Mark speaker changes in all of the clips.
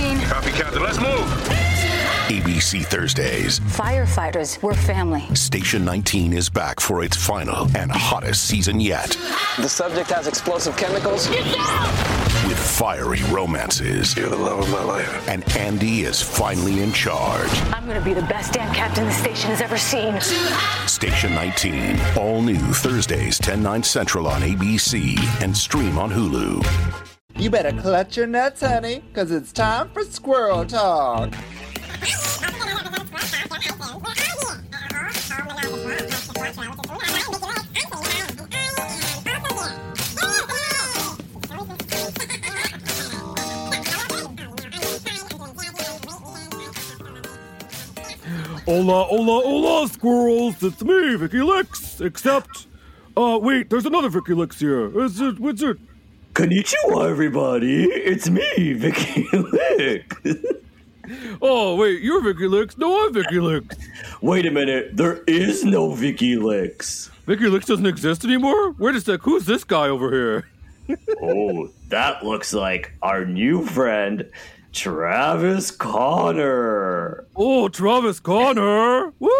Speaker 1: Captain. Let's move.
Speaker 2: ABC Thursdays.
Speaker 3: Firefighters, we're family.
Speaker 2: Station 19 is back for its final and hottest season yet
Speaker 4: The subject has explosive chemicals.
Speaker 2: with fiery romances.
Speaker 1: You're the love of my life.
Speaker 2: And Andy is finally in charge.
Speaker 3: I'm gonna be the best damn captain the station has ever seen.
Speaker 2: Station 19, all new Thursdays, 10, 9 central on ABC and stream on Hulu.
Speaker 5: You better clutch your nuts, honey, because it's time for squirrel talk.
Speaker 6: Hola, hola, hola, squirrels! It's me, Vicky Licks. Except, uh, wait, there's another Vicky Licks here. Is it? What's it?
Speaker 7: Konnichiwa, everybody. It's me, Vicky Lick.
Speaker 6: Oh, wait, you're Vicky Licks. No, I'm Vicky Licks.
Speaker 7: Wait a minute. There is no Vicky Licks.
Speaker 6: Vicky Licks doesn't exist anymore. Wait a sec. Who's this guy over here?
Speaker 7: Oh, that looks like our new friend, Travis Connor.
Speaker 6: Oh, Travis Connor. Woo!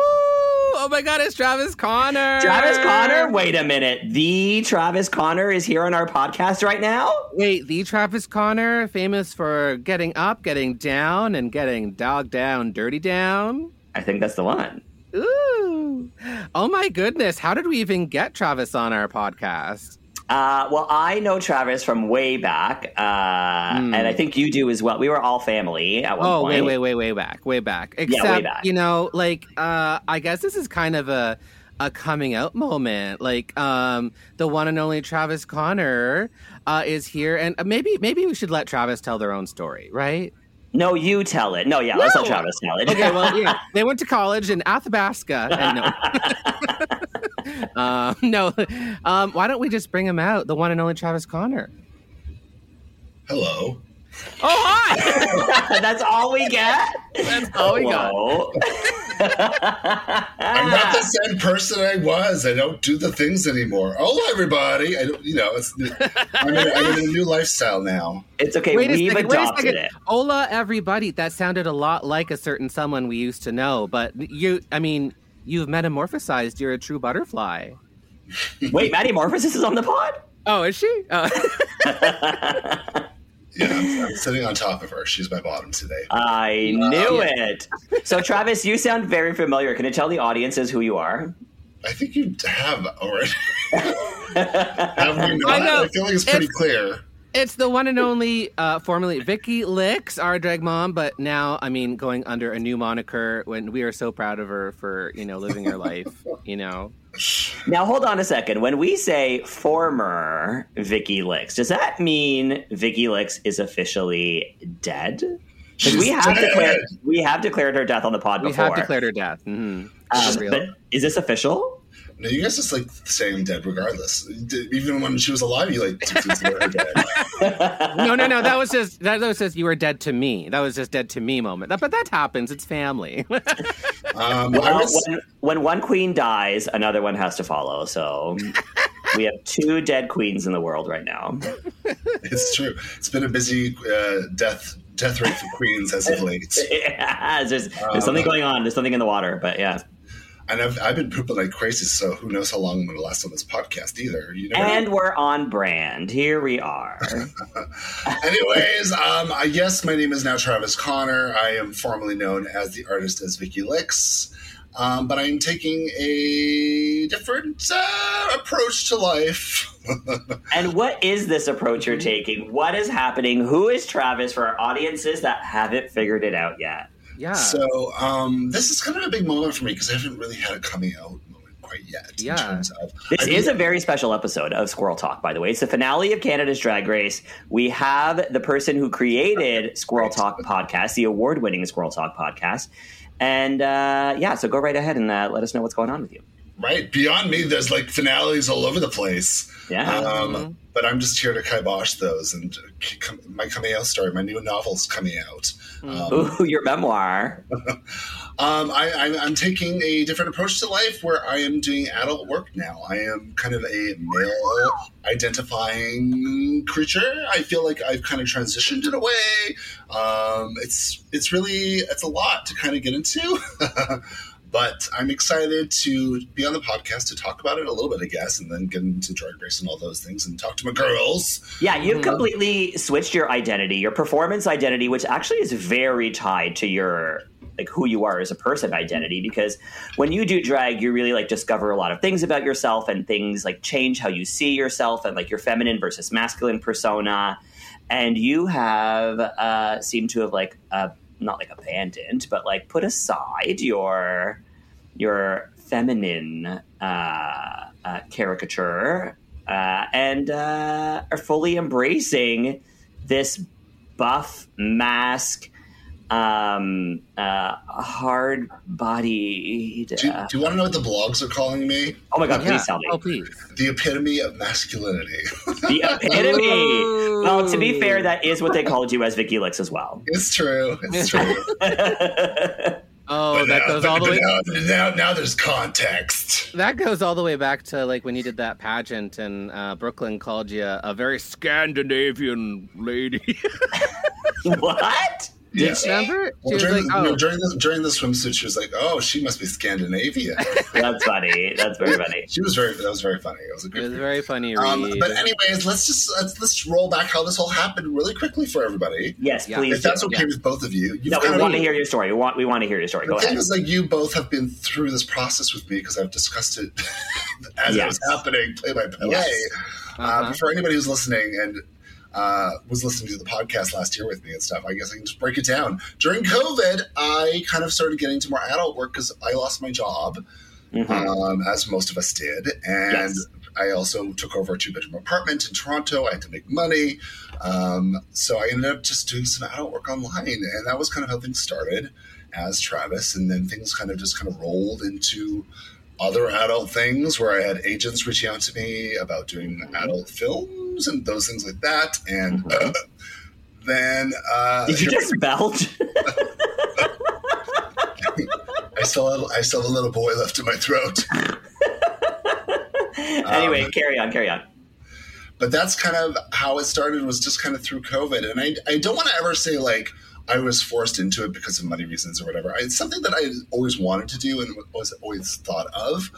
Speaker 8: Oh my god, it's Travis Connor.
Speaker 7: Travis Connor? Wait a minute. The Travis Connor is here on our podcast right now?
Speaker 8: Wait, the Travis Connor, famous for getting up, getting down, and getting dog down, dirty down.
Speaker 7: I think that's the one.
Speaker 8: Ooh. Oh my goodness, how did we even get Travis on our podcast?
Speaker 7: Uh, well, I know Travis from way back, uh, and I think you do as well. We were all family at one
Speaker 8: Hmm. Oh,
Speaker 7: point.
Speaker 8: way, way, way, way back, way back.
Speaker 7: way
Speaker 8: Except,
Speaker 7: back.
Speaker 8: you know, like uh, I guess this is kind of a a coming out moment. Like um, the one and only Travis Connor uh, is here, and uh, maybe maybe we should let Travis tell their own story, right?
Speaker 7: No, you tell it. No, yeah, let's let Travis tell it.
Speaker 8: Okay, well, yeah, they went to college in Athabasca. And no, um, no. Um, why don't we just bring him out? The one and only Travis Connor.
Speaker 9: Hello.
Speaker 8: Oh hi!
Speaker 7: that's all we get?
Speaker 8: That's all we got.
Speaker 7: Whoa.
Speaker 9: I'm not the same person I was. I don't do the things anymore. Hello, everybody. I don't, you know, it's, I'm, in, I'm in a new lifestyle now.
Speaker 7: It's okay.
Speaker 8: wait a
Speaker 7: We've
Speaker 8: second. Wait a
Speaker 7: adopted
Speaker 8: second.
Speaker 7: it.
Speaker 8: Hola, everybody. That sounded a lot like a certain someone we used to know, but you, I mean, you've metamorphosized. You're a true butterfly.
Speaker 7: Wait, Maddie Morphosis is on the pod?
Speaker 8: Oh, is she? Uh,
Speaker 9: Yeah, I'm, I'm sitting on top of her. She's my bottom today.
Speaker 7: Uh, I knew it. So, Travis, you sound very familiar. Can you tell the audiences who you are?
Speaker 9: I think you have already. have we not?
Speaker 8: I
Speaker 9: I,
Speaker 8: know.
Speaker 9: feel like it's pretty
Speaker 8: It's-
Speaker 9: clear.
Speaker 8: it's the one and only, uh, formerly Vicky Licks, our drag mom, but now, I mean, going under a new moniker. When we are so proud of her for you know living her life, you know.
Speaker 7: Now, hold on a second. When we say former Vicky Licks, does that mean Vicky Licks is officially dead? 'Cause
Speaker 9: She's
Speaker 7: we have
Speaker 9: dead.
Speaker 7: declared we have declared her death on the pod
Speaker 8: We
Speaker 7: before.
Speaker 8: have declared her death. Mhm.
Speaker 7: Um,
Speaker 8: She's real.
Speaker 7: but is this official?
Speaker 9: No, you guys just like saying dead regardless. D- Even when she was alive, you like declared her dead.
Speaker 8: no, no, no. That was just that was just you were dead to me. That was just dead to me moment. That- But that happens. It's family.
Speaker 9: Um, I
Speaker 7: Well,
Speaker 9: was-
Speaker 7: when, when one queen dies, another one has to follow. So we have two dead queens in the world right now.
Speaker 9: it's true. It's been a busy uh, death death rate for Queens as of late.
Speaker 7: there's, there's something going on. There's something in the water. But yeah.
Speaker 9: And I've, I've been pooping like crazy, so who knows how long I'm going to last on this podcast either. You never know.
Speaker 7: And we're on brand. Here we are.
Speaker 9: Anyways, um, I yes, my name is now Travis Connor. I am formerly known as the artist as Vicky Licks, um, but I'm taking a different uh, approach to life.
Speaker 7: And what is this approach you're taking? What is happening? Who is Travis for our audiences that haven't figured it out yet?
Speaker 8: yeah.
Speaker 9: so um, this is kind of a big moment for me because I haven't really had a coming out moment quite yet.
Speaker 8: Yeah.
Speaker 9: In terms of
Speaker 7: This
Speaker 9: I
Speaker 7: is a very special episode of Squirrel Talk, by the way. It's the finale of Canada's Drag Race. We have the person who created Squirrel Talk podcast, the award winning Squirrel Talk podcast. And uh, yeah, so go right ahead and uh, let us know what's going on with you.
Speaker 9: Right beyond me, there's like finales all over the place.
Speaker 7: Yeah.
Speaker 9: Um, but I'm just here to kibosh those. And c- com- my coming out story, my new novel's coming out.
Speaker 7: Ooh, your memoir.
Speaker 9: Um, I, I'm, I'm taking a different approach to life where I am doing adult work now. I am kind of a male identifying creature. I feel like I've kind of transitioned in a way. Um, it's it's really it's a lot to kind of get into. But I'm excited to be on the podcast to talk about it a little bit, I guess, and then get into Drag Race and all those things and talk to my girls.
Speaker 7: Yeah, you've completely switched your identity, your performance identity, which actually is very tied to your like who you are as a person identity because when you do drag you really like discover a lot of things about yourself and things like change how you see yourself and like your feminine versus masculine persona and you have uh seem to have like uh not like abandoned but like put aside your your feminine uh, uh, caricature uh, and uh, are fully embracing this buff mask um uh hard bodied
Speaker 9: Do, do you want to know what the blogs are calling me?
Speaker 7: oh my god
Speaker 8: Yeah.
Speaker 7: please tell me
Speaker 8: Oh, please.
Speaker 9: The epitome of masculinity.
Speaker 7: the epitome well to be fair that is what they called you as vicky Lix as well
Speaker 9: It's true. It's true.
Speaker 8: Oh, that
Speaker 9: now-
Speaker 8: goes all the
Speaker 9: but
Speaker 8: way.
Speaker 9: Now, now, now there's context.
Speaker 8: That goes all the way back to like when you did that pageant and uh, Brooklyn called you a, a very Scandinavian lady.
Speaker 7: what
Speaker 9: Yeah.
Speaker 8: Remember? She
Speaker 9: Well,
Speaker 8: was
Speaker 9: during,
Speaker 8: like,
Speaker 9: the,
Speaker 8: "Oh,
Speaker 9: no, during the during the swimsuit, she was like, "Oh, she must be Scandinavian."
Speaker 7: that's funny that's very funny
Speaker 9: she was very that was very funny. It was a
Speaker 8: it
Speaker 9: good.
Speaker 8: was very funny." Reed.
Speaker 9: um, but anyways, let's just let's, let's roll back how this all happened really quickly for everybody.
Speaker 7: yes
Speaker 8: Yeah.
Speaker 7: please
Speaker 9: If that's
Speaker 7: do.
Speaker 9: okay with both of you, you've
Speaker 7: no we
Speaker 9: kinda-
Speaker 7: want to hear your story we want we want to hear your story go
Speaker 9: The
Speaker 7: ahead
Speaker 9: thing is, like, you both have been through this process with me because I've discussed it as it was
Speaker 7: Yes.
Speaker 9: happening, play by play.
Speaker 7: Yes.
Speaker 9: Uh, for anybody who's listening and uh, was listening to the podcast last year with me and stuff, I guess I can just break it down. During COVID, I kind of started getting to more adult work because I lost my job,
Speaker 7: Mm-hmm.
Speaker 9: um, as most of us did, and.
Speaker 7: Yes.
Speaker 9: I also took over a two bedroom apartment in Toronto. I had to make money. Um, so I ended up just doing some adult work online. And that was kind of how things started as Travis. And then things kind of just kind of rolled into other adult things where I had agents reaching out to me about doing adult films and those things like that. And then uh,
Speaker 7: did you just belch
Speaker 9: I, still have, I still have a little boy left in my throat.
Speaker 7: anyway
Speaker 8: Um,
Speaker 7: carry on carry on
Speaker 9: but that's kind of how it started was just kind of through covid and i, I don't want to ever say like i was forced into it because of money reasons or whatever it's something that i always wanted to do and was always thought of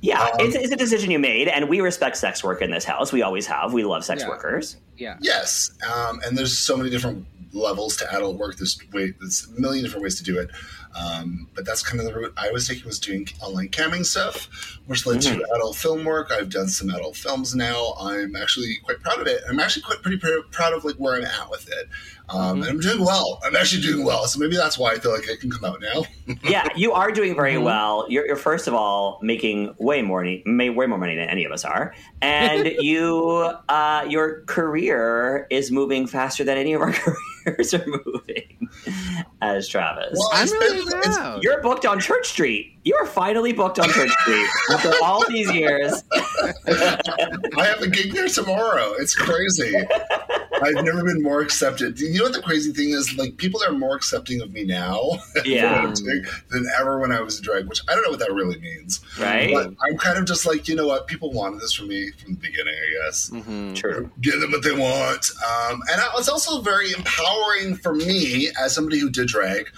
Speaker 7: Yeah,
Speaker 8: um,
Speaker 7: it's, it's a decision you made, and we respect sex work in this house. We always have. We love sex workers.
Speaker 8: yeah.
Speaker 9: yes um, and there's so many different levels to adult work there's, way, there's a million different ways to do it um, but that's kind of the route i was taking was doing online camming stuff which led to
Speaker 8: Mm-hmm.
Speaker 9: adult film work i've done some adult films now i'm actually quite proud of it i'm actually quite pretty pr- proud of like where i'm at with it
Speaker 8: Mm-hmm.
Speaker 9: um, and i'm doing well i'm actually doing well so maybe that's why i feel like i can come out now
Speaker 7: yeah, you are doing very
Speaker 8: Mm-hmm.
Speaker 7: well. You're, you're first of all making way more ne- may, way more money than any of us are, and you uh, your career is moving faster than any of our careers are moving. As Travis,
Speaker 9: I
Speaker 8: I'm
Speaker 9: spent-
Speaker 8: really
Speaker 9: it's-
Speaker 8: proud.
Speaker 7: you're booked on Church Street. You are finally booked on Church Street after all these years.
Speaker 9: I have a gig there tomorrow. It's crazy. I've never been more accepted. You know what the crazy thing is? Like people are more accepting of me now
Speaker 7: Yeah,
Speaker 9: than ever when I was a drag, which I don't know what that really means.
Speaker 7: Right.
Speaker 9: But I'm kind of just like, you know what? People wanted this from me from the beginning, I guess.
Speaker 7: true.
Speaker 9: Give them what they want. Um, and I- it's also very empowering for me as somebody who did drag.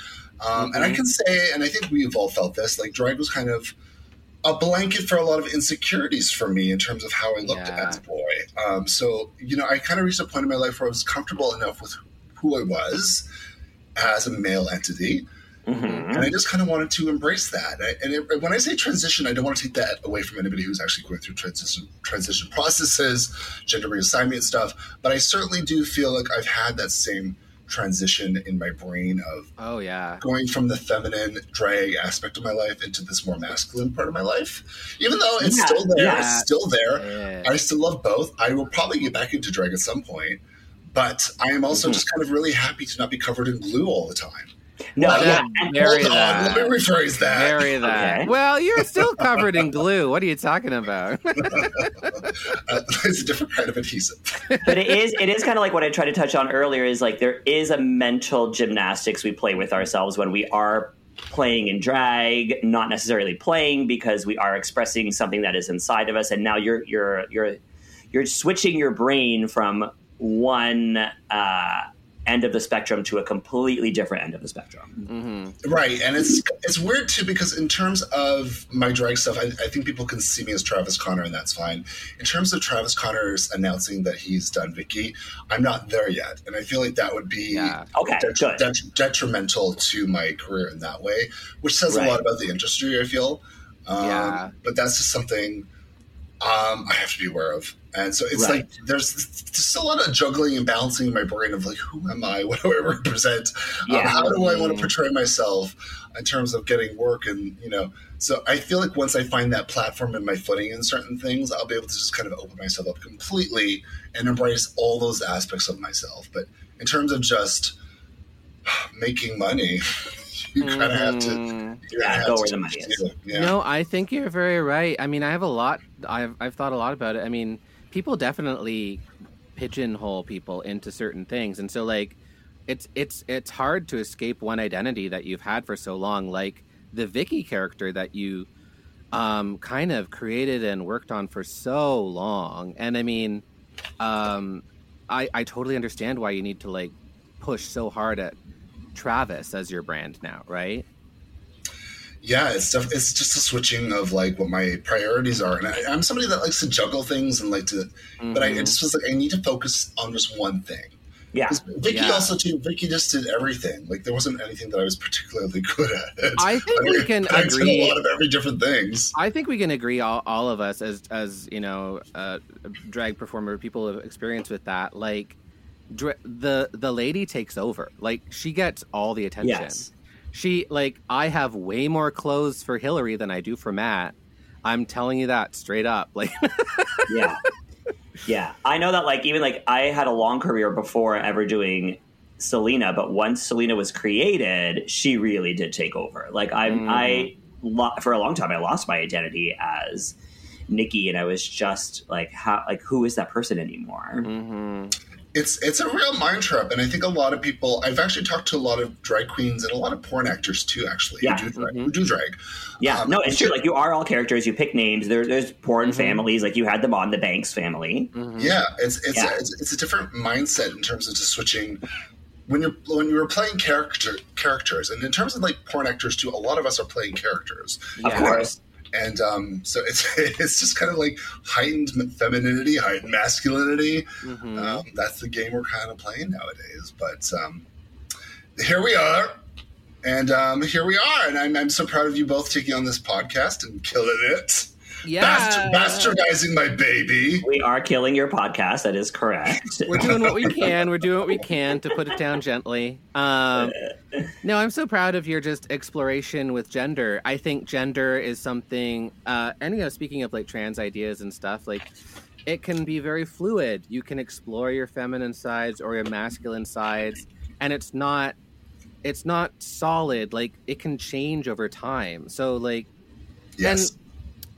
Speaker 9: Um, And I can say, and I think we've all felt this, like drag was kind of a blanket for a lot of insecurities for me in terms of how I looked
Speaker 8: Yeah.
Speaker 9: as a boy. Um, so, you know, I kind of reached a point in my life where I was comfortable enough with who I was as a male entity. And I just kind of wanted to embrace that. I, and it, when I say transition, I don't want to take that away from anybody who's actually going through transition transition processes, gender reassignment stuff. But I certainly do feel like I've had that same transition in my brain of
Speaker 8: Oh yeah.
Speaker 9: going from the feminine drag aspect of my life into this more masculine part of my life. Even though it's
Speaker 7: Yeah,
Speaker 9: still there,
Speaker 7: yeah.
Speaker 9: it's still there.
Speaker 8: Yeah.
Speaker 9: I still love both. I will probably get back into
Speaker 7: Mm-hmm.
Speaker 9: drag at some point, but I am also just kind of really happy to not be covered in glue all the time.
Speaker 7: No, yeah, and-
Speaker 8: Marry
Speaker 9: Hold on,
Speaker 8: that.
Speaker 9: let me rephrase that.
Speaker 8: Marry that.
Speaker 7: Okay.
Speaker 8: Well, you're still covered in glue. What are you talking about?
Speaker 9: Uh, it's a different kind of adhesive.
Speaker 7: but it is it is kind of like what I tried to touch on earlier is like there is a mental gymnastics we play with ourselves when we are playing in drag, not necessarily playing because we are expressing something that is inside of us and now you're you're you're you're switching your brain from one uh end of the spectrum to a completely different end of the spectrum.
Speaker 9: Right, and it's it's weird too because in terms of my drag stuff, I, I think people can see me as Travis Connor, and that's fine. In terms of Travis Connor's announcing that he's done Vicky, I'm not there yet, and I feel like that would be
Speaker 8: Yeah.
Speaker 7: Okay,
Speaker 9: det-
Speaker 7: good.
Speaker 9: det- detrimental to my career in that way, which says
Speaker 7: Right.
Speaker 9: a lot about the industry. I feel, um,
Speaker 8: Yeah.
Speaker 9: but that's just something um, I have to be aware of. And so it's
Speaker 7: Right.
Speaker 9: like there's just a lot of juggling and balancing in my brain of like, who am I? What do I represent? Um,
Speaker 7: Yeah.
Speaker 9: how do I want to portray myself in terms of getting work? And, you know, so I feel like once I find that platform and my footing in certain things, I'll be able to just kind of open myself up completely and embrace all those aspects of myself. But in terms of just making money, you kind of have to. you
Speaker 7: Yeah,
Speaker 9: have
Speaker 7: go
Speaker 9: to
Speaker 7: where the
Speaker 9: do
Speaker 7: money
Speaker 9: what
Speaker 7: is.
Speaker 9: you do. Yeah.
Speaker 8: No, I think you're very right. I mean, I have a lot. I've I've thought a lot about it. I mean, people definitely pigeonhole people into certain things, and so like, it's it's it's hard to escape one identity that you've had for so long, like the Vicky character that you um, kind of created and worked on for so long. And I mean, um, I I totally understand why you need to like push so hard at Travis as your brand now, right?
Speaker 9: yeah, it's def- it's just a switching of like what my priorities are, and I, I'm somebody that likes to juggle things and like to, but I it
Speaker 8: Mm-hmm.
Speaker 9: just was like I need to focus on just one thing.
Speaker 7: Yeah.
Speaker 9: 'Cause Vicky
Speaker 8: Yeah.
Speaker 9: also too. Vicky just did everything. Like there wasn't anything that I was particularly good at.
Speaker 8: I think we can
Speaker 9: I did
Speaker 8: agree.
Speaker 9: a lot of every different things.
Speaker 8: I think we can agree, all, all of us, as as you know, uh, drag performer people have experience with that. Like, dra- the the lady takes over. Like, she gets all the attention.
Speaker 7: Yes.
Speaker 8: She like I have way more clothes for Hillary than I do for Matt. I'm telling you that straight up. Like,
Speaker 7: yeah yeah i know that like even like i had a long career before ever doing selena but once selena was created she really did take over like i am i lo- for a long time i lost my identity as nikki and i was just like how like who is that person anymore
Speaker 9: It's it's a real mind trap, and I think a lot of people. I've actually talked to a lot of drag queens and a lot of porn actors too, actually,
Speaker 7: Yeah.
Speaker 9: who do
Speaker 8: mm-hmm.
Speaker 9: drag. Who do drag.
Speaker 7: yeah
Speaker 9: Um,
Speaker 7: no it's true like you are all characters you pick names there, there's porn families like you had them on the banks family
Speaker 9: Yeah, it's it's,
Speaker 7: Mm-hmm.
Speaker 9: A,
Speaker 7: Yeah.
Speaker 9: it's it's a different mindset in terms of just switching when you're when you're playing character characters, and in terms of like porn actors too. A lot of us are playing characters,
Speaker 7: of course
Speaker 9: and um, so it's it's just kind of like heightened femininity, heightened masculinity.
Speaker 7: Mm-hmm.
Speaker 9: Um, that's the game we're kind of playing nowadays. But um, here we are. And um, here we are, and I'm, I'm so proud of you both taking on this podcast and killing it,
Speaker 8: yeah,
Speaker 9: Bastard, bastardizing my baby.
Speaker 7: we are killing your podcast that is correct
Speaker 8: we're doing what we can. We're doing what we can to put it down gently. Um, no, I'm so proud of your just exploration with gender. I think gender is something, uh, and you know, speaking of like trans ideas and stuff, like it can be very fluid. You can explore your feminine sides or your masculine sides, and it's not it's not solid. Like it can change over time. So like
Speaker 9: Yes.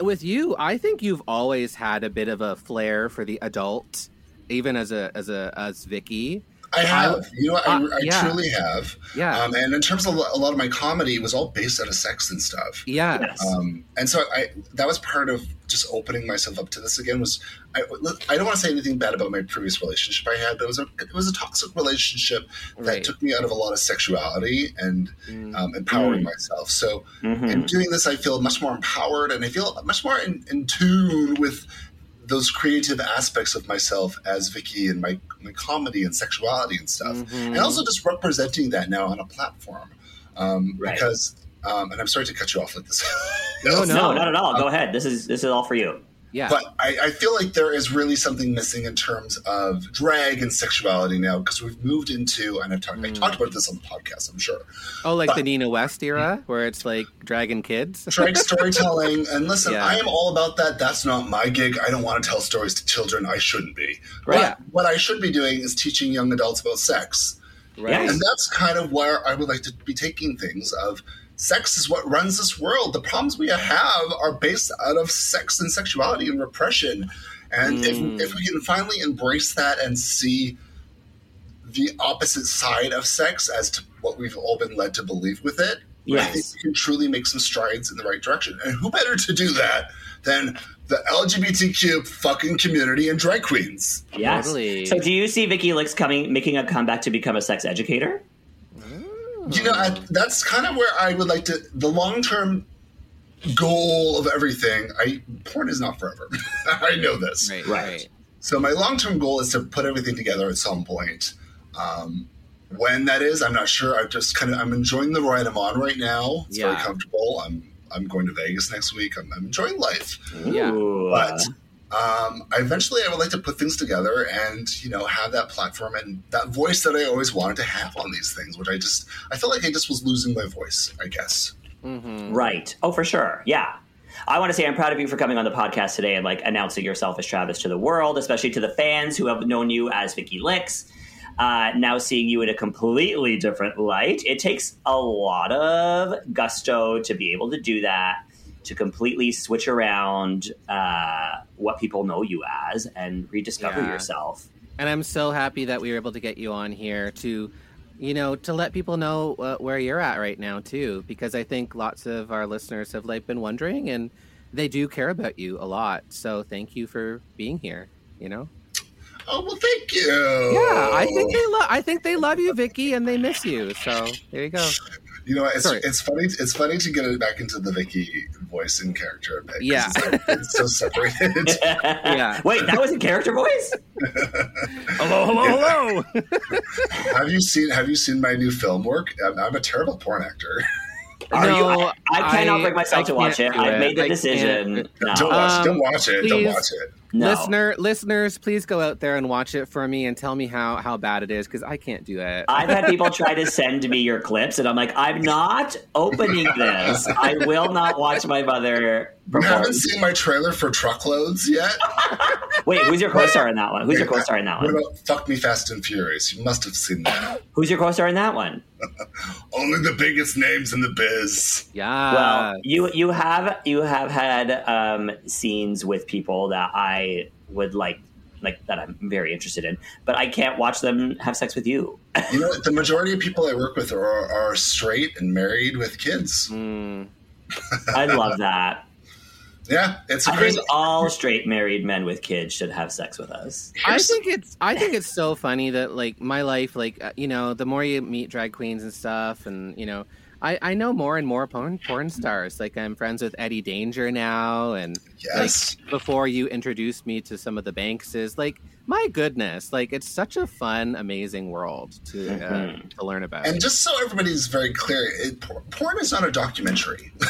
Speaker 8: and with you, I think you've always had a bit of a flair for the adult, even as a as a as Vicky.
Speaker 9: I have. you know, what? I,
Speaker 8: uh,
Speaker 9: I
Speaker 8: yeah.
Speaker 9: truly have.
Speaker 8: Yeah.
Speaker 9: Um, and in terms of a lot of my comedy, it was all based out of sex and stuff.
Speaker 8: Yeah.
Speaker 9: Um, and so I that was part of just opening myself up to this again. Was I? look, I don't want to say anything bad about my previous relationship I had, but it was a it was a toxic relationship that
Speaker 8: Right.
Speaker 9: took me out of a lot of sexuality and um, empowering myself. So
Speaker 7: Mm-hmm.
Speaker 9: in doing this, I feel much more empowered, and I feel much more in, in tune with those creative aspects of myself as Vicky and my my comedy and sexuality and stuff,
Speaker 7: Mm-hmm.
Speaker 9: and also just representing that now on a platform um,
Speaker 7: Right.
Speaker 9: because. Um, and I'm sorry to cut you off like this.
Speaker 7: Oh, no not at all
Speaker 9: Um,
Speaker 7: go ahead this is this is all for you
Speaker 8: Yeah.
Speaker 9: But I, I feel like there is really something missing in terms of drag and sexuality now because we've moved into, and I've talked, I talked about this on the podcast, I'm sure.
Speaker 8: oh, like the Nina West era,
Speaker 9: Mm-hmm.
Speaker 8: where it's like dragon kids.
Speaker 9: Drag storytelling. And listen,
Speaker 8: Yeah.
Speaker 9: I am all about that. That's not my gig. I don't want to tell stories to children. I shouldn't be.
Speaker 8: Right.
Speaker 9: But what I should be doing is teaching young adults about sex
Speaker 7: Right.
Speaker 9: And that's kind of where I would like to be taking things of sex is what runs this world. The problems we have are based out of sex and sexuality and repression. And if, if we can finally embrace that and see the opposite side of sex as to what we've all been led to believe with it, I think
Speaker 7: Yes.
Speaker 9: we can truly make some strides in the right direction. And who better to do that than the LGBTQ fucking community and drag queens?
Speaker 7: Yes.
Speaker 8: Totally.
Speaker 7: So, do you see Vicky Licks coming, making a comeback to become a sex educator?
Speaker 9: you know I, that's kind of where i would like to the long term goal of everything i porn is not forever i know this
Speaker 8: Right.
Speaker 7: Right.
Speaker 8: Right.
Speaker 9: so my long term goal is to put everything together at some point um, when that is i'm not sure i just kind of i'm enjoying the ride i'm on right now it's very
Speaker 8: Yeah.
Speaker 9: comfortable i'm i'm going to vegas next week i'm, I'm enjoying life
Speaker 8: Yeah.
Speaker 7: Ooh,
Speaker 9: but um, I eventually i would like to put things together and you know have that platform and that voice that i always wanted to have on these things which i just i felt like i just was losing my voice i guess
Speaker 7: Right. Oh, for sure. Yeah. I want to say I'm proud of you for coming on the podcast today and like announcing yourself as Travis to the world, especially to the fans who have known you as Vicky Licks. Uh, now seeing you in a completely different light, it takes a lot of gusto to be able to do that, to completely switch around uh, what people know you as and rediscover
Speaker 8: Yeah.
Speaker 7: yourself.
Speaker 8: And I'm so happy that we were able to get you on here to, you know, to let people know uh, where you're at right now too, because I think lots of our listeners have like been wondering, and they do care about you a lot. So thank you for being here. You know.
Speaker 9: oh well thank you
Speaker 8: Yeah, I think they love. I think they love you, Vicky, and they miss you. So there you go.
Speaker 9: you know it's,
Speaker 8: Sorry.
Speaker 9: it's funny it's funny to get it back into the vicky voice and character a bit 'cause
Speaker 8: Yeah.
Speaker 9: it's, like, it's so separated
Speaker 8: Yeah.
Speaker 7: Wait, that was a character voice?
Speaker 6: Hello, hello, hello.
Speaker 9: have you seen have you seen my new film work i'm, I'm a terrible porn actor
Speaker 7: Are you?
Speaker 8: No,
Speaker 7: I, I cannot
Speaker 8: I-
Speaker 7: bring myself
Speaker 8: I
Speaker 7: to watch it.
Speaker 8: can't do
Speaker 7: I've
Speaker 8: it.
Speaker 7: made the
Speaker 8: I
Speaker 7: decision.
Speaker 8: can't.
Speaker 7: No.
Speaker 9: don't watch
Speaker 8: Um,
Speaker 9: don't watch it don't
Speaker 8: please.
Speaker 9: watch it
Speaker 7: no.
Speaker 8: Listener, listeners, please go out there and watch it for me and tell me how how bad it is because I can't do it.
Speaker 7: I've had people try to send me your clips, and I'm like, I'm not opening this. I will not watch my mother
Speaker 9: you haven't
Speaker 7: perform.
Speaker 9: seen my trailer for truckloads yet
Speaker 7: Wait, who's your co-star in that one? Who's your
Speaker 9: Wait,
Speaker 7: co-star in that
Speaker 9: What
Speaker 7: one?
Speaker 9: about Fuck Me Fast and Furious? You must have seen that.
Speaker 7: Who's your co-star in that one?
Speaker 9: Only the biggest names in the biz.
Speaker 8: yeah.
Speaker 7: Well, you you have you have had um, scenes with people that I would like like that I'm very interested in, but I can't watch them have sex with you.
Speaker 9: You know, the majority of people I work with are, are straight and married with kids.
Speaker 8: Mm.
Speaker 7: I love that.
Speaker 9: Yeah, it's a
Speaker 7: I think
Speaker 9: crazy.
Speaker 7: all straight married men with kids should have sex with us.
Speaker 8: I think it's I think it's so funny that like my life, like uh, you know, the more you meet drag queens and stuff, and you know, I I know more and more porn porn stars. Like I'm friends with Eddie Danger now, and
Speaker 9: Yes.
Speaker 8: like before you introduced me to some of the Bankses, like my goodness, like it's such a fun, amazing world to uh, to learn about.
Speaker 9: And just so everybody's very clear, it, por- porn is not a documentary.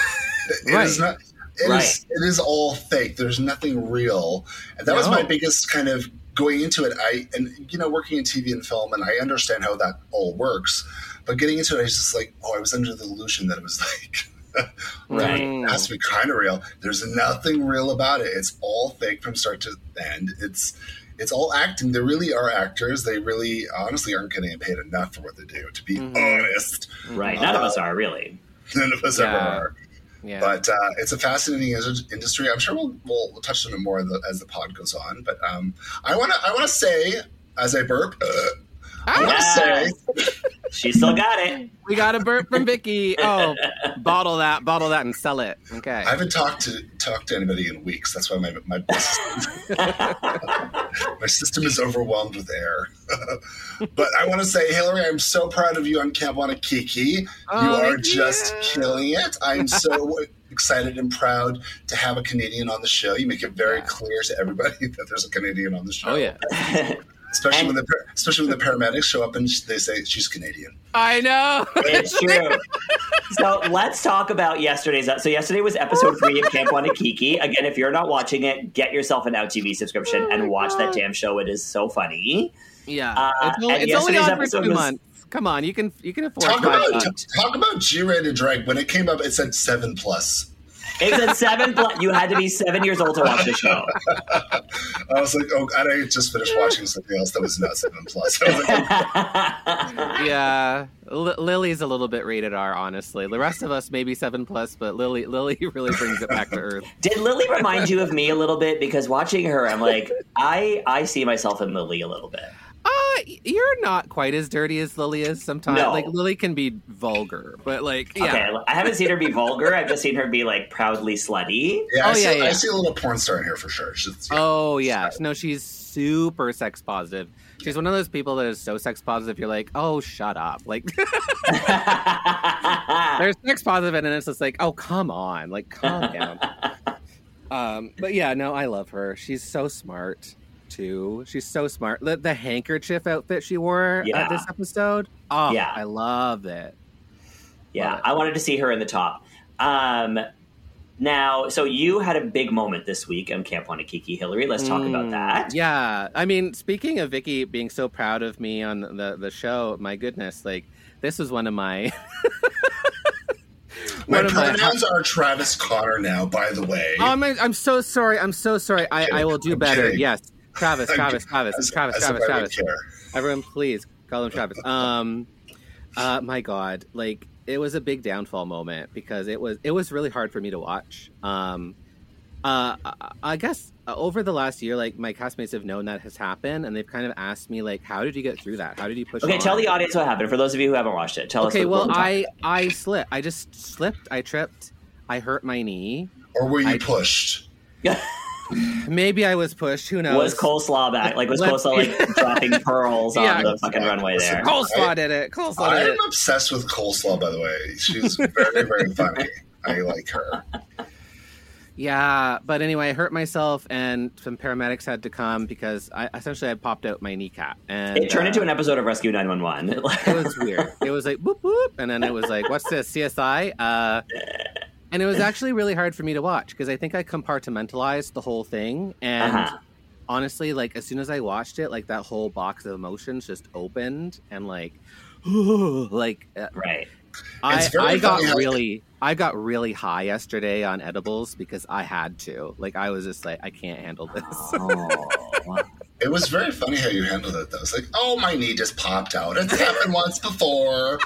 Speaker 9: It
Speaker 8: Right.
Speaker 9: is not. it is-
Speaker 7: Right.
Speaker 9: it is all fake. There's nothing real. And that was my
Speaker 8: No.
Speaker 9: biggest kind of going into it. I and you know working in TV and film, and I understand how that all works. But getting into it, I was just like, oh, I was under the illusion that it was like.
Speaker 7: Right.
Speaker 8: Hmm.
Speaker 9: It has to be kind of real. There's nothing real about it. It's all fake from start to end. It's it's all acting. They really are actors. They really honestly aren't getting paid enough for what they do. To be
Speaker 8: Mm-hmm.
Speaker 9: honest,
Speaker 7: Right? None of us are really.
Speaker 9: none of us ever
Speaker 8: Yeah.
Speaker 9: are.
Speaker 8: yeah.
Speaker 9: But uh, it's a fascinating is- industry. I'm sure we'll, we'll, we'll touch on it more the, as the pod goes on. But um, I want to I want to say as I burp, uh, I want to say
Speaker 7: She still got it.
Speaker 8: we got a burp from Vicky. Oh, bottle that, bottle that, and sell it. Okay.
Speaker 9: I haven't talked to talked to anybody in weeks. That's why my my my system is overwhelmed with air. but I want to say, Hillary, I'm so proud of you on Camp Wanakiki. you
Speaker 8: Oh,
Speaker 9: are
Speaker 8: thank
Speaker 9: just
Speaker 8: you.
Speaker 9: killing it. I'm so excited and proud to have a Canadian on the show. You make it very clear to everybody that there's a Canadian on the show.
Speaker 8: Oh yeah.
Speaker 9: especially when the par- especially when the paramedics show up and they say she's Canadian.
Speaker 8: I know.
Speaker 7: It's true. so let's talk about yesterday's. So yesterday was episode three of Camp Wanakiki. Again, if you're not watching it, get yourself an Out TV subscription and watch that damn show. It is so funny.
Speaker 8: Yeah,
Speaker 7: Uh,
Speaker 8: it's only,
Speaker 7: and
Speaker 8: it's only on
Speaker 7: yesterday's
Speaker 8: for
Speaker 7: episode
Speaker 8: two
Speaker 7: was-
Speaker 8: months. Come on, you can you can afford
Speaker 9: Talk
Speaker 8: five
Speaker 9: about
Speaker 8: bucks.
Speaker 9: talk about G-rated drag. When it came up, it said seven plus.
Speaker 7: It's a seven. Plus, you had to be seven years old to watch the show.
Speaker 9: I was like, oh, God, I just finished watching something else that was not seven plus. I was like,
Speaker 8: yeah, L- Lily's a little bit rated R. Honestly, the rest of us maybe seven plus, but Lily, Lily really brings it back to earth.
Speaker 7: Did Lily remind you of me a little bit? Because watching her, I'm like, I I see myself in Lily a little bit.
Speaker 8: Uh, y- you're not quite as dirty as Lily is sometimes.
Speaker 7: No.
Speaker 8: Like Lily can be vulgar, but like yeah,
Speaker 7: Okay, I haven't seen her be vulgar. I've just seen her be like proudly slutty.
Speaker 9: yeah, I,
Speaker 8: Oh,
Speaker 9: see,
Speaker 8: yeah, yeah.
Speaker 9: I see a little porn star in here for sure. She's- yeah.
Speaker 8: Oh yeah, no, she's super sex positive. She's one of those people that is so sex positive. You're like, oh, shut up. Like, there's sex positive, and then it's just like, oh, come on, like, calm down. um, but yeah, no, I love her. She's so smart too. She's so smart. The, the handkerchief outfit she wore
Speaker 7: Yeah.
Speaker 8: at this episode. Oh,
Speaker 7: Yeah.
Speaker 8: I love it.
Speaker 7: Yeah,
Speaker 8: Love it.
Speaker 7: I wanted to see her in the top. Um, now, so you had a big moment this week on Camp Wanakiki, Hillary. Let's talk about that.
Speaker 8: Mm, Yeah, I mean, speaking of Vicky being so proud of me on the the show, my goodness, like this was one of my.
Speaker 9: My
Speaker 8: one of my-
Speaker 9: pronouns are Travis Connor now, by the way.
Speaker 8: Oh, I'm, I'm so sorry. I'm so sorry. I, I will do
Speaker 9: I'm
Speaker 8: better.
Speaker 9: kidding.
Speaker 8: Yes. Travis,
Speaker 9: I'm-
Speaker 8: Travis, Travis,
Speaker 9: as-
Speaker 8: Travis,
Speaker 9: as if
Speaker 8: Travis,
Speaker 9: I would
Speaker 8: Travis.
Speaker 9: care.
Speaker 8: Everyone, please call him Travis. Um, uh, my God, like it was a big downfall moment because it was it was really hard for me to watch. Um, uh, I- I guess uh, over the last year, like my castmates have known that has happened, and they've kind of asked me like, "How did you get through that? How did you push?"
Speaker 7: Okay,
Speaker 8: on?
Speaker 7: tell the audience what happened. For those of you who haven't watched it, tell
Speaker 8: Okay,
Speaker 7: us.
Speaker 8: well,
Speaker 7: what- what we're
Speaker 8: I I slipped. I just slipped. I tripped. I hurt my knee.
Speaker 9: Or were you
Speaker 8: I-
Speaker 9: pushed?
Speaker 7: talking-
Speaker 8: Maybe I was pushed. Who knows?
Speaker 7: was coleslaw back? Like was
Speaker 8: Let-
Speaker 7: coleslaw like dropping pearls on
Speaker 8: Yeah.
Speaker 7: the fucking runway there?
Speaker 8: Coleslaw did it. Coleslaw did
Speaker 9: I'm
Speaker 8: it.
Speaker 9: obsessed with coleslaw, by the way. She's very, very funny. I like her.
Speaker 8: Yeah, but anyway, I hurt myself, and some paramedics had to come because I essentially I popped out my kneecap, and
Speaker 7: It
Speaker 8: uh,
Speaker 7: turned into an episode of Rescue 911.
Speaker 8: It was weird. It was like boop boop, and then it was like, "What's this CSI?" Uh, and it was actually really hard for me to watch because I think I compartmentalized the whole thing, and
Speaker 7: Uh-huh.
Speaker 8: honestly, like as soon as I watched it, like that whole box of emotions just opened, and like, like uh,
Speaker 7: right.
Speaker 8: I,
Speaker 9: It's very
Speaker 8: I got
Speaker 9: funny how-
Speaker 8: really I got really high yesterday on edibles because I had to. Like I was just like I can't handle this.
Speaker 7: Oh.
Speaker 9: It was very funny how you handled it, though. It's like, oh, my knee just popped out. It's happened once before.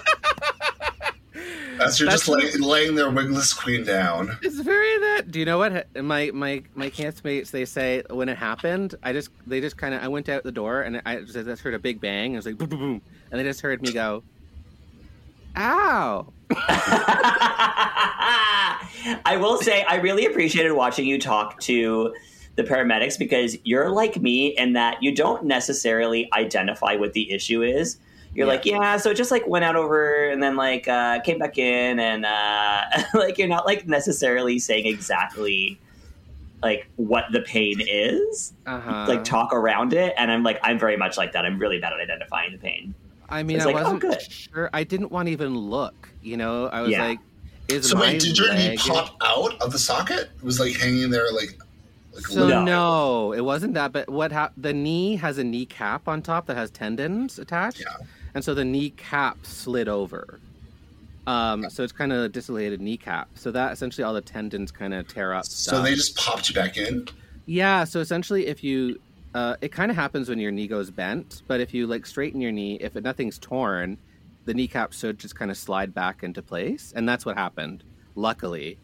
Speaker 9: As you're
Speaker 8: That's
Speaker 9: just laying, laying there, wigless queen down.
Speaker 8: it's very that. Do you know what ha- my my my campmates they say when it happened? I just they just kind of I went out the door and I just, I just heard a big bang and it was like boom boom boom and they just heard me go, ow.
Speaker 7: I will say I really appreciated watching you talk to the paramedics because you're like me in that you don't necessarily identify what the issue is. You're
Speaker 8: Yeah.
Speaker 7: like, yeah, so it just like went out over and then like uh, came back in and uh, like you're not like necessarily saying exactly like what the pain is.
Speaker 8: Uh-huh.
Speaker 7: like talk around it, and I'm like, I'm very much like that. I'm really bad at identifying the pain.
Speaker 8: I mean,
Speaker 7: it's
Speaker 8: I
Speaker 7: like, oh,
Speaker 8: wasn't
Speaker 7: good.
Speaker 8: sure. I didn't want to even look. You know, I was
Speaker 7: Yeah.
Speaker 8: like, is
Speaker 9: So,
Speaker 8: my
Speaker 9: wait, did your knee
Speaker 8: leg-
Speaker 9: pop out of the socket? It was like hanging there, like, like
Speaker 8: So
Speaker 7: No.
Speaker 8: no. it wasn't that. But what hap- the knee has a kneecap on top that has tendons attached, and so the kneecap slid over. Um, so it's kind of a dislocated kneecap. So that essentially all the tendons kind of tear up.
Speaker 9: So
Speaker 8: stuff.
Speaker 9: they just popped you back in.
Speaker 8: yeah. So essentially, if you, uh, it kind of happens when your knee goes bent, but if you like straighten your knee, if nothing's torn, the kneecap should just kind of slide back into place, and that's what happened. Luckily,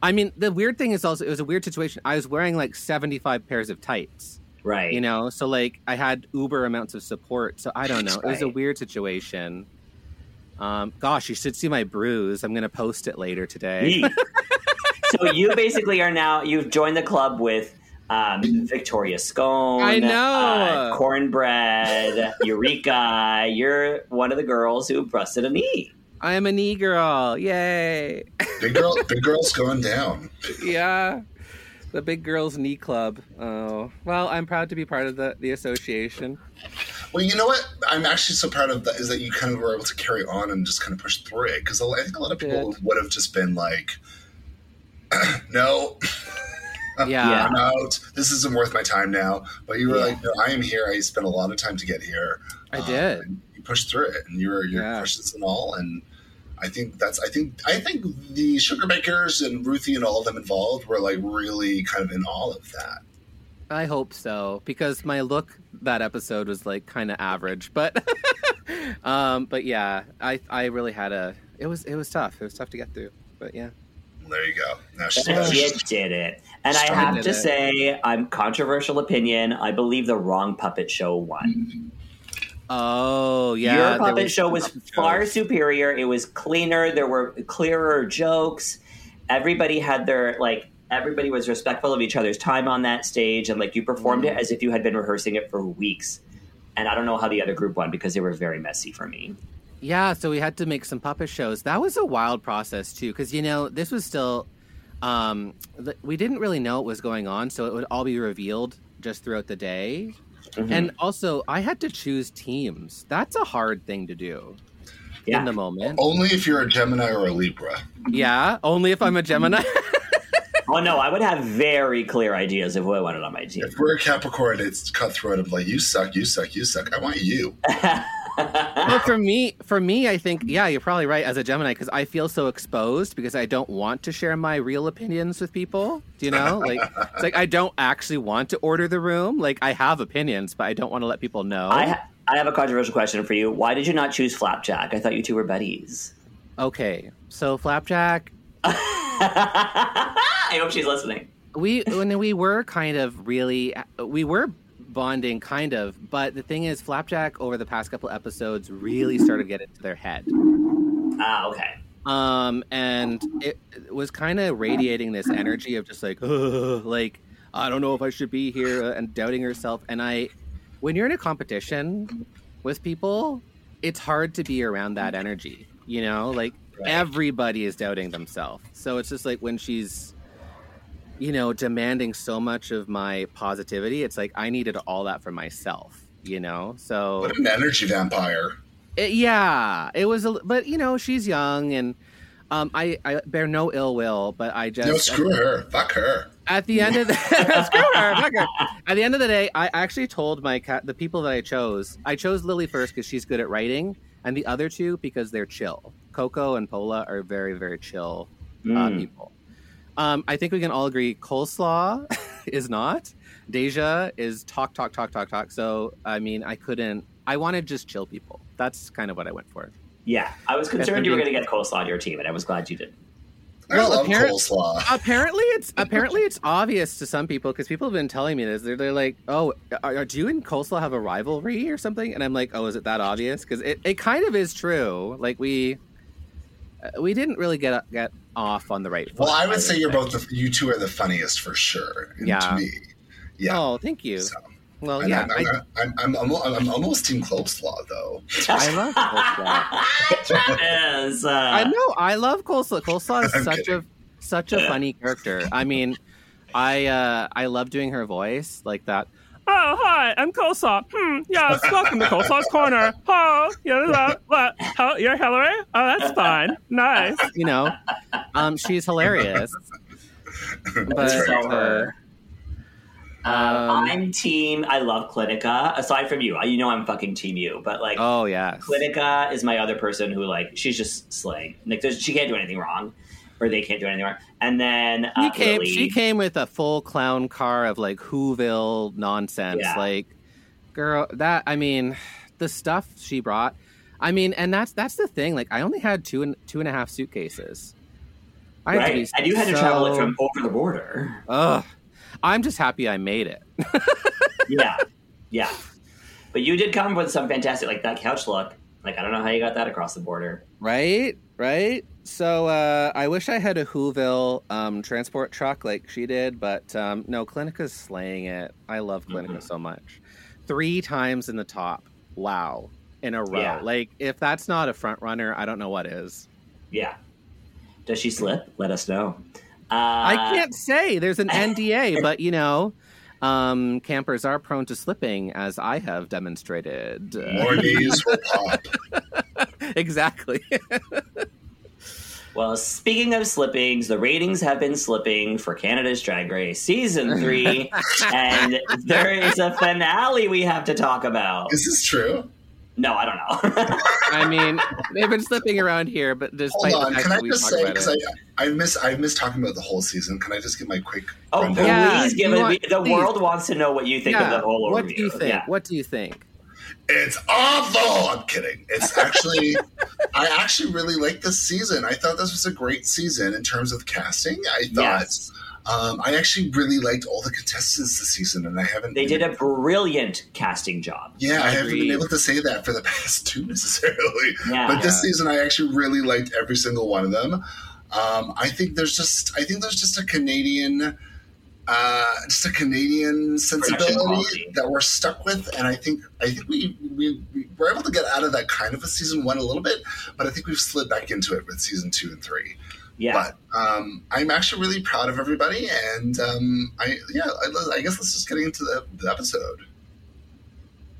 Speaker 8: I mean, the weird thing is also it was a weird situation. I was wearing like seventy-five pairs of tights
Speaker 7: Right.
Speaker 8: you know so like i had uber amounts of support so i don't know it was a
Speaker 7: Right.
Speaker 8: weird situation um gosh you should see my bruise i'm gonna post it later today
Speaker 7: Yeet. so you basically are now you've joined the club with um, Victoria Scone,
Speaker 8: I know.
Speaker 7: uh, Cornbread, Eureka. You're one of the girls who busted a knee.
Speaker 8: i am a knee girl yay
Speaker 9: Big girl, big girl's going down.
Speaker 8: yeah the big girls knee club oh well i'm proud to be part of the the association
Speaker 9: Well, you know what? I'm actually so proud of that is that you kind of were able to carry on and just kind of push through it because I think a lot of people
Speaker 8: Good.
Speaker 9: would have just been like, "No,
Speaker 8: yeah,
Speaker 7: Yeah.
Speaker 9: I'm out. This isn't worth my time now." But you were
Speaker 7: Yeah.
Speaker 9: like, "No, I am here. I spent a lot of time to get here."
Speaker 8: i
Speaker 9: Um,
Speaker 8: did
Speaker 9: and you pushed through it, and you were your
Speaker 8: Yeah.
Speaker 9: questions and all, and I think that's I think I think the sugar bakers and Ruthie and all of them involved were like really kind of in all of that.
Speaker 8: I hope so because my look that episode was like kind of average, but um, but yeah, I I really had a it was it was tough. It was tough to get through, but yeah.
Speaker 9: There you go. Now she's,
Speaker 7: The
Speaker 9: she's-
Speaker 7: kid did it. And I have
Speaker 8: did
Speaker 7: to
Speaker 8: it.
Speaker 7: say, I'm controversial opinion. I believe the wrong puppet show won.
Speaker 8: Oh yeah,
Speaker 7: Your
Speaker 8: there
Speaker 7: puppet show was
Speaker 8: puppet shows.
Speaker 7: far superior. It was cleaner. There were clearer jokes. Everybody had their like. Everybody was respectful of each other's time on that stage, and like you performed
Speaker 8: Mm-hmm.
Speaker 7: it as if you had been rehearsing it for weeks. And I don't know how the other group won because they were very messy for me.
Speaker 8: Yeah, so we had to make some puppet shows. That was a wild process too, because you know this was still, um, th- we didn't really know what was going on, so it would all be revealed just throughout the day. And also, I had to choose teams. That's a hard thing to do
Speaker 7: Yeah.
Speaker 8: in the moment.
Speaker 9: only if you're a Gemini or a Libra.
Speaker 8: Yeah, only if I'm a Gemini.
Speaker 7: Oh no, I would have very clear ideas of who I wanted on my team.
Speaker 9: If we're a Capricorn, it's cutthroat of like you suck, you suck, you suck. I want you.
Speaker 8: but for me, for me, I think yeah, you're probably right as a Gemini because I feel so exposed because I don't want to share my real opinions with people. Do you know? Like it's like I don't actually want to order the room. Like I have opinions, but I don't want to let people know.
Speaker 7: I ha- I have a controversial question for you. Why did you not choose Flapjack? I thought you two were buddies.
Speaker 8: okay, so Flapjack,
Speaker 7: I hope she's listening.
Speaker 8: we when we were kind of really we were bonding kind of but the thing is flapjack over the past couple episodes really started to get into their head
Speaker 7: Ah, okay.
Speaker 8: um and it was kind of radiating this energy of just like "Ugh," like i don't know if i should be here uh, and doubting herself and i when you're in a competition with people it's hard to be around that energy you know like everybody is doubting themselves so it's just like when she's you know demanding so much of my positivity it's like i needed all that for myself you know so
Speaker 9: What an energy vampire.
Speaker 8: it- Uh, yeah, it was. A, but you know, she's young, and um, I, I bear no ill will. But I just
Speaker 9: No, screw her. Fuck her.
Speaker 8: at the end of the screw her, fuck her. At the end of the day, I actually told my cat the people that I chose. I chose Lily first because she's good at writing, and the other two because they're chill. Coco and Pola are very very chill
Speaker 9: Hmm.
Speaker 8: uh, people. Um, I think we can all agree coleslaw is not. Deja is talk talk talk talk talk. So I mean, I couldn't. I wanted just chill people. That's kind of what I went for.
Speaker 7: Yeah, I was concerned you were
Speaker 8: indeed.
Speaker 7: going to get coleslaw on your team, and I was glad you didn't.
Speaker 9: I
Speaker 8: Well,
Speaker 9: love
Speaker 8: apparent-
Speaker 9: coleslaw.
Speaker 8: apparently it's apparently it's obvious to some people because people have been telling me this. They're, they're like, "Oh, are, are- do you and coleslaw have a rivalry or something?" And I'm like, "Oh, is it that obvious?" Because it, it kind of is true. Like we uh, we didn't really get get off on the right.
Speaker 9: Well,
Speaker 8: foot,
Speaker 9: I would say you're both the you two are the funniest for sure. And
Speaker 8: Yeah.
Speaker 9: To me. Yeah.
Speaker 8: Oh, thank you.
Speaker 9: So,
Speaker 8: well,
Speaker 9: and
Speaker 8: yeah,
Speaker 9: I'm,
Speaker 8: I,
Speaker 9: I'm, I'm, I'm, almo- I'm almost team coleslaw though.
Speaker 8: I love coleslaw.
Speaker 7: Travis,
Speaker 8: I
Speaker 7: uh,
Speaker 8: know I love coleslaw. Coleslaw is
Speaker 9: I'm
Speaker 8: such
Speaker 9: kidding.
Speaker 8: a such a funny character. I mean, I uh, I love doing her voice like that.
Speaker 6: Oh, hi, I'm Coleslaw. Hmm, yeah, welcome to Coleslaw's Corner. Oh, yeah, uh, what? Hel- you're Hillary? Oh, that's fine. Nice.
Speaker 8: you know, um, she's hilarious. But
Speaker 7: right.
Speaker 8: uh,
Speaker 7: um, I'm team. I love Clinica. Aside from you, I- you know I'm fucking team you. But like,
Speaker 8: oh yes,
Speaker 7: Clinica is my other person who like she's just slaying. Like, there's- she can't do anything wrong, or they can't do anything wrong. And then uh,
Speaker 8: she came.
Speaker 7: Lily-
Speaker 8: She came with a full clown car of like Whoville nonsense.
Speaker 7: Yeah.
Speaker 8: Like, girl, that I mean, the stuff she brought. I mean, and that's that's the thing. Like, I only had two and two and a half suitcases. I had to
Speaker 7: right?
Speaker 8: be
Speaker 7: And you had to travel it
Speaker 8: so- Uh.
Speaker 7: from over the border.
Speaker 8: Ugh, I'm just happy I made it.
Speaker 7: yeah, yeah. But you did come with some fantastic, like that couch look. Like I don't know how you got that across the border.
Speaker 8: Right, right. So uh, I wish I had a Whoville um, transport truck like she did, but um, no, Clinica's slaying it. I love Clinica
Speaker 9: Mm-hmm.
Speaker 8: so much. Three times in the top. Wow, in a row.
Speaker 7: Yeah.
Speaker 8: Like if that's not a front runner, I don't know what is.
Speaker 7: Yeah. Does she slip? Let us know. Uh,
Speaker 8: I can't say. There's an NDA, but you know, um, campers are prone to slipping, as I have demonstrated. Uh,
Speaker 9: More knees will pop.
Speaker 8: exactly.
Speaker 7: Well, speaking of slippings, the ratings have been slipping for Canada's Drag Race season three, and there is a finale we have to talk about.
Speaker 9: Is this true?
Speaker 7: No, I don't know.
Speaker 8: I mean, they've been slipping around here, but despite
Speaker 9: Hold on,
Speaker 8: the fact
Speaker 9: can I
Speaker 8: that we
Speaker 9: just
Speaker 8: talked
Speaker 9: say
Speaker 8: about
Speaker 9: because
Speaker 8: it,
Speaker 9: I I miss I miss talking about the whole season. Can I just get my quick
Speaker 7: oh,
Speaker 9: rundown?
Speaker 7: please
Speaker 8: Yeah,
Speaker 7: give
Speaker 8: you
Speaker 7: it.
Speaker 8: want-
Speaker 7: the
Speaker 8: please.
Speaker 7: world wants to know what you think of
Speaker 8: yeah,
Speaker 7: the whole overview.
Speaker 8: what do you think?
Speaker 7: Yeah.
Speaker 8: What do you think?
Speaker 9: It's awful. I'm kidding. It's actually, I actually really like this season. I thought this was a great season in terms of casting. I thought
Speaker 7: Yes.
Speaker 9: um, I actually really liked all the contestants this season, and I haven't.
Speaker 7: They
Speaker 9: been
Speaker 7: did a brilliant casting job.
Speaker 9: Yeah, I, haven't been
Speaker 8: Agreed.
Speaker 9: able to say that for the past two necessarily.
Speaker 7: Yeah.
Speaker 9: but this season, I actually really liked every single one of them. Um, I think there's just, I think there's just a Canadian, uh, just a Canadian sensibility
Speaker 7: quality.
Speaker 9: that we're stuck with, and I think, I think we, we we were able to get out of that kind of a season one a little bit, but I think we've slid back into it with season two and three.
Speaker 7: Yeah.
Speaker 9: But um, I'm actually really proud of everybody, and um, I yeah, I, I guess let's just get into the, the episode.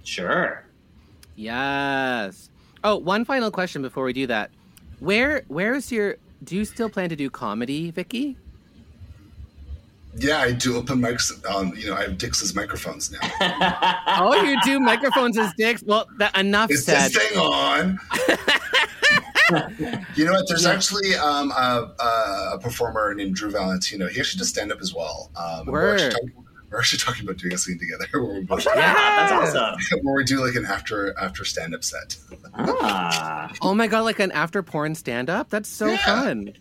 Speaker 7: Sure.
Speaker 8: Yes. Oh, one final question before we do that. Where where is your do you still plan to do comedy, Vicky?
Speaker 9: Yeah, I do open mics on, you know, I have dicks as microphones now.
Speaker 8: Oh, you do microphones as dicks? Well, that enough
Speaker 9: Is
Speaker 8: said.
Speaker 9: this thing on? you know what? There's actually um, a, a- a performer named Drew Valentino. He actually does stand up as well. Um, we're, actually
Speaker 8: Word.
Speaker 9: talking, we're actually talking about doing a scene together where we, both,
Speaker 7: Yeah, that's awesome.
Speaker 9: where we do like an after after stand up set.
Speaker 7: Ah,
Speaker 8: Oh my god, like an after porn stand up? That's so
Speaker 9: Yeah.
Speaker 8: fun.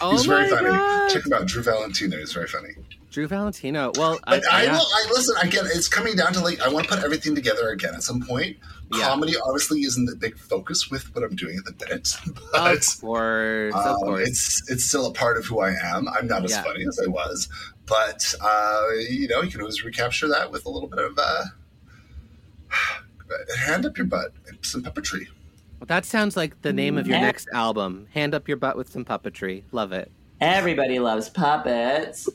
Speaker 8: Oh
Speaker 9: He's
Speaker 8: my
Speaker 9: very funny.
Speaker 8: god.
Speaker 9: Check him out. Drew Valentino is very funny.
Speaker 8: Drew Valentino. Well, I,
Speaker 9: But I,
Speaker 8: yeah.
Speaker 9: will. I listen. Again, it's coming down to like I want to put everything together again at some point.
Speaker 8: Yeah.
Speaker 9: Comedy obviously isn't the big focus with what I'm doing at the minute,
Speaker 8: of
Speaker 9: but
Speaker 8: course, of
Speaker 9: um,
Speaker 8: course.
Speaker 9: it's it's still a part of who I am. I'm not as
Speaker 8: Yeah.
Speaker 9: funny as I was, but uh, you know you can always recapture that with a little bit of uh, hand up your butt, and some puppetry.
Speaker 8: That sounds like the name of your
Speaker 7: Yeah.
Speaker 8: next album. Hand up your butt with some puppetry. Love it.
Speaker 7: everybody loves puppets.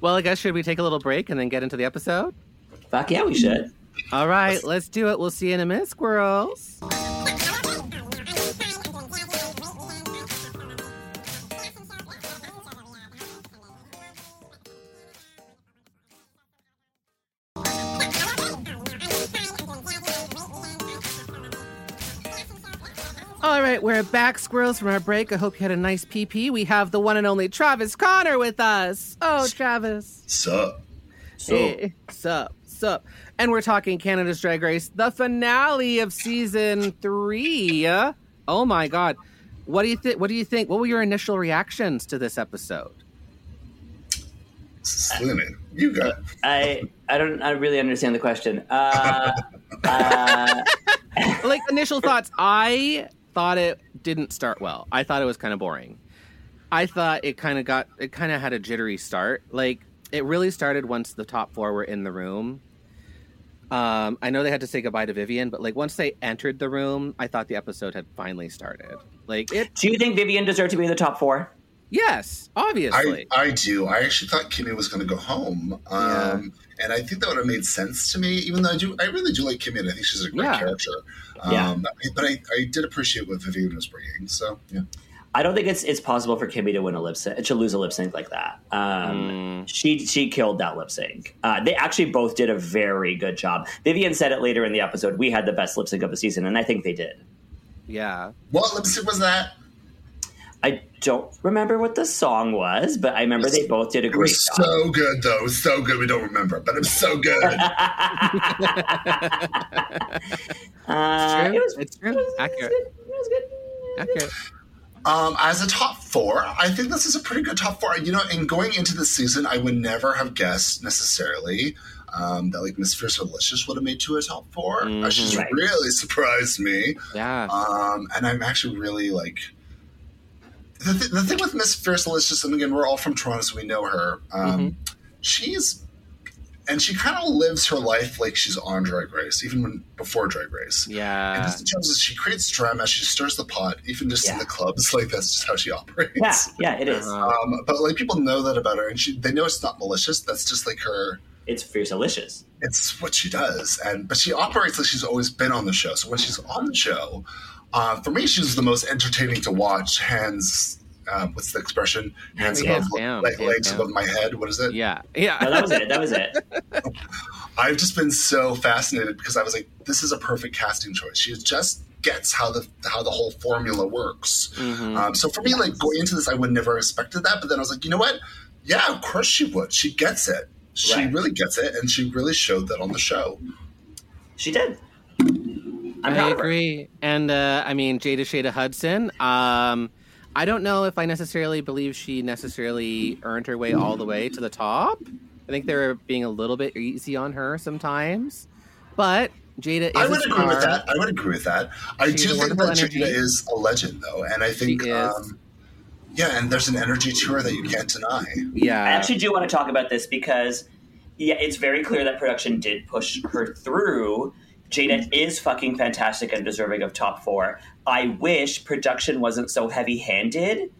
Speaker 8: Well, I guess should we take a little break and then get into the episode?
Speaker 7: Fuck yeah, we should.
Speaker 8: All right, let's do it. We'll see you in a minute, squirrels. All right, we're back, squirrels, from our break. I hope you had a nice PP. We have the one and only Travis Connor with us. Oh, Travis.
Speaker 9: So
Speaker 7: So,
Speaker 8: Hey, sup, sup. And we're talking Canada's Drag Race, the finale of season three. Oh my God. What do you think? What do you think? What were your initial reactions to this episode?
Speaker 9: Slimming, you got
Speaker 8: Uh,
Speaker 7: I I don't I really understand the question. Uh, uh,
Speaker 8: Like initial thoughts. I thought it didn't start well. I thought it was kind of boring. I thought it kind of got it kind of had a jittery start. Like it really started once the top four were in the room. Um, I know they had to say goodbye to Vivian, but like once they entered the room, I thought the episode had finally started. Like it
Speaker 7: do you think Vivian deserved to be in the top four?
Speaker 8: Yes,
Speaker 9: I,
Speaker 8: obviously.
Speaker 9: I do. I actually thought Kimmy was going to go home, um, and I think that would have made sense to me. Even though I do, I really do like Kimmy, and I think she's a great
Speaker 8: Yeah.
Speaker 9: character. Um,
Speaker 7: Yeah.
Speaker 9: But I, I did appreciate what Vivian was bringing. So yeah,
Speaker 7: I don't think it's it's possible for Kimmy to win a lip sync to lose a lip sync like that.
Speaker 9: Mm.
Speaker 7: Um, She she killed that lip sync. Uh, they actually both did a very good job. Vivian said it later in the episode. We had the best lip sync of the season, and I think they did.
Speaker 8: yeah.
Speaker 9: what lipstick was that?
Speaker 7: I don't remember what the song was, but I remember they both did a
Speaker 9: It
Speaker 7: great
Speaker 9: was
Speaker 7: job.
Speaker 9: so good, though. It was so good. We don't remember, but it was so good.
Speaker 7: Uh,
Speaker 8: True.
Speaker 7: it was
Speaker 8: It's true.
Speaker 7: It was,
Speaker 8: Accurate.
Speaker 7: It was good. It was good.
Speaker 8: Accurate.
Speaker 9: Um, as a top four, I think this is a pretty good top four. You know, and going into this season, I would never have guessed necessarily um, that like Miss Fierce Delicious would have made to a top 4 Uh, She's
Speaker 7: Mm-hmm. Right.
Speaker 9: really surprised me.
Speaker 8: Yeah.
Speaker 9: Um, and I'm actually really like the, th- the thing with Miss Fierce Delicious, and again, we're all from Toronto, so we know her. Um, She's and she kind of lives her life like she's on Drag Race, even when before Drag Race. And
Speaker 8: yeah.
Speaker 9: just in terms of she creates drama, she stirs the pot, even just in
Speaker 7: Yeah.
Speaker 9: the clubs. Like that's just how she operates.
Speaker 7: Yeah, yeah, it is.
Speaker 9: Um, but like people know that about her, and she they know it's not malicious. That's just like her.
Speaker 7: It's fierce, delicious.
Speaker 9: It's what she does, and but she operates like she's always been on the show. So when she's on the show, uh, for me, she's the most entertaining to watch, hands um, what's the expression? Hands
Speaker 8: Yeah,
Speaker 9: above,
Speaker 8: down,
Speaker 9: like
Speaker 8: yeah,
Speaker 9: legs
Speaker 8: down.
Speaker 9: above my head. What is it?
Speaker 8: Yeah, yeah.
Speaker 7: No, that was it. That was it.
Speaker 9: I've just been so fascinated because I was like, this is a perfect casting choice. She just gets how the how the whole formula works. Um, so for me, like going into this, I would never have expected that. But then I was like, you know what? Yeah, of course she would. She gets it. She
Speaker 7: Right.
Speaker 9: really gets it, and she really showed that on the show.
Speaker 7: She did.
Speaker 8: I
Speaker 7: I'm proud of her.
Speaker 8: agree. And uh, I mean, Jada Shada Hudson. Um, I don't know if I necessarily believe she necessarily earned her way all the way to the top. I think they were being a little bit easy on her sometimes. But Jada is
Speaker 9: I
Speaker 8: a
Speaker 9: would agree with
Speaker 8: star.
Speaker 9: that. I would agree with that. I
Speaker 8: She's
Speaker 9: do
Speaker 8: a
Speaker 9: think
Speaker 8: wonderful
Speaker 9: that Jada
Speaker 8: energy.
Speaker 9: is a legend, though, and I think
Speaker 8: She is.
Speaker 9: um, yeah, and there's an energy to her that you can't deny.
Speaker 8: Yeah.
Speaker 7: I actually do want to talk about this because, yeah, it's very clear that production did push her through. Jada is fucking fantastic and deserving of top four. I wish production wasn't so heavy handed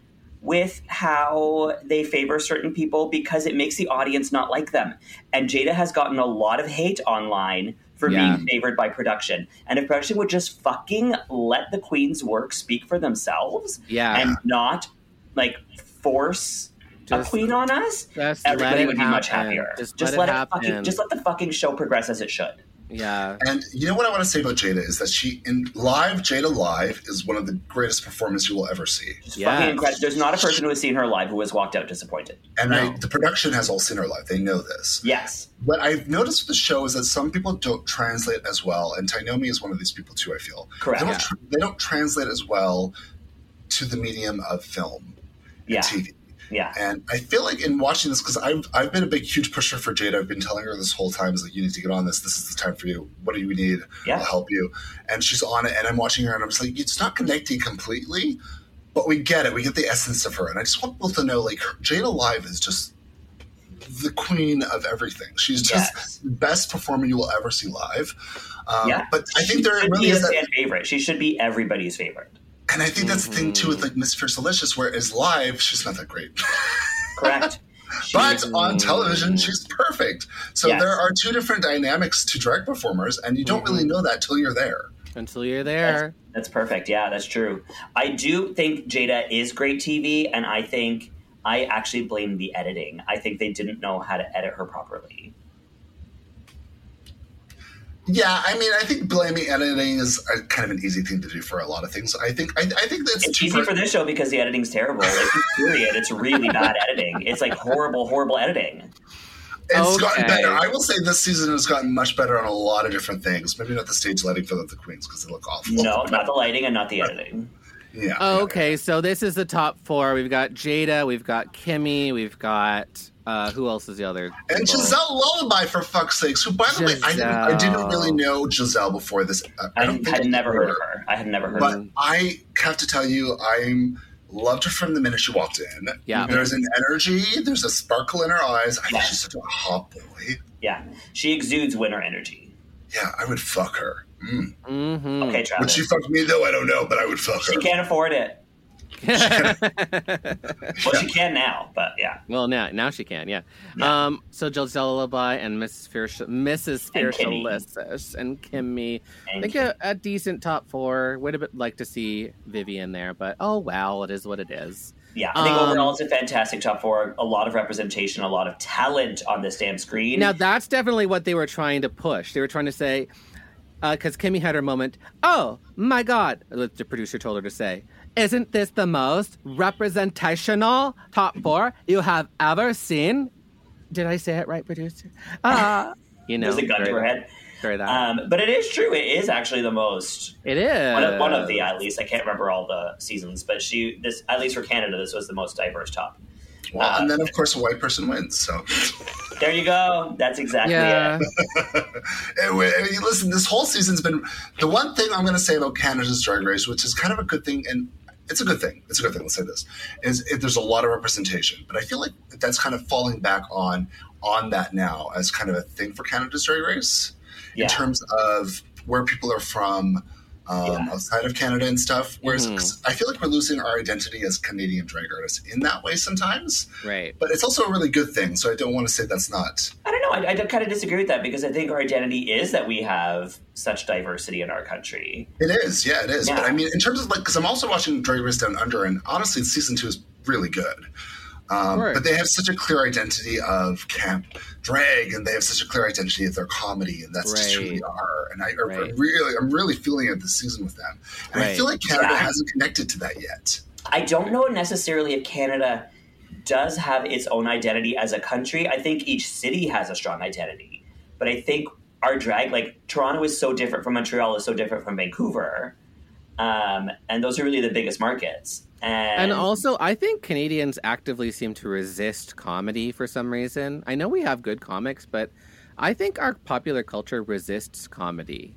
Speaker 7: with how they favor certain people because it makes the audience not like them. And Jada has gotten a lot of hate online for
Speaker 8: Yeah.
Speaker 7: being favored by production. And if production would just fucking let the Queen's work speak for themselves
Speaker 8: Yeah.
Speaker 7: and not like force a
Speaker 8: Just-
Speaker 7: queen on us,
Speaker 8: Just let
Speaker 7: everybody
Speaker 8: it
Speaker 7: would be much
Speaker 8: happen.
Speaker 7: happier.
Speaker 8: Just
Speaker 7: let,
Speaker 8: let it
Speaker 7: it fucking,
Speaker 8: happen.
Speaker 7: just let the fucking show progress as it should.
Speaker 8: yeah.
Speaker 9: And you know what I want to say about Jada is that she in live Jada live is one of the greatest performances you will ever see.
Speaker 7: Just
Speaker 8: Yeah.
Speaker 7: fucking incredible. There's not a person who has seen her live who has walked out disappointed.
Speaker 9: And I, the production has all seen her live; they know this.
Speaker 7: Yes.
Speaker 9: What I've noticed with the show is that some people don't translate as well, and Tainomi is one of these people too. I feel
Speaker 7: Correct.
Speaker 9: They don't,
Speaker 7: Yeah.
Speaker 9: tr- they don't translate as well to the medium of film,
Speaker 7: Yeah.
Speaker 9: TV.
Speaker 7: Yeah.
Speaker 9: And I feel like in watching this, because I've, I've been a big, huge pusher for Jada. I've been telling her this whole time, is like, you need to get on this. This is the time for you. What do you need?
Speaker 7: Yeah.
Speaker 9: I'll help you. And she's on it. And I'm watching her and I'm just like, it's not connecting completely, but we get it. We get the essence of her. And I just want people to know, like, her, Jada Live is just the queen of everything. She's just
Speaker 7: Yes.
Speaker 9: the best performer you will ever see live. Um,
Speaker 7: yeah.
Speaker 9: But I think there
Speaker 7: should
Speaker 9: really
Speaker 7: be
Speaker 9: is
Speaker 7: a
Speaker 9: that
Speaker 7: fan favorite. She should be everybody's favorite.
Speaker 9: and I think that's the thing too with like Miss Fierce Delicious, where is live, she's not that great.
Speaker 7: Correct.
Speaker 9: but on television, she's perfect. So
Speaker 7: Yes.
Speaker 9: there are two different dynamics to drag performers, and you don't really know that till you're there.
Speaker 8: Until you're there.
Speaker 7: That's perfect. Yeah, that's true. I do think Jada is great TV, and I think I actually blame the editing. I think they didn't know how to edit her properly.
Speaker 9: Yeah, I mean, I think blaming editing is a, kind of an easy thing to do for a lot of things. I think I, I think that's
Speaker 7: It's
Speaker 9: two
Speaker 7: easy
Speaker 9: per-
Speaker 7: for this show because the editing's terrible. Like, period. It's really bad editing. It's like horrible, horrible editing.
Speaker 9: It's gotten
Speaker 8: Okay.
Speaker 9: better. I will say this season has gotten much better on a lot of different things. Maybe not the stage lighting for the, the queens because they look awful.
Speaker 7: No, not the lighting and not the editing.
Speaker 9: Yeah.
Speaker 8: Oh, okay, so this is the top four. We've got Jada, we've got Kimmy, we've got uh, who else is the other?
Speaker 9: And
Speaker 8: people?
Speaker 9: Giselle Lullaby, for fuck's sakes. Who, by the way, I didn't, I didn't
Speaker 8: Giselle.
Speaker 9: really know Giselle before this. I, I
Speaker 7: I
Speaker 9: don't think
Speaker 7: had never heard of her. I had never heard of
Speaker 9: But
Speaker 7: her.
Speaker 9: I have to tell you, I loved her from the minute she walked in.
Speaker 8: Yeah.
Speaker 9: There's an energy, there's a sparkle in her eyes. I think
Speaker 7: Yeah.
Speaker 9: she's such a hot boy.
Speaker 7: Yeah, she exudes winner energy.
Speaker 9: Yeah, I would fuck her. Mm.
Speaker 8: Hmm.
Speaker 7: Okay,
Speaker 9: Would
Speaker 7: Travis.
Speaker 9: she fuck me, though? I don't know, but I would fuck her.
Speaker 7: She can't afford it. well, she can now, but yeah.
Speaker 8: Well, now now she can, yeah.
Speaker 7: Yeah.
Speaker 8: Um, so Giselle Lullaby and Mrs. Fierce, Mrs.
Speaker 7: And
Speaker 8: Fierce
Speaker 7: Kimmy.
Speaker 8: Alexis and Kimmy. I
Speaker 7: And
Speaker 8: think a, a decent top four. Would have been- like to see Vivian there, but oh well, it is what it is.
Speaker 7: Yeah, I think
Speaker 8: Um,
Speaker 7: overall it's a fantastic top four. A lot of representation, a lot of talent on this damn screen.
Speaker 8: Now that's definitely what they were trying to push. They were trying to say, because Kimmy had her moment. Oh my God! that The producer told her to say, "Isn't this the most representational top four you have ever seen?" Did I say it right, producer? Ah, you know,
Speaker 7: There's a gun to
Speaker 8: very-
Speaker 7: her head.
Speaker 8: very that.
Speaker 7: Um, but it is true. It is actually the most
Speaker 8: it is
Speaker 7: one of, one of the
Speaker 8: Uh,
Speaker 7: at least. I can't remember all the seasons, but she this at least for Canada, this was the most diverse top.
Speaker 9: Well, and then, of course, a white person wins. So,
Speaker 7: There you go. That's exactly
Speaker 8: Yeah,
Speaker 7: it.
Speaker 9: Anyway, I mean, listen, this whole season's been the one thing I'm going to say about Canada's Drag Race, which is kind of a good thing, and it's a good thing. It's a good thing. Let's say this is it, there's a lot of representation, but I feel like that's kind of falling back on on that now as kind of a thing for Canada's Drag Race
Speaker 7: Yeah.
Speaker 9: in terms of where people are from. Um,
Speaker 7: Yeah.
Speaker 9: Outside of Canada and stuff, whereas 'cause I feel like we're losing our identity as Canadian drag artists in that way sometimes.
Speaker 8: right.
Speaker 9: But it's also a really good thing, so I don't want to say that's not.
Speaker 7: I don't know. I, I kind of disagree with that because I think our identity is that we have such diversity in our country.
Speaker 9: It is, yeah, it is.
Speaker 7: Yeah.
Speaker 9: But I mean, in terms of like, because I'm also watching Drag Race Down Under, and honestly, season two is really good. Um,
Speaker 8: course.
Speaker 9: but they have such a clear identity of camp drag, and they have such a clear identity of their comedy, and that's just who
Speaker 8: Right.
Speaker 9: they are. And I, I
Speaker 8: Right.
Speaker 9: really, I'm really feeling it this season with them. And I
Speaker 8: Right.
Speaker 9: feel like Canada
Speaker 7: Yeah.
Speaker 9: hasn't connected to that yet.
Speaker 7: I don't know necessarily if Canada does have its own identity as a country. I think each city has a strong identity. But I think our drag, like Toronto is so different from Montreal, is so different from Vancouver. Um, and those are really the biggest markets.
Speaker 8: And
Speaker 7: And,
Speaker 8: also, I think Canadians actively seem to resist comedy for some reason. I know we have good comics, but I think our popular culture resists comedy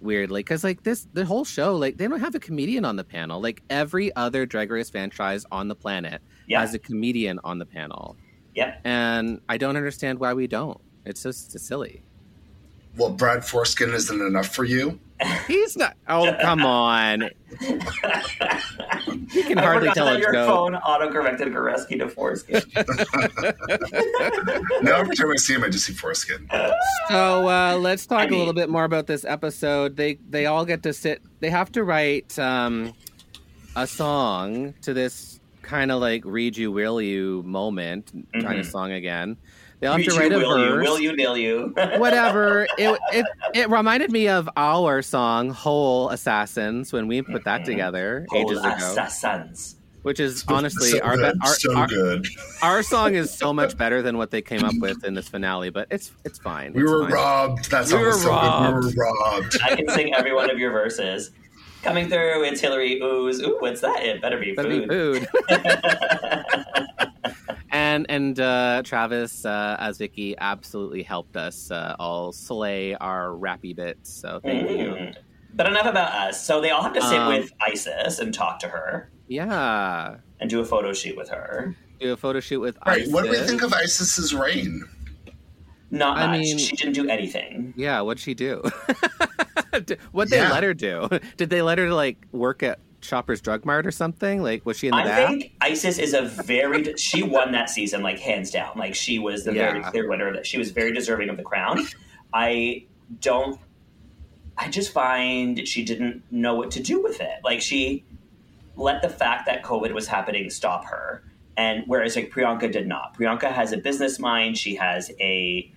Speaker 8: weirdly because like this the whole show like they don't have a comedian on the panel like every other drag race franchise on the planet
Speaker 7: Yeah.
Speaker 8: has a comedian on the panel
Speaker 7: yep.
Speaker 8: and i don't understand why we don't it's so s- silly
Speaker 9: Well, Brad Forskin isn't enough for you.
Speaker 8: he's not oh come on you can
Speaker 7: I
Speaker 8: hardly
Speaker 7: forgot
Speaker 8: tell
Speaker 7: that
Speaker 8: a
Speaker 7: your
Speaker 8: joke
Speaker 7: phone autocorrected Goreski to foreskin.
Speaker 9: Now every time I see him, I just see Forskin.
Speaker 8: So uh, let's talk
Speaker 7: I mean-
Speaker 8: a little bit more about this episode. They they all get to sit. They have to write um, a song to this kind of like "Read You Will You" moment kind of song again. They all have to write
Speaker 7: Reach Mm-hmm. you,
Speaker 8: a
Speaker 7: will you,
Speaker 8: verse.
Speaker 7: will you, nil you.
Speaker 8: Whatever. It, it it reminded me of our song "Whole Assassins" when we put that together ages
Speaker 7: Mm-hmm. Whole
Speaker 8: ago,
Speaker 7: assassins.
Speaker 8: which is honestly
Speaker 9: so
Speaker 8: our, be-
Speaker 9: good,
Speaker 8: our,
Speaker 9: so
Speaker 8: our
Speaker 9: good.
Speaker 8: our song is so much better than what they came up with in this finale. But it's it's fine.
Speaker 9: We
Speaker 8: It's
Speaker 9: were
Speaker 8: fine.
Speaker 9: robbed. That song
Speaker 8: We
Speaker 9: was
Speaker 8: were
Speaker 9: so good. We were robbed.
Speaker 7: I can sing every one of your verses. Coming through, it's Hillary Ooze. Ooh, what's that? It better be
Speaker 8: That'd
Speaker 7: food.
Speaker 8: be food. and and uh, Travis, uh, as Vicky, absolutely helped us uh, all slay our rappy bits. So thank you.
Speaker 7: Mm. But enough about us. So they all have to sit
Speaker 8: Um,
Speaker 7: with Isis and talk to her
Speaker 8: Yeah,
Speaker 7: and do a photo shoot with her.
Speaker 8: do a photo shoot with
Speaker 9: Right. What do we
Speaker 8: ISIS.
Speaker 9: think of Isis's reign?
Speaker 7: Not
Speaker 8: I
Speaker 7: much.
Speaker 8: mean-
Speaker 7: she didn't do anything.
Speaker 8: Yeah, what'd she do? what they
Speaker 9: Yeah.
Speaker 8: let her do? Did they let her like work at Shoppers Drug Mart or something? Like was she in the
Speaker 7: I
Speaker 8: back?
Speaker 7: think Isis is a very she won that season like hands down. Like she was the very
Speaker 8: Yeah.
Speaker 7: clear winner of that. She was very deserving of the crown. I don't I just find she didn't know what to do with it. Like she let the fact that COVID was happening stop her. And whereas like Priyanka did not. Priyanka has a business mind. She has a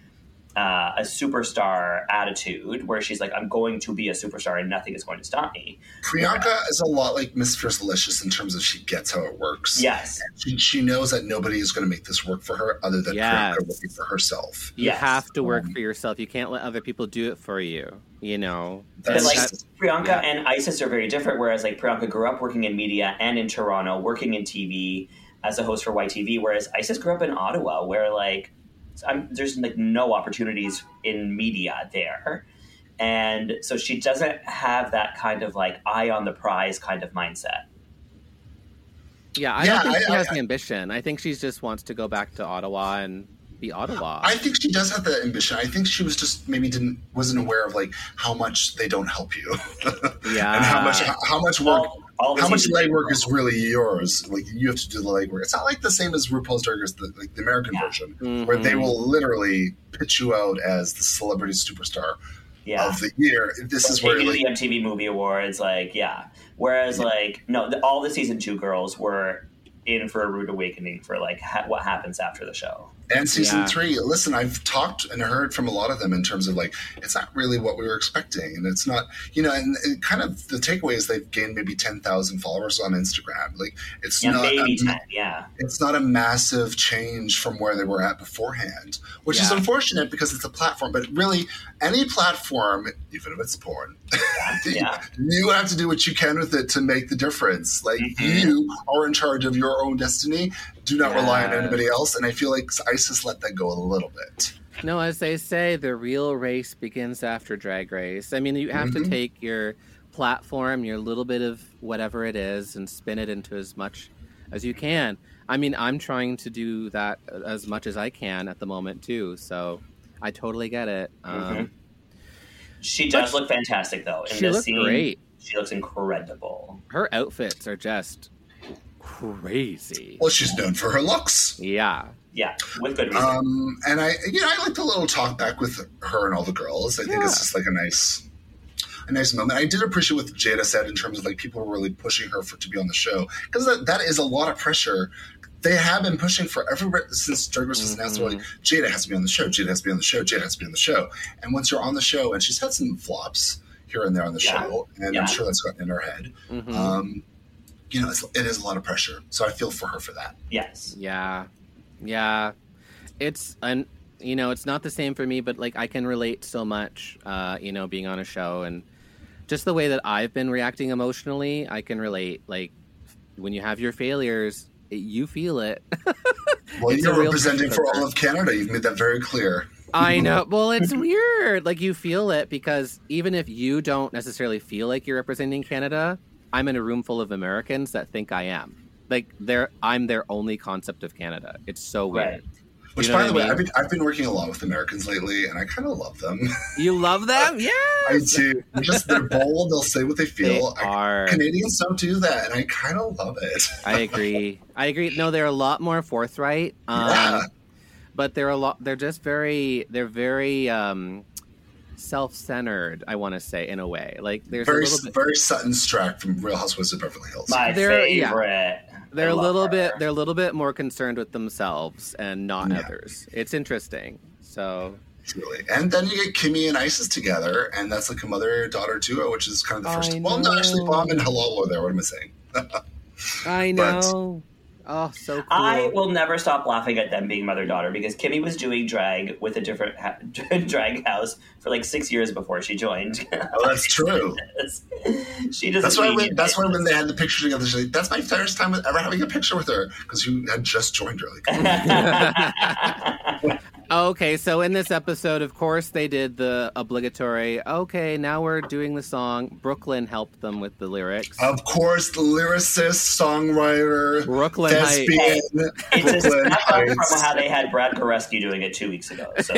Speaker 7: uh, a superstar attitude where she's like, I'm going to be a superstar and nothing is going to stop me.
Speaker 9: Priyanka is a lot like Mistress Delicious in terms of she gets how it works.
Speaker 7: Yes.
Speaker 9: She, she knows that nobody is going to make this work for her other than
Speaker 8: Yes.
Speaker 9: Priyanka working for herself.
Speaker 8: you
Speaker 7: Yes.
Speaker 8: have to
Speaker 9: Mm-hmm.
Speaker 8: work for yourself. You can't let other people do it for you. You know.
Speaker 7: But
Speaker 9: That's
Speaker 7: like
Speaker 9: just-
Speaker 7: Priyanka
Speaker 8: yeah.
Speaker 7: and Isis are very different. Whereas like Priyanka grew up working in media and in Toronto, working in TV as a host for YTV. Whereas Isis grew up in Ottawa, where like I'm, there's like no opportunities in media there, and so she doesn't have that kind of like eye on the prize kind of mindset.
Speaker 8: Yeah, I
Speaker 9: Yeah,
Speaker 8: don't think
Speaker 9: I-
Speaker 8: she
Speaker 9: I-
Speaker 8: has
Speaker 9: I-
Speaker 8: the ambition. I think she just wants to go back to Ottawa and be Ottawa.
Speaker 9: I think she does have that ambition. I think she was just maybe didn't wasn't aware of like how much they don't help you,
Speaker 8: yeah,
Speaker 9: and how much how much work
Speaker 7: All- all the
Speaker 9: how much
Speaker 7: seasons-
Speaker 9: legwork is really yours. Like you have to do the legwork. It's not like the same as RuPaul's Drag Race, the, like the American
Speaker 7: Yeah. Mm-hmm.
Speaker 9: version, where they will literally pitch you out as the celebrity superstar
Speaker 7: Yeah.
Speaker 9: of the year. This is
Speaker 7: they
Speaker 9: where
Speaker 7: do
Speaker 9: like
Speaker 7: the MTV Movie Awards, like yeah. Whereas like no, the, all the season two girls were in for a rude awakening for like ha- what happens after the show.
Speaker 9: And season
Speaker 8: Yeah.
Speaker 9: three, listen, I've talked and heard from a lot of them in terms of like, it's not really what we were expecting. And it's not, you know, and, and kind of the takeaway is they've gained maybe 10,000 followers on Instagram. Like, it's
Speaker 7: Yeah,
Speaker 9: not.
Speaker 7: maybe
Speaker 9: A,
Speaker 8: um,
Speaker 9: ma-
Speaker 7: ten. Yeah.
Speaker 9: it's not a massive change from where they were at beforehand, which is
Speaker 8: Yeah.
Speaker 9: unfortunate because it's a platform. But really, any platform, even if it's porn,
Speaker 7: Yeah.
Speaker 9: you have to do what you can with it to make the difference. Like
Speaker 8: Mm-hmm.
Speaker 9: you are in charge of your own destiny. Do not rely on
Speaker 8: Yes.
Speaker 9: anybody else. And I feel like ISIS let that go a little bit.
Speaker 8: no, as they say, the real race begins after Drag Race. I mean, you have
Speaker 9: Mm-hmm.
Speaker 8: to take your platform, your little bit of whatever it is, and spin it into as much as you can. I mean, I'm trying to do that as much as I can at the moment too. So I totally get it. Um,
Speaker 9: Mm-hmm.
Speaker 7: She does look fantastic though. In
Speaker 8: She
Speaker 7: this
Speaker 8: looked
Speaker 7: scene,
Speaker 8: great.
Speaker 7: She looks incredible.
Speaker 8: Her outfits are just crazy.
Speaker 9: Well, she's known for her looks.
Speaker 8: Yeah.
Speaker 7: Yeah, with good reason.
Speaker 9: Um, and I, you know, I like the little talk back with her and all the girls. I think it's just like a nice. a nice moment. I did appreciate what Jada said in terms of like people were really pushing her for to be on the show because that, that is a lot of pressure. They have been pushing for everywhere since Drag Race was announced. They're like,
Speaker 8: Mm-hmm.
Speaker 9: Jada has to be on the show. Jada has to be on the show. Jada has to be on the show. And once you're on the show, and she's had some flops here and there on the
Speaker 7: Yeah.
Speaker 9: show, and
Speaker 7: Yeah.
Speaker 9: I'm sure that's gotten in her head.
Speaker 8: Mm-hmm.
Speaker 9: Um, you know, it's, it is a lot of pressure. So I feel for her for that.
Speaker 7: Yes.
Speaker 8: Yeah. Yeah. It's and you know, it's not the same for me, but like I can relate so much uh, you know, being on a show and just the way that I've been reacting emotionally, I can relate like when you have your failures, it, you feel it.
Speaker 9: Well,
Speaker 8: It's a
Speaker 9: you're
Speaker 8: real
Speaker 9: representing for
Speaker 8: pressure.
Speaker 9: all of Canada. You've made that very clear.
Speaker 8: I know. Well, it's weird. Like you feel it because even if you don't necessarily feel like you're representing Canada, I'm in a room full of Americans that think I am. Like they're I'm their only concept of Canada. It's so weird.
Speaker 7: Right.
Speaker 9: Which,
Speaker 8: You know
Speaker 9: by
Speaker 8: what
Speaker 9: the
Speaker 8: I
Speaker 9: way,
Speaker 8: mean?
Speaker 9: I've been, I've been working a lot with Americans lately, and I kind of love them.
Speaker 8: You love them? Yeah.
Speaker 9: I do. They're Just they're bold. They'll say what they feel.
Speaker 8: They
Speaker 9: I-
Speaker 8: are.
Speaker 9: Canadians don't do that, and I kind of love it.
Speaker 8: I agree. I agree. No, they're a lot more forthright. Um,
Speaker 9: Yeah.
Speaker 8: But they're a lot. They're just very. They're very um, self-centered. I want to say in a way. Like there's
Speaker 9: very,
Speaker 8: a little bit.
Speaker 9: very Sutton Strack from Real Housewives of Beverly Hills.
Speaker 7: My
Speaker 8: They're- yeah.
Speaker 7: favorite.
Speaker 8: They're
Speaker 7: I
Speaker 8: a
Speaker 7: love
Speaker 8: little
Speaker 7: her.
Speaker 8: bit. They're a little bit more concerned with themselves and not
Speaker 9: Yeah.
Speaker 8: others. It's interesting. So
Speaker 9: Truly. And then you get Kimmy and Isis together, and that's like a mother daughter duo, which is kind of the
Speaker 8: I
Speaker 9: first. Well, no, actually,
Speaker 8: know.
Speaker 9: Bomb and Halal were there. What am I saying?
Speaker 8: I
Speaker 9: But-
Speaker 8: know. oh, so cool.
Speaker 7: I will never stop laughing at them being mother daughter because Kimmy was doing drag with a different ha- drag house for like six years before she joined.
Speaker 9: Oh, that's true.
Speaker 7: she doesn't.
Speaker 9: That's why.
Speaker 7: mean
Speaker 9: When,
Speaker 7: it.
Speaker 9: that's why when they had the picture together, she's like, "That's my first time ever having a picture with her," because you had just joined her. Like,
Speaker 8: Okay, so in this episode, of course, they did the obligatory. Okay, now we're doing the song. Brooklyn helped them with the lyrics.
Speaker 9: of course, lyricist, songwriter,
Speaker 8: Brooklyn
Speaker 9: thespian,
Speaker 7: It's a
Speaker 9: Brooklyn
Speaker 7: step up from
Speaker 9: Heights.
Speaker 7: how they had Brad Koreski doing it two weeks ago. So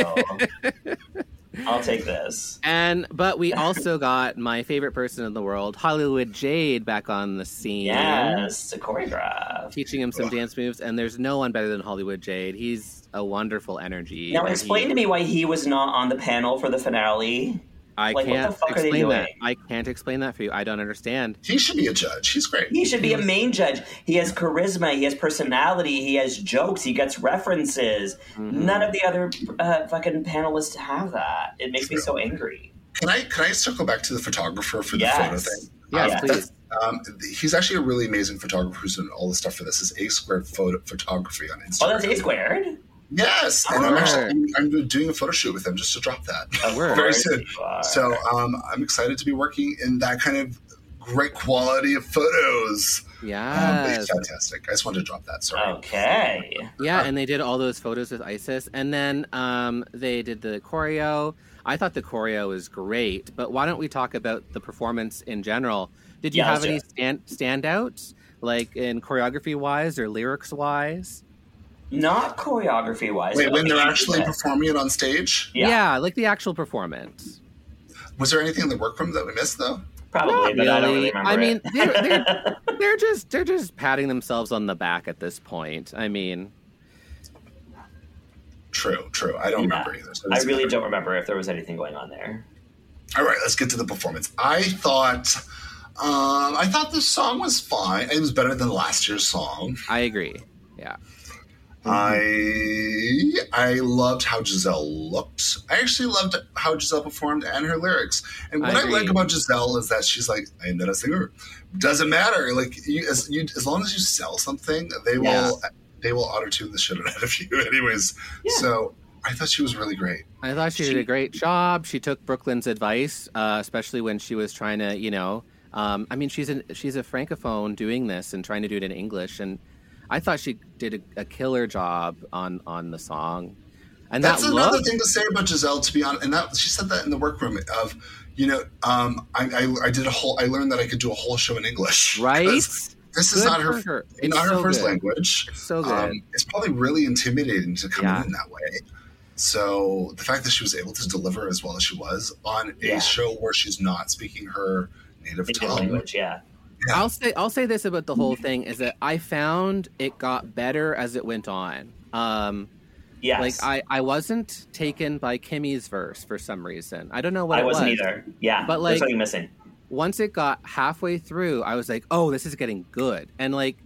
Speaker 7: I'll take this.
Speaker 8: And but we also got my favorite person in the world, Hollywood Jade, back on the scene.
Speaker 7: Yes, to choreograph.
Speaker 8: Teaching him some dance moves, and there's no one better than Hollywood Jade. He's a wonderful energy.
Speaker 7: Now
Speaker 8: and
Speaker 7: explain
Speaker 8: he-
Speaker 7: to me why he was not on the panel for the finale.
Speaker 8: I
Speaker 7: like, what
Speaker 8: can't
Speaker 7: the fuck are they
Speaker 8: explain that.
Speaker 7: doing? Oh,
Speaker 8: I can't explain that for you. I don't understand.
Speaker 9: He should be a judge. He's great.
Speaker 7: He should be a main judge. He has charisma. He has personality. He has jokes. He gets references.
Speaker 8: Mm-hmm.
Speaker 7: None of the other uh, fucking panelists have that. It makes me so angry.
Speaker 9: Can I can I circle back to the photographer for the photo
Speaker 7: Yes.
Speaker 9: thing?
Speaker 8: Yes,
Speaker 7: Yes.
Speaker 8: please.
Speaker 9: Um, th- he's actually a really amazing photographer who's doing all the stuff for this. Is A Squared photo- Photography on Instagram?
Speaker 7: Oh, that's A squared.
Speaker 9: Yes, and I'm
Speaker 7: Oh.
Speaker 9: actually I'm, I'm doing a photo shoot with him just to drop that
Speaker 8: course
Speaker 9: very soon.
Speaker 7: you are.
Speaker 9: So um, I'm excited to be working in that kind of great quality of photos.
Speaker 7: Oh,
Speaker 9: Um, but
Speaker 8: Yes.
Speaker 9: he's fantastic. I just wanted to drop that. Sorry.
Speaker 7: Okay.
Speaker 8: Yeah, and they did all those photos with ISIS, and then um, they did the choreo. I thought the choreo was great, but why don't we talk about the performance in general? Did you
Speaker 7: Yeah,
Speaker 8: have
Speaker 7: let's do
Speaker 8: any
Speaker 7: it.
Speaker 8: stand- standouts, like in choreography wise or lyrics wise?
Speaker 7: Not choreography wise.
Speaker 9: Wait, when they're actually performing it on stage,
Speaker 7: Yeah.
Speaker 8: like the actual performance.
Speaker 9: was there anything in the workroom that we missed though?
Speaker 7: Probably, but I don't
Speaker 8: Really?
Speaker 7: really remember.
Speaker 8: I
Speaker 7: it.
Speaker 8: mean, they're, they're, they're just they're just patting themselves on the back at this point. I mean,
Speaker 9: True, true. I don't
Speaker 8: Uh,
Speaker 7: Yeah.
Speaker 9: remember either. so it
Speaker 7: I
Speaker 9: doesn't
Speaker 7: really
Speaker 9: matter.
Speaker 7: don't remember if there was anything going on there.
Speaker 9: All right, let's get to the performance. I thought, um, I thought this song was fine. It was better than last year's song.
Speaker 8: I agree. Yeah,
Speaker 9: I I loved how Giselle looked. I actually loved how Giselle performed and her lyrics. And what
Speaker 8: I
Speaker 9: I, like
Speaker 8: agree.
Speaker 9: about Giselle is that she's like, I am not a singer. Doesn't matter. Like you, as you, as long as you sell something, they
Speaker 8: Yeah.
Speaker 9: will they will auto tune the shit out of you. Anyways, so I thought she was really great.
Speaker 8: I thought she, did a great job. She took Brooklyn's advice, uh, especially when she was trying to, you know, um, I mean, she's an, she's a francophone doing this and trying to do it in English, and I thought she did a, a killer job on on the song. And
Speaker 9: That's
Speaker 8: that
Speaker 9: another
Speaker 8: look,
Speaker 9: thing to say about Giselle, to be honest. And that she said that in the workroom of, you know, um, I, I, I did a whole. I learned that I could do a whole show in English.
Speaker 8: Right?
Speaker 9: 'Cause This is
Speaker 8: Good
Speaker 9: not her,
Speaker 8: for her. It's
Speaker 9: not her
Speaker 8: so
Speaker 9: first
Speaker 8: good.
Speaker 9: language.
Speaker 8: It's so
Speaker 7: Um,
Speaker 8: good.
Speaker 9: Um, it's probably really intimidating to come
Speaker 8: Yeah.
Speaker 9: in that way. So the fact that she was able to deliver as well as she was on a
Speaker 7: Yeah.
Speaker 9: show where she's not speaking her native
Speaker 7: Indian
Speaker 9: tongue.
Speaker 7: language, yeah.
Speaker 8: I'll say I'll say this about the whole thing is that I found it got better as it went on. Um,
Speaker 7: Yes.
Speaker 8: Like I, I wasn't taken by Kimmy's verse for some reason. I don't know what
Speaker 7: I
Speaker 8: it
Speaker 7: wasn't
Speaker 8: was.
Speaker 7: either. Yeah.
Speaker 8: But,
Speaker 7: There's
Speaker 8: like-
Speaker 7: something missing.
Speaker 8: Once it got halfway through, I was like, "Oh, this is getting good." And like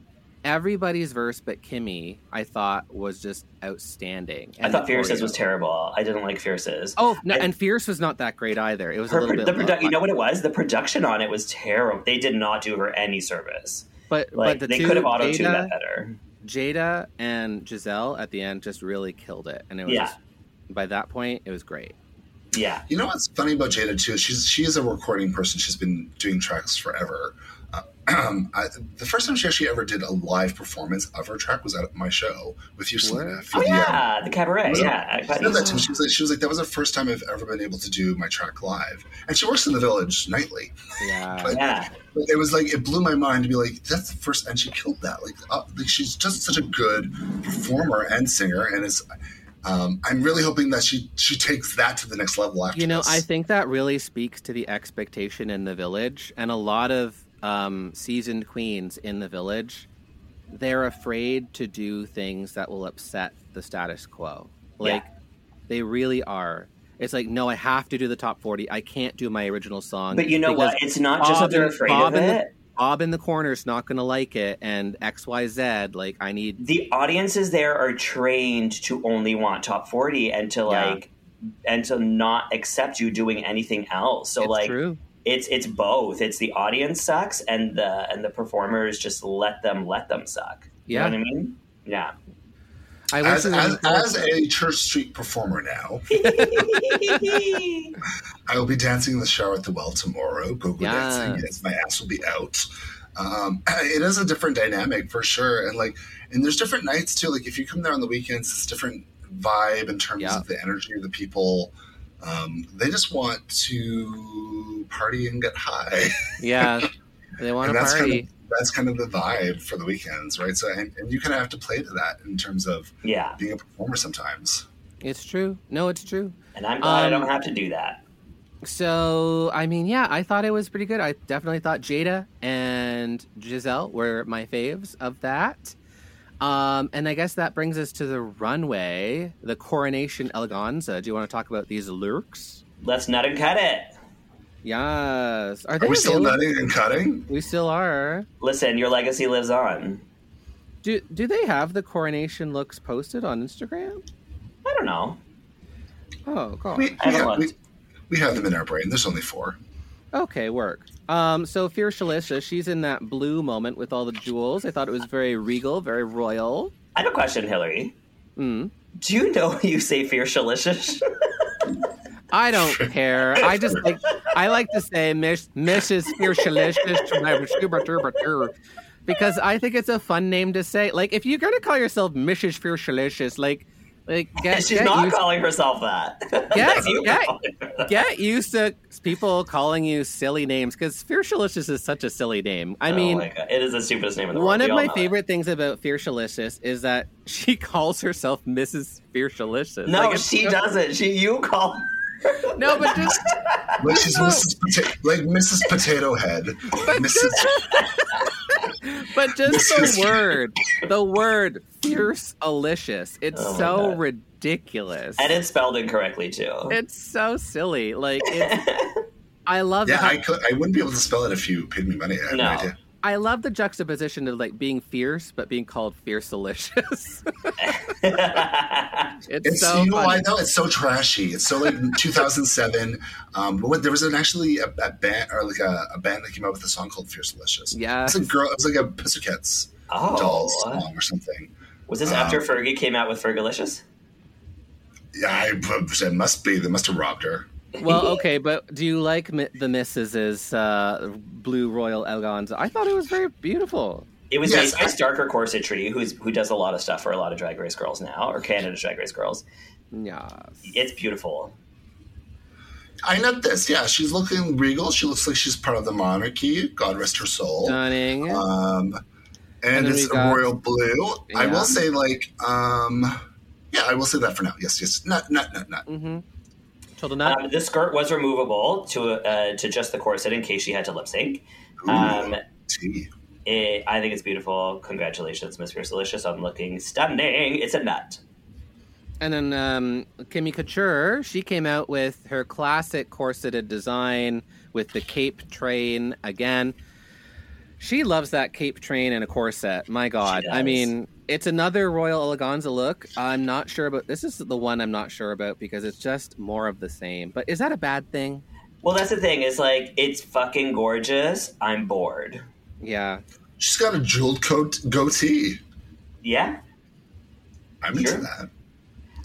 Speaker 8: everybody's verse but Kimmy, I thought was just outstanding.
Speaker 7: I
Speaker 8: And
Speaker 7: thought
Speaker 8: the
Speaker 7: Fierce's
Speaker 8: choreo.
Speaker 7: was terrible. I didn't like Fierce's.
Speaker 8: Oh no,
Speaker 7: And-
Speaker 8: and Fierce was not that great either. It was a
Speaker 7: her,
Speaker 8: little
Speaker 7: pro-
Speaker 8: bit.
Speaker 7: the produ-
Speaker 8: low.
Speaker 7: you know what it was? The production on it was terrible. They did not do her any service.
Speaker 8: but but
Speaker 7: Like
Speaker 8: the
Speaker 7: they
Speaker 8: two
Speaker 7: could have auto tuned
Speaker 8: Jada,
Speaker 7: that better.
Speaker 8: Jada and Giselle at the end just really killed it, and it was
Speaker 7: Yeah.
Speaker 8: just, by that point it was great.
Speaker 7: Yeah.
Speaker 9: You know what's funny about Jada too? She's she is a recording person. She's been doing tracks forever. Uh, I, the first time she actually ever did a live performance of her track was at my show with you, Selena. for
Speaker 7: Oh
Speaker 9: the, um,
Speaker 7: yeah, the cabaret.
Speaker 9: was
Speaker 7: Yeah, I
Speaker 9: it- she,
Speaker 7: thought
Speaker 9: said
Speaker 7: you-
Speaker 9: that to me. She was like, she was like, that was the first time I've ever been able to do my track live, and she works in the village nightly.
Speaker 8: Yeah,
Speaker 7: yeah.
Speaker 9: But it was like it blew my mind to be like, that's the first, and she killed that. Like, uh, like she's just such a good performer and singer, and it's. Um, I'm really hoping that she she takes that to the next level after
Speaker 8: you know,
Speaker 9: this.
Speaker 8: I think that really speaks to the expectation in the village, and a lot of um, seasoned queens in the village, they're afraid to do things that will upset the status quo. Like
Speaker 7: Yeah.
Speaker 8: they really are. It's like, no, I have to do the top forty. I can't do my original song.
Speaker 7: But you know
Speaker 8: because
Speaker 7: what? It's not just that they're
Speaker 8: Bob-
Speaker 7: afraid
Speaker 8: Bob
Speaker 7: of
Speaker 8: in the-
Speaker 7: it.
Speaker 8: Bob in the corner's not going to like it, and X, Y, Z. Like, I need.
Speaker 7: the audiences there are trained to only want top 40 and to
Speaker 8: Yeah.
Speaker 7: like and to not accept you doing anything else so
Speaker 8: It's
Speaker 7: like
Speaker 8: true.
Speaker 7: it's it's both it's the audience sucks and the and the performers just let them let them suck
Speaker 8: Yeah.
Speaker 7: you know what i mean yeah
Speaker 8: I wish
Speaker 9: as,
Speaker 8: there was
Speaker 9: as,
Speaker 8: more-
Speaker 9: as a church street performer now, I will be dancing in the shower at the well tomorrow. Go go dancing. Yes, my ass will be out. Um, it is a different dynamic for sure, and like, and there's different nights too. Like if you come there on the weekends, it's different vibe in terms
Speaker 8: Yeah.
Speaker 9: of the energy of the people. Um, they just want to party and get high.
Speaker 8: yeah, they want
Speaker 9: and
Speaker 8: to
Speaker 9: that's
Speaker 8: party.
Speaker 9: kind of that's kind of the vibe for the weekends, right? So, and, and you kind of have to play to that in terms of
Speaker 7: yeah
Speaker 9: being a performer sometimes.
Speaker 8: It's true. No, it's true.
Speaker 7: and i'm glad i
Speaker 8: Um,
Speaker 7: don't have to do that
Speaker 8: So, I mean, yeah, I thought it was pretty good. I definitely thought Jada and Giselle were my faves of that. Um, and I guess that brings us to the runway, the coronation eleganza. Do you want to talk about these lurks?
Speaker 7: let's nut and cut it
Speaker 8: Yes. Are, they
Speaker 9: Are we still
Speaker 8: available?
Speaker 9: nutting and cutting?
Speaker 8: We still are.
Speaker 7: listen your legacy lives on
Speaker 8: Do do they have the coronation looks posted on Instagram?
Speaker 7: i don't know
Speaker 8: Oh god.
Speaker 9: We, we,
Speaker 7: I don't
Speaker 9: have,
Speaker 7: want-
Speaker 9: we, we have them in our brain. There's only four.
Speaker 8: Okay, work. Um, so Fierce Shalissa, she's in that blue moment with all the jewels. I thought it was very regal, very royal.
Speaker 7: i have a question hillary
Speaker 8: Hmm.
Speaker 7: do you know you say fear shalicious
Speaker 8: I don't care. I just like I like to say Miss Mrs. Fearsalicious because I think it's a fun name to say. Like if you're gonna call yourself Mrs. Fearsalicious, like like get,
Speaker 7: she's
Speaker 8: get
Speaker 7: not
Speaker 8: used,
Speaker 7: calling herself that
Speaker 8: get,
Speaker 7: You
Speaker 8: get,
Speaker 7: call her that.
Speaker 8: get used to people calling you silly names because Fearsalicious is such a silly name. I
Speaker 7: Oh
Speaker 8: mean
Speaker 7: my God. it is the stupidest name in the
Speaker 8: One of
Speaker 7: world. We all
Speaker 8: my
Speaker 7: know it.
Speaker 8: favorite things about Fearsalicious is that she calls herself Mrs. Fearsalicious.
Speaker 7: No,
Speaker 8: Like, it's
Speaker 7: she
Speaker 8: so-
Speaker 7: doesn't. She you call.
Speaker 8: No, but just
Speaker 9: Like she's Mrs. Pota- like Mrs. Potato Head. Mrs.
Speaker 8: but just
Speaker 9: Mrs.
Speaker 8: the word, the word Fearsalicious. It's
Speaker 7: Oh my
Speaker 8: so
Speaker 7: God.
Speaker 8: ridiculous.
Speaker 7: And it's spelled incorrectly too.
Speaker 8: it's so silly. Like it's I love
Speaker 9: Yeah,
Speaker 8: the,
Speaker 9: I could. I wouldn't be able to spell it if you paid me money. I have no,
Speaker 7: No.
Speaker 9: idea.
Speaker 8: I love the juxtaposition of like being fierce but being called Fearsalicious. it's,
Speaker 9: It's
Speaker 8: so
Speaker 9: you know
Speaker 8: funny.
Speaker 9: I know it's so trashy. It's so like 2007. Um, but what, there was an, actually a, a band or like a, a band that came out with a song called Fierce Delicious.
Speaker 8: Yes.
Speaker 9: it's a girl. It was like a Pussycats
Speaker 7: Oh.
Speaker 9: dolls song or something.
Speaker 7: Was this after
Speaker 9: Um,
Speaker 7: Fergie came out with Fergalicious?
Speaker 9: Yeah, I, it must be. They must have robbed her.
Speaker 8: Well, okay, but do you like mi- the Mrs.'s uh, blue royal eleganza? I thought it was very beautiful.
Speaker 7: It was
Speaker 9: Yes,
Speaker 7: made by
Speaker 9: I-
Speaker 7: Starker Corsetry, who's who does a lot of stuff for a lot of Drag Race girls now, or Canada Drag Race girls.
Speaker 8: Yes.
Speaker 7: It's beautiful.
Speaker 9: I note this. Yeah, she's looking regal. She looks like she's part of the monarchy. God rest her soul.
Speaker 8: Stunning.
Speaker 9: Um,
Speaker 8: And
Speaker 9: and
Speaker 8: then
Speaker 9: it's
Speaker 8: we got-
Speaker 9: royal blue. I
Speaker 8: Yeah.
Speaker 9: will say, like, um, yeah, I will say that for now. Yes, yes, not, not, not,
Speaker 8: Mm.
Speaker 9: not.
Speaker 8: Tilda Nut.
Speaker 7: Um, the skirt was removable to uh, to just the corset in case she had to lip sync. Um,
Speaker 9: Tea.
Speaker 7: it, I think it's beautiful. Congratulations, Miss Pierce Delicious, on looking stunning. It's a nut.
Speaker 8: And then um, Kimmy Couture, she came out with her classic corseted design with the cape train again. She loves that cape train and a corset. My God. I
Speaker 7: does.
Speaker 8: mean, it's another Royal Eleganza look. I'm not sure about this is the one I'm not sure about because it's just more of the same. But is that a bad thing?
Speaker 7: Well, that's the thing is like it's fucking gorgeous. I'm bored.
Speaker 8: Yeah.
Speaker 9: She's got a jeweled coat goatee.
Speaker 7: Yeah,
Speaker 9: I'm
Speaker 7: Sure.
Speaker 9: into that.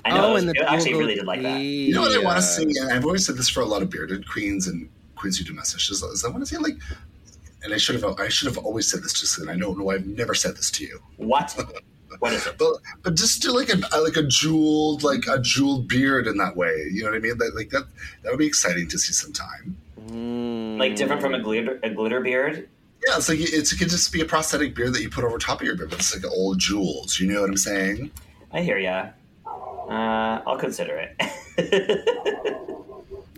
Speaker 7: I know. that was
Speaker 8: Oh, and the
Speaker 7: good. I actually
Speaker 8: Google
Speaker 7: really did like that.
Speaker 9: You know what I want
Speaker 8: Yeah.
Speaker 9: to see? And I've always said this for a lot of bearded queens and queens who do messages. Is I want to see like, and I should have I should have always said this to Sin. I don't know. why I've never said this to you.
Speaker 7: What? What is it?
Speaker 9: But but just do like a like a jeweled like a jeweled beard in that way. You know what I mean? That like that that would be exciting to see sometime.
Speaker 7: Like different from a glitter a glitter beard?
Speaker 9: Yeah, it's like it's, it could just be a prosthetic beard that you put over top of your beard, but it's like old jewels. You know what I'm saying?
Speaker 7: I hear ya. Uh, I'll consider it.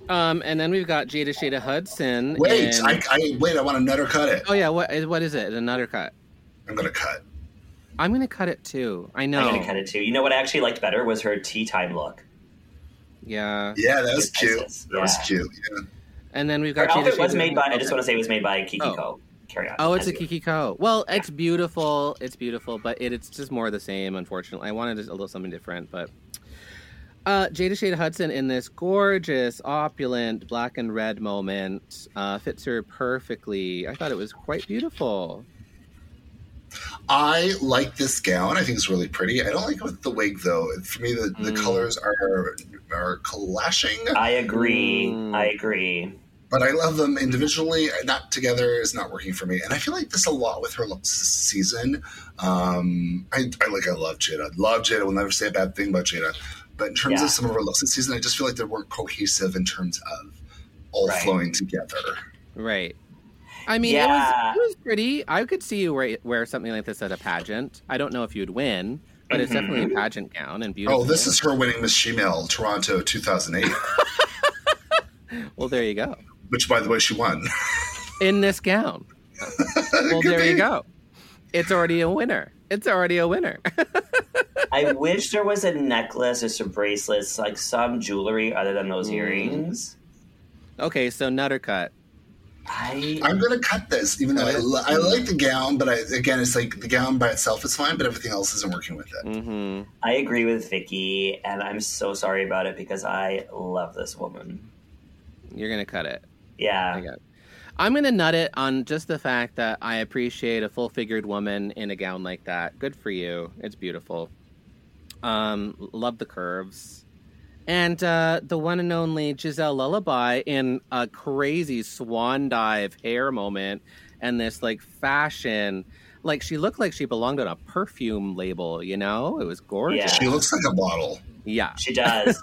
Speaker 8: Um, and then we've got Jada Shada Hudson.
Speaker 9: Wait,
Speaker 8: in-
Speaker 9: I, I wait. I want to nut or cut it.
Speaker 8: oh yeah, what is- what is it? Another cut.
Speaker 9: I'm gonna cut.
Speaker 8: I'm gonna cut it too. I know.
Speaker 7: I'm gonna cut it too. You know what I actually liked better was her tea time look.
Speaker 8: Yeah.
Speaker 9: Yeah, that was
Speaker 7: Your
Speaker 9: cute.
Speaker 7: peasants,
Speaker 9: That was
Speaker 7: yeah.
Speaker 9: cute. Yeah.
Speaker 8: And then we've
Speaker 7: Her
Speaker 8: got Jada
Speaker 7: outfit was
Speaker 8: Shada-
Speaker 7: made by. I just
Speaker 8: Okay.
Speaker 7: want to say it was made by Kiki
Speaker 8: Oh.
Speaker 7: Ko. Carry on.
Speaker 8: Oh, it's a
Speaker 7: As you-
Speaker 8: Kiki Ko. Well, it's beautiful. It's beautiful, but it, it's just more of the same, unfortunately. I wanted a little something different, but. Uh, Jada Shade Hudson in this gorgeous, opulent black and red moment uh, fits her perfectly. I thought it was quite beautiful.
Speaker 9: I like this gown. I think it's really pretty. I don't like it with the wig though. For me, the, the colors are are clashing,
Speaker 7: I agree.
Speaker 8: Mm.
Speaker 7: I agree.
Speaker 9: but I love them individually. Not together is not working for me. And I feel like this a lot with her looks this season. Um, I, I like I love Jada. Love Jada. Will never say a bad thing about Jada. But in terms
Speaker 7: Yeah.
Speaker 9: of some of her looks this season, I just feel like they weren't cohesive in terms of all
Speaker 7: Right.
Speaker 9: flowing together.
Speaker 8: Right. I mean,
Speaker 7: Yeah.
Speaker 8: it, was, it was pretty. I could see you wear, wear something like this at a pageant. I don't know if you'd win, but it's
Speaker 7: Mm-hmm.
Speaker 8: definitely a pageant gown and beautiful.
Speaker 9: Oh, this is her winning Miss Female Toronto 2008,
Speaker 8: Well, there you go.
Speaker 9: which by the way she won.
Speaker 8: In this gown. Well,
Speaker 9: Could
Speaker 8: there you
Speaker 9: be.
Speaker 8: go. It's already a winner. It's already a winner.
Speaker 7: I wish there was a necklace or some bracelets, like some jewelry other than
Speaker 8: Mm.
Speaker 7: those earrings.
Speaker 8: okay, so nutter cut.
Speaker 7: I
Speaker 9: I'm gonna cut this, even though I, li- I like the gown, but I, again, it's like the gown by itself is fine, but everything else isn't working with it.
Speaker 8: Mm-hmm.
Speaker 7: I agree with Vicky, and I'm so sorry about it because I love this woman.
Speaker 8: You're gonna cut it. I
Speaker 7: Yeah,
Speaker 8: got. I'm gonna nut it on just the fact that I appreciate a full figured woman in a gown like that. Good for you. It's beautiful. Um, love the curves. And uh, the one and only Giselle Lullaby in a crazy swan dive hair moment and this like fashion. Like she looked like she belonged on a perfume label, you know? It was gorgeous.
Speaker 7: Yeah.
Speaker 9: She looks like a bottle.
Speaker 8: Yeah.
Speaker 7: she does.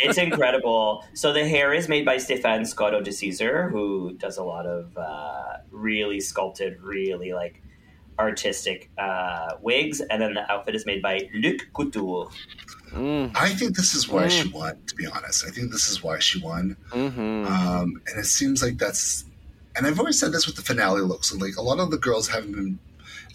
Speaker 7: it's incredible. So the hair is made by Stefan Scotto de Caesar, who does a lot of uh, really sculpted, really like artistic uh, wigs, and then the outfit is made by Luc Couture. Oh
Speaker 9: I think this is why
Speaker 7: Mm.
Speaker 9: she won. To be honest, I think this is why she won.
Speaker 7: Mm-hmm.
Speaker 9: Um, and it seems like that's. And I've always said this with the finale looks. and, Like a lot of the girls haven't been.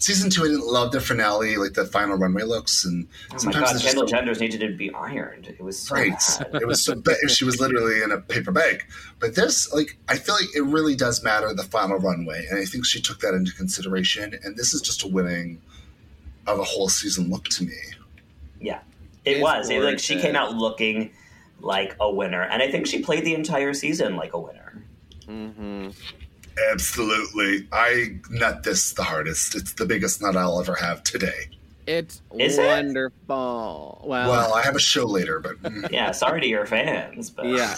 Speaker 9: Season two, I didn't love their finale, like the final runway looks, and
Speaker 7: Oh my
Speaker 9: sometimes
Speaker 7: god,
Speaker 9: it's just
Speaker 7: Kendall Genders needed to be ironed. It was so
Speaker 9: Right.
Speaker 7: bad.
Speaker 9: It was so bad. She was literally in a paper bag. But this, like, I feel like it really does matter the final runway. And I think she took that into consideration. And this is just a winning of a whole season look to me.
Speaker 7: Yeah, it
Speaker 8: It's
Speaker 7: was. It, like she came
Speaker 8: gorgeous.
Speaker 7: out looking like a winner, and I think she played the entire season like a winner.
Speaker 9: Absolutely. I nut this the hardest. It's the biggest nut I'll ever have today.
Speaker 8: It's
Speaker 7: Is it?
Speaker 8: wonderful. Well,
Speaker 9: Well, I have a show later, but mm,
Speaker 7: Yeah, sorry to your fans, but
Speaker 8: Yeah.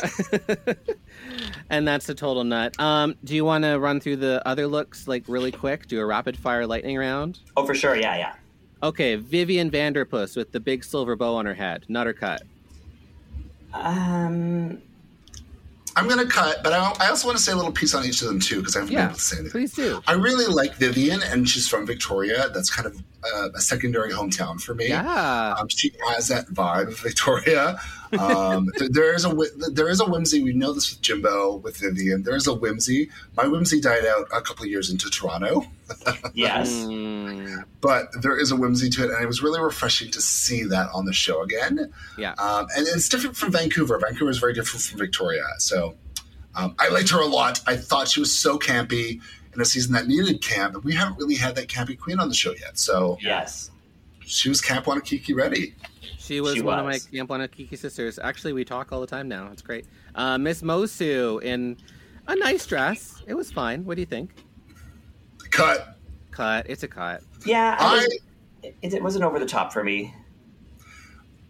Speaker 8: and that's a total nut. Um, do you want to run through the other looks like really quick? Do a rapid fire lightning round?
Speaker 7: oh for sure, yeah, yeah.
Speaker 8: Okay, Vivian Vanderpuss with the big silver bow on her head. Nutter cut.
Speaker 7: Um,
Speaker 9: I'm going to cut. But I, I also want to say a little piece on each of them, too, because I haven't been
Speaker 8: Yeah.
Speaker 9: able to say anything.
Speaker 8: Please do.
Speaker 9: I really like Vivian, and she's from Victoria. That's kind of uh, a secondary uh, hometown for me.
Speaker 8: Yeah.
Speaker 9: Um, she has that vibe of Victoria. Um, th- there is a whi- there is a whimsy. We know this with Jimbo with Vivian. There is a whimsy. My whimsy died out a couple years into Toronto,
Speaker 7: Yes.
Speaker 9: Mm. but there is a whimsy to it, and it was really refreshing to see that on the show again.
Speaker 8: Yeah.
Speaker 7: Uh,
Speaker 9: Um, and it's different from Vancouver. Vancouver is very different from Victoria. So um, I liked her a lot. I thought she was so campy in a season that needed camp. And we haven't really had that campy queen on the show yet. So
Speaker 7: Yes.
Speaker 9: she was Camp Wanakiki ready.
Speaker 8: She was
Speaker 7: She
Speaker 8: one
Speaker 7: was.
Speaker 8: of my Camp Wanakiki sisters. Actually, we talk all the time now. It's great. Uh, Miss Mosu in a nice dress. It was fine. What do you think?
Speaker 9: Cut.
Speaker 8: Cut. It's a cut.
Speaker 7: Yeah. I
Speaker 9: I
Speaker 7: was- it, it wasn't over the top for me.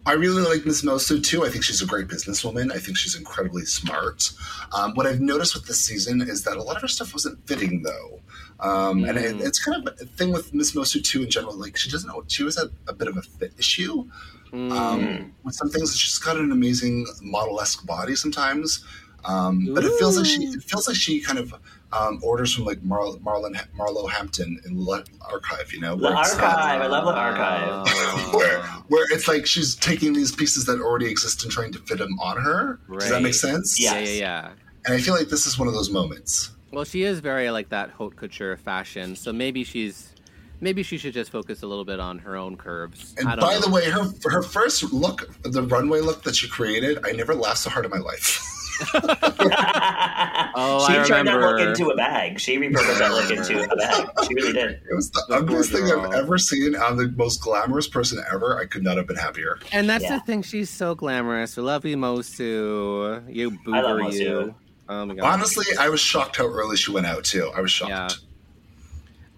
Speaker 9: I really like Miss Mosu too. I think she's a great businesswoman. I think she's incredibly smart. Um, what I've noticed with this season is that a lot of her stuff wasn't fitting though. Um, And it,
Speaker 7: Mm.
Speaker 9: it's kind of a thing with Miss Mosu too in general. Like she doesn't know, she was a, a bit of a fit issue.
Speaker 7: Mm.
Speaker 9: Um, with some things, she's got an amazing model esque body sometimes. Um, but it feels like she it feels like she kind of um, orders from like Mar- Marlon Marlo Hampton in Le- Archive, you know?
Speaker 7: The
Speaker 9: where it's not-
Speaker 7: archive. I love the archive.
Speaker 8: Oh.
Speaker 9: where where it's like she's taking these pieces that already exist and trying to fit them on her. Does that
Speaker 8: Right.
Speaker 9: make sense?
Speaker 7: Yeah.
Speaker 8: Yeah, yeah, yeah.
Speaker 9: And I feel like this is one of those moments.
Speaker 8: Well, she is very like that haute couture fashion. So maybe she's, maybe she should just focus a little bit on her own curves.
Speaker 9: And
Speaker 8: I don't
Speaker 9: by
Speaker 8: know.
Speaker 9: the way, her her first look, the runway look that she created, I never laughed so hard in my life.
Speaker 8: oh,
Speaker 7: she
Speaker 8: I
Speaker 7: turned that
Speaker 8: remember.
Speaker 7: look into a bag. She repurposed that look into a bag. She really did.
Speaker 9: it was the,
Speaker 8: The
Speaker 9: ugliest
Speaker 8: poor
Speaker 9: thing
Speaker 8: girl.
Speaker 9: I've ever seen. I'm the most glamorous person ever. I could not have been happier.
Speaker 8: and that's
Speaker 7: Yeah.
Speaker 8: the thing. She's so glamorous. We love you, Mosu. You boober,
Speaker 7: I love Mosu.
Speaker 8: you. Oh my god.
Speaker 9: Honestly, I was shocked how early she went out too. I was shocked.
Speaker 8: Yeah.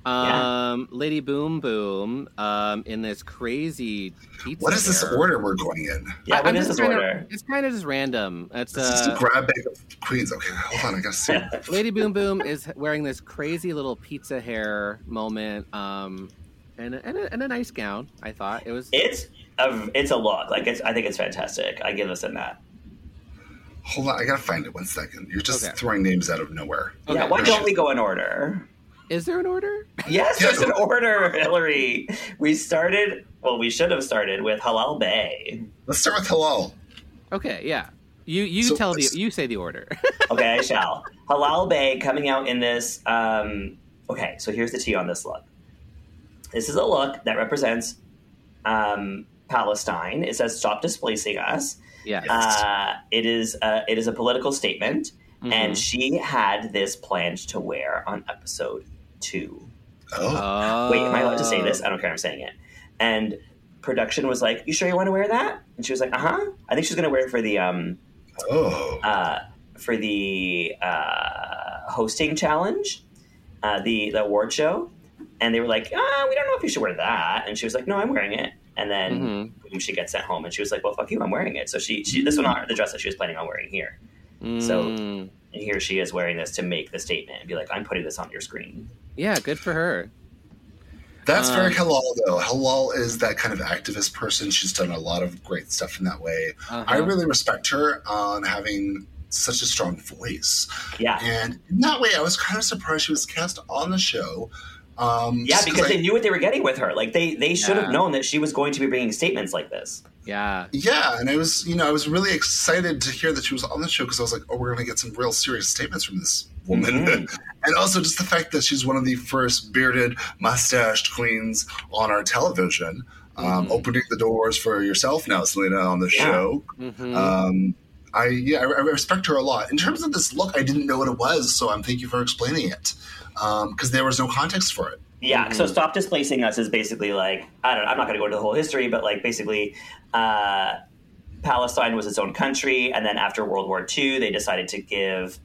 Speaker 7: Yeah.
Speaker 8: Um, Lady Boom Boom, um, in this crazy pizza.
Speaker 9: What is this
Speaker 8: there.
Speaker 9: order we're going in?
Speaker 7: Yeah,
Speaker 8: I'm
Speaker 7: what is
Speaker 8: just
Speaker 7: this
Speaker 8: trying to-
Speaker 7: order?
Speaker 8: it's kind of just random. It's
Speaker 9: This is
Speaker 8: uh,
Speaker 9: just a grab bag of queens. Okay, hold on. I gotta see.
Speaker 8: Lady Boom Boom is wearing this crazy little pizza hair moment, um, and a, and, a, and a nice gown. I thought it was.
Speaker 7: It's a it's a look. Like it's I think it's fantastic. I give this in that.
Speaker 9: Hold on. I gotta find it. One second. You're just
Speaker 8: Okay.
Speaker 9: throwing names out of nowhere.
Speaker 7: Yeah,
Speaker 8: Okay.
Speaker 7: why don't we go in order?
Speaker 8: Is there an order?
Speaker 7: Yes, there's an order, Hillary. We started well, we should have started with Halal Bay.
Speaker 9: Let's start with halal.
Speaker 8: Okay, yeah. You you
Speaker 9: So
Speaker 8: tell the
Speaker 9: let's-
Speaker 8: you say the order.
Speaker 7: Okay, I shall. Halal Bay coming out in this um okay, so here's the tea on this look. This is a look that represents um Palestine. It says stop displacing us.
Speaker 8: yeah.
Speaker 7: Uh, it is uh, it is a political statement, and she had this planned to wear on episode two.
Speaker 9: Oh,
Speaker 8: Oh.
Speaker 7: Uh, Wait, am I allowed to say this? I don't care. I'm saying it. And production was like, "You sure you want to wear that?" And she was like, "Uh huh." I think she's gonna wear it for the um
Speaker 9: oh.
Speaker 7: uh for the uh hosting challenge, uh the the award show. And they were like, "Ah, we don't know if you should wear that." And she was like, "No, I'm wearing it." And then boom, she gets sent home, and she was like, "Well, fuck you, I'm wearing it." So she, she this was not the dress that she was planning on wearing here. So and here she is wearing this to make the statement and be like, "I'm putting this on your screen."
Speaker 8: Yeah, good for her.
Speaker 9: That's very
Speaker 7: Uh-huh.
Speaker 9: halal, though. Halal is that kind of activist person. She's done a lot of great stuff in that way. I
Speaker 7: Uh-huh.
Speaker 9: really respect her on having such a strong voice.
Speaker 7: Yeah.
Speaker 9: And in that way, I was kind of surprised she was cast on the show. Um,
Speaker 7: Yeah,
Speaker 9: just
Speaker 7: because
Speaker 9: I-
Speaker 7: they knew what they were getting with her. Like they they should have
Speaker 8: Yeah.
Speaker 7: known that she was going to be bringing statements like this.
Speaker 8: Yeah.
Speaker 9: Yeah, and I was, you know, I was really excited to hear that she was on the show because I was like, oh, we're going to get some real serious statements from this woman. and also just the fact that she's one of the first bearded, mustached queens on our television, um, opening the doors for yourself now, Selena, on the show. Um, I yeah, I, I respect her a lot. In terms of this look, I didn't know what it was, so I'm thank you for explaining it because there was no context for it.
Speaker 7: Yeah. So stop displacing us is basically like I don't. know, I'm not going to go into the whole history, but like basically, uh, Palestine was its own country, and then after World War II, they decided to give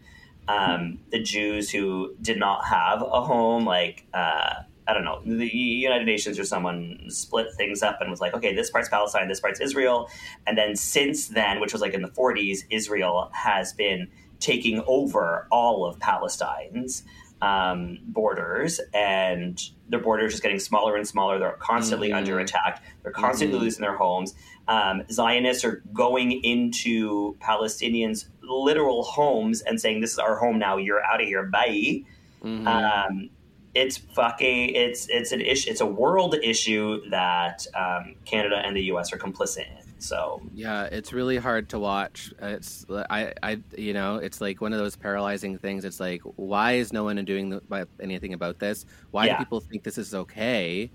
Speaker 7: um, the Jews who did not have a home, like uh, I don't know, the United Nations or someone split things up and was like, okay, this part's Palestine, this part's Israel, and then since then, which was like in the 40s, Israel has been taking over all of Palestine's um, borders, and their borders just getting smaller and smaller. They're constantly under attack. They're constantly losing their homes. Um, Zionists are going into Palestinians' literal homes and saying, "This is our home now. You're out of here. Bye." Um, it's fucking. It's it's an issue. It's a world issue that um, Canada and the U.S. are complicit in. So
Speaker 8: Yeah, it's really hard to watch. It's I, I, you know, it's like one of those paralyzing things. It's like, why is no one doing the, about- anything about this? Why
Speaker 7: Yeah.
Speaker 8: do people think this is okay?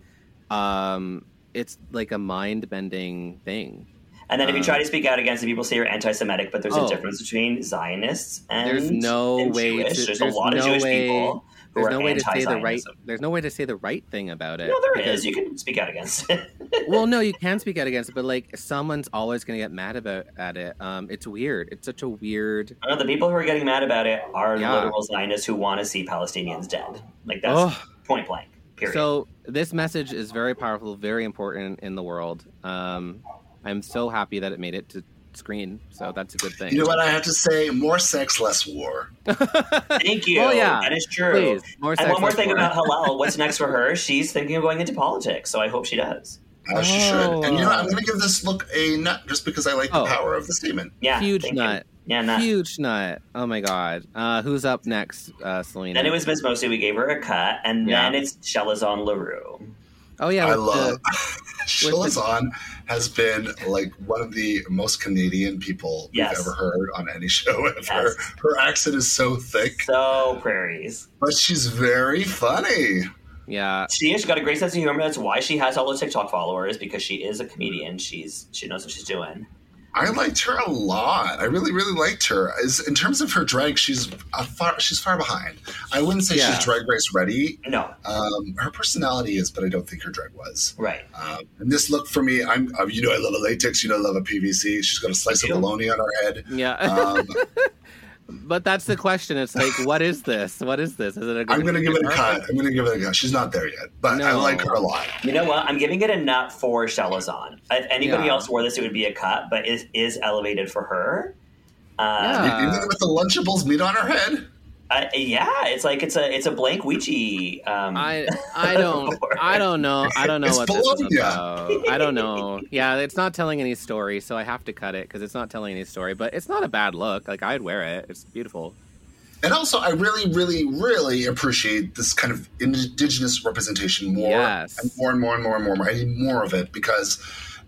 Speaker 8: Um, it's like a mind bending thing.
Speaker 7: And then if you try to speak out against it, people say you're anti-Semitic. But there's
Speaker 8: Uh. Oh.
Speaker 7: a difference between Zionists and
Speaker 8: There's no
Speaker 7: and
Speaker 8: way.
Speaker 7: Jewish.
Speaker 8: To,
Speaker 7: there's, a lot
Speaker 8: no
Speaker 7: of Jewish
Speaker 8: way,
Speaker 7: people who
Speaker 8: there's
Speaker 7: are
Speaker 8: no way to say the
Speaker 7: anti-Zionism.
Speaker 8: right. There's no way to say the right thing about it.
Speaker 7: no, there
Speaker 8: because-
Speaker 7: is. You can speak out against it.
Speaker 8: well, no, you can speak out against it, but like someone's always going to get mad about at it. Um, it's weird. It's such a weird.
Speaker 7: No, the people who are getting mad about it are
Speaker 8: Yeah.
Speaker 7: literal Zionists who want to see Palestinians dead. Like that's
Speaker 8: Ugh.
Speaker 7: point blank. Period.
Speaker 8: So this message is very powerful, very important in the world. Um, I'm so happy that it made it to screen. So that's a good thing.
Speaker 9: You know what I have to say? More sex, less war.
Speaker 7: Thank you.
Speaker 8: Well, yeah.
Speaker 7: that is true.
Speaker 8: Please, more
Speaker 7: and
Speaker 8: sex,
Speaker 7: one more
Speaker 8: less
Speaker 7: thing
Speaker 8: war.
Speaker 7: about Halal. What's next for her? She's thinking of going into politics. So I hope she does.
Speaker 9: As Uh, she should.
Speaker 8: Oh.
Speaker 9: And you know, what? I'm going to give this look a nut just because I like the
Speaker 8: Oh.
Speaker 9: power of the statement.
Speaker 7: Yeah,
Speaker 8: Huge
Speaker 7: thank you.
Speaker 8: nut.
Speaker 7: Yeah, nut.
Speaker 8: Huge nut. Oh my god. Uh, who's up next, uh, Selena?
Speaker 7: Then it was Miss Mosley. We gave her a cut, and
Speaker 8: Yeah.
Speaker 7: then it's Shelazon Larue.
Speaker 8: oh yeah.
Speaker 9: I
Speaker 8: with
Speaker 9: love.
Speaker 8: with the-
Speaker 9: Shilazan has been like one of the most Canadian people
Speaker 7: Yes.
Speaker 9: we've ever heard on any show ever.
Speaker 7: Yes.
Speaker 9: Her accent is so thick,
Speaker 7: So prairies.
Speaker 9: but she's very funny.
Speaker 8: the- yeah.
Speaker 7: She has got a great sense of humor. That's why she has all those TikTok followers because she is a comedian. She's she knows what she's doing.
Speaker 9: I liked her a lot. I really, really liked her. As, in terms of her drag, she's a far she's far behind. I wouldn't say
Speaker 8: Yeah.
Speaker 9: she's drag race ready.
Speaker 7: No,
Speaker 9: Um, her personality is, but I don't think her drag was.
Speaker 7: right?
Speaker 8: Uh,
Speaker 9: Um, and this look for me, I'm uh, you know I love a latex, you know I love a PVC. She's got a slice of
Speaker 7: Yeah.
Speaker 9: bologna on her head.
Speaker 8: Yeah.
Speaker 9: Um,
Speaker 8: but that's the question. It's like, what is this? What is this? Is it a
Speaker 9: I'm gonna give it a cut. I'm gonna give it a cut. She's not there yet, but I
Speaker 8: No.
Speaker 9: like her a lot.
Speaker 7: You know what? I'm giving it a nut for Shelazon. If anybody
Speaker 8: Yeah.
Speaker 7: else wore this, it would be a cut, but it is elevated for her. Uh,
Speaker 8: Yeah.
Speaker 9: Even with the Lunchables meat on her head.
Speaker 7: I- uh, yeah, it's like it's a it's a blank Ouija. Um,
Speaker 8: I I don't I don't know I don't know
Speaker 9: It's
Speaker 8: what this is
Speaker 9: bologna.
Speaker 8: about. I don't know. Yeah, it's not telling any story, so I have to cut it because it's not telling any story. But it's not a bad look. Like I'd wear it. It's beautiful.
Speaker 9: And also, I really, really, really appreciate this kind of indigenous representation more
Speaker 8: Yes.
Speaker 9: and more and more and more and more. and more. I need more of it because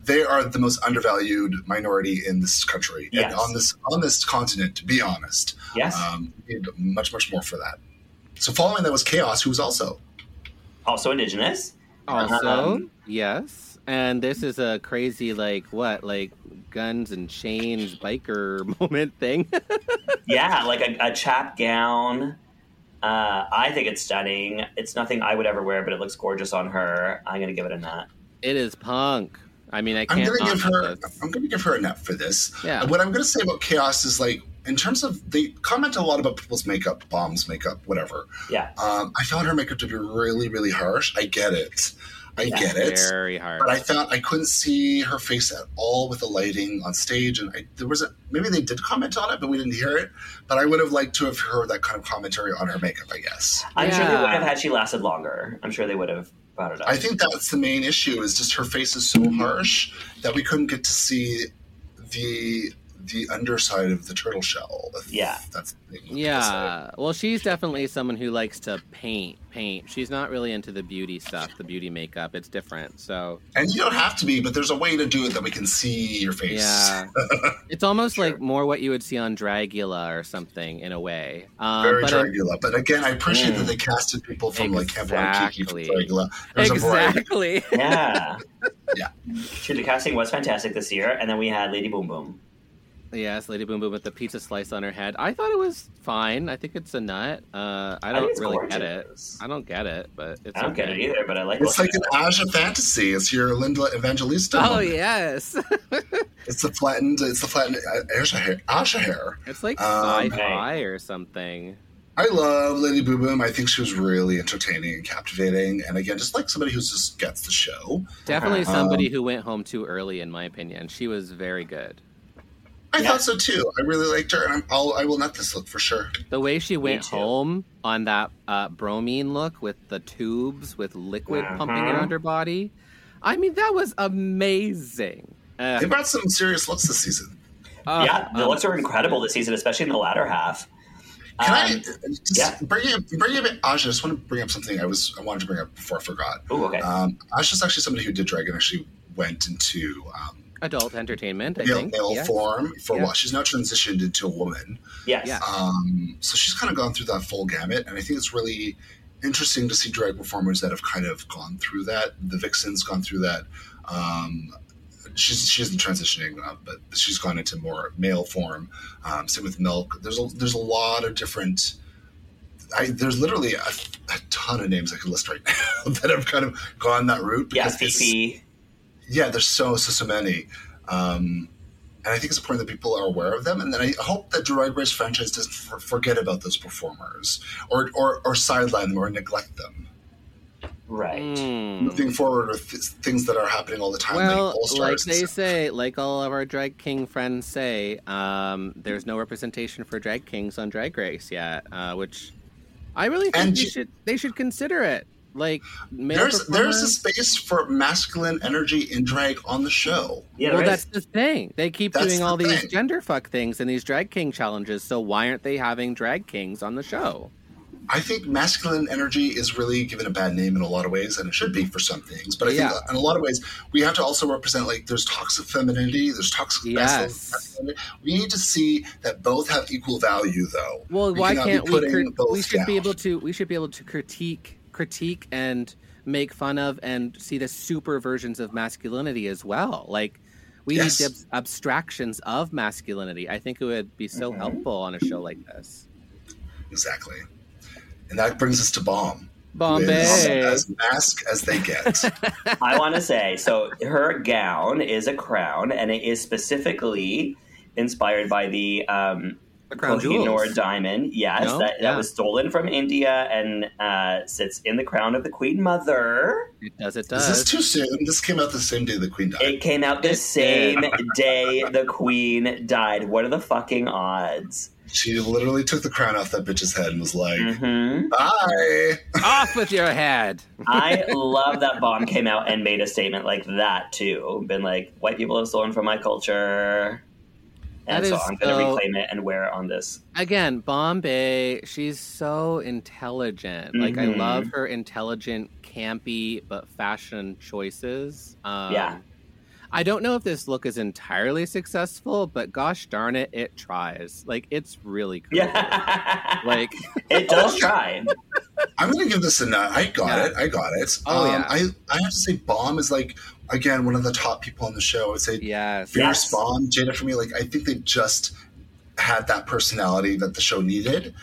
Speaker 9: they are the most undervalued minority in this country
Speaker 7: Yes.
Speaker 9: and on this on this continent. To be honest,
Speaker 7: Yes.
Speaker 9: um, we need much, much more for that. So, following that was Chaos, who was also
Speaker 7: also indigenous.
Speaker 8: Also,
Speaker 7: Um,
Speaker 8: yes. And this is a crazy like what like guns and chains biker moment thing.
Speaker 7: yeah, like a, a chap gown. Uh, I think it's stunning. It's nothing I would ever wear, but it looks gorgeous on her. I'm gonna give it a nut.
Speaker 8: it is punk. I mean, I
Speaker 9: I'm
Speaker 8: can't.
Speaker 9: gonna
Speaker 8: not
Speaker 9: give
Speaker 8: do
Speaker 9: her.
Speaker 8: this.
Speaker 9: I'm gonna give her a net for this.
Speaker 8: Yeah.
Speaker 9: And What I'm gonna say about chaos is like in terms of they comment a lot about people's makeup, bombs, makeup, whatever.
Speaker 7: Yeah,
Speaker 9: Um, I found her makeup to be really, really harsh. I get it. I get it.
Speaker 8: Very hard.
Speaker 9: But I found I couldn't see her face at all with the lighting on stage, and I, there was a maybe they did comment on it, but we didn't hear it. But I would have liked to have heard that kind of commentary on her makeup. I guess.
Speaker 7: I'm sure they
Speaker 8: Yeah.
Speaker 7: would have had she lasted longer. I'm sure they would have brought it up.
Speaker 9: I think that's the main issue is just her face is so harsh that we couldn't get to see the the underside of the turtle shell. If
Speaker 7: Yeah.
Speaker 9: That's the thing.
Speaker 8: Yeah. Well, she's definitely someone who likes to paint. Paint. She's not really into the beauty stuff, the beauty makeup. It's different. So
Speaker 9: And you don't have to be, but there's a way to do it that we can see your face.
Speaker 8: yeah, it's almost like more what you would see on Dragula or something in a way. Um,
Speaker 9: Very
Speaker 8: but, uh, Mm.
Speaker 9: Dragula. but again, I appreciate that they casted people from like Camp Waikiki from
Speaker 8: Exactly.
Speaker 9: Dragula. There's a variety.
Speaker 8: exactly.
Speaker 7: yeah.
Speaker 9: Yeah.
Speaker 7: Shoot, the casting was fantastic this year, and then we had Lady Boom Boom.
Speaker 8: yes, Lady Boom Boom with the pizza slice on her head. I thought it was fine. I think it's a nut. Uh, I
Speaker 7: think
Speaker 8: don't
Speaker 7: it's
Speaker 8: really get it.
Speaker 7: gorgeous.
Speaker 8: I don't get it, but it's
Speaker 7: I don't get it
Speaker 8: okay.
Speaker 7: either, but I like
Speaker 9: It's
Speaker 7: it.
Speaker 9: like an Aja fantasy. It's your Linda Evangelista.
Speaker 8: Oh
Speaker 9: moment.
Speaker 8: yes,
Speaker 9: It's the flattened. It's the flattened Aja hair. Aja hair.
Speaker 8: it's like
Speaker 9: Um,
Speaker 8: sci-fi or something.
Speaker 9: I love Lady Boo Boom. I think she was really entertaining and captivating. And again, just like somebody who just gets the show.
Speaker 8: Definitely
Speaker 9: Um,
Speaker 8: somebody who went home too early, in my opinion. She was very good.
Speaker 9: I
Speaker 7: Yeah.
Speaker 9: thought so too. I really liked her, and I'm, I'll, I will not this look for sure.
Speaker 8: The way she went
Speaker 7: too.
Speaker 8: home on that uh, bromine look with the tubes with liquid pumping
Speaker 7: Mhm.
Speaker 8: around her body. I mean, that was amazing. Uh,
Speaker 9: They brought some serious looks this season.
Speaker 8: uh,
Speaker 7: yeah, the
Speaker 8: um,
Speaker 7: looks are incredible this season, especially in the latter half.
Speaker 9: Can I
Speaker 7: Um,
Speaker 9: just
Speaker 7: yeah.
Speaker 9: bring up bring up Aja? I just want to bring up something I was I wanted to bring up before I forgot.
Speaker 7: Ooh, okay.
Speaker 9: Um, Aja's actually somebody who did drag and actually went into um,
Speaker 8: adult entertainment. I
Speaker 9: male,
Speaker 8: think.
Speaker 9: male
Speaker 8: yeah.
Speaker 9: form for a
Speaker 8: Yeah.
Speaker 9: while. She's now transitioned into a woman.
Speaker 7: Yes.
Speaker 8: Yeah.
Speaker 9: Um, so she's kind of gone through that full gamut, and I think it's really interesting to see drag performers that have kind of gone through that. The Vixen's gone through that. Um, she's she isn't transitioning, uh, but she's gone into more male form. Um, same with Milk. There's a, there's a lot of different. I, there's literally a, a ton of names I could list right now that have kind of gone that route.
Speaker 7: Yeah,
Speaker 9: because it's-
Speaker 7: Fifi.
Speaker 9: yeah, there's so so so many, um, and I think it's important that people are aware of them. And then I hope that Droid Race franchise doesn't for- forget about those performers, or or or sideline them, or neglect them.
Speaker 7: Right.
Speaker 8: Mm.
Speaker 9: Moving forward with th- things that are happening all the time, like
Speaker 8: Well,
Speaker 9: All
Speaker 8: like
Speaker 9: Stars.
Speaker 8: they say, like all of our drag king friends say, um, there's no representation for drag kings on Drag Race yet, uh, which I really think
Speaker 9: And
Speaker 8: they
Speaker 9: you-
Speaker 8: should they should consider it. Like male
Speaker 9: there's there's a
Speaker 8: performers-
Speaker 9: space for masculine energy in drag on the show.
Speaker 7: Yeah,
Speaker 8: well,
Speaker 7: there
Speaker 8: that's
Speaker 7: is.
Speaker 8: the thing. They keep
Speaker 9: That's
Speaker 8: doing
Speaker 9: the
Speaker 8: all these
Speaker 9: thing.
Speaker 8: gender fuck things and these drag king challenges. So why aren't they having drag kings on the show?
Speaker 9: I think masculine energy is really given a bad name in a lot of ways, and it should be for some things. But I
Speaker 8: Mm-hmm. Yeah.
Speaker 9: think in a lot of ways, we have to also represent like there's toxic femininity, there's toxic masculine-
Speaker 8: Yes.
Speaker 9: masculinity. We need to see that both have equal value, though.
Speaker 8: Well, why
Speaker 9: cannot be
Speaker 8: can't we?
Speaker 9: putting
Speaker 8: crit-
Speaker 9: both
Speaker 8: we should
Speaker 9: down.
Speaker 8: be able to. We should be able to critique, critique, and make fun of, and see the super versions of masculinity as well. Like we
Speaker 9: Yes.
Speaker 8: need the ab- abstractions of masculinity. I think it would be so
Speaker 9: Mm-hmm.
Speaker 8: helpful on a show like this.
Speaker 9: exactly. And that brings us to Bomb. who is
Speaker 8: Bombay.
Speaker 9: as mask as they get.
Speaker 7: I want to say so. Her gown is a crown, and it is specifically inspired by the um,
Speaker 8: The crown
Speaker 7: Kohinoor
Speaker 8: jewels.
Speaker 7: diamond. Yes,
Speaker 8: No?
Speaker 7: that,
Speaker 8: Yeah.
Speaker 7: that was stolen from India and uh, sits in the crown of the Queen Mother.
Speaker 8: It does. It
Speaker 9: is this
Speaker 8: does.
Speaker 9: too soon? This came out the same day the Queen died.
Speaker 7: It came out the
Speaker 8: It
Speaker 7: same
Speaker 8: did.
Speaker 7: day the Queen died. What are the fucking odds?
Speaker 9: she literally took the crown off that bitch's head and was like,
Speaker 8: Mm.
Speaker 7: hmm
Speaker 9: "Bye."
Speaker 8: Off with your head.
Speaker 7: I love that Bomb came out and made a statement like that too. Been like, white people have stolen from my culture. And
Speaker 8: That
Speaker 7: so
Speaker 8: is
Speaker 7: I'm going to
Speaker 8: so-
Speaker 7: reclaim it and wear it on this.
Speaker 8: again bombay she's so intelligent like i
Speaker 7: Mhm.
Speaker 8: love her intelligent campy but fashion choices um,
Speaker 7: Yeah.
Speaker 8: i don't know if this look is entirely successful but gosh darn it it tries like it's really cool
Speaker 7: Yeah.
Speaker 8: like
Speaker 7: it does try.
Speaker 9: I'm gonna give this a nine. I got
Speaker 8: Yeah.
Speaker 9: it. I got it.
Speaker 8: Oh,
Speaker 9: um,
Speaker 8: yeah.
Speaker 9: I I have to say, Bomb is like again one of the top people on the show. I would say
Speaker 8: yes
Speaker 7: Yeah.
Speaker 9: Fierce Bomb, Jada for me. Like I think they just had that personality that the show needed.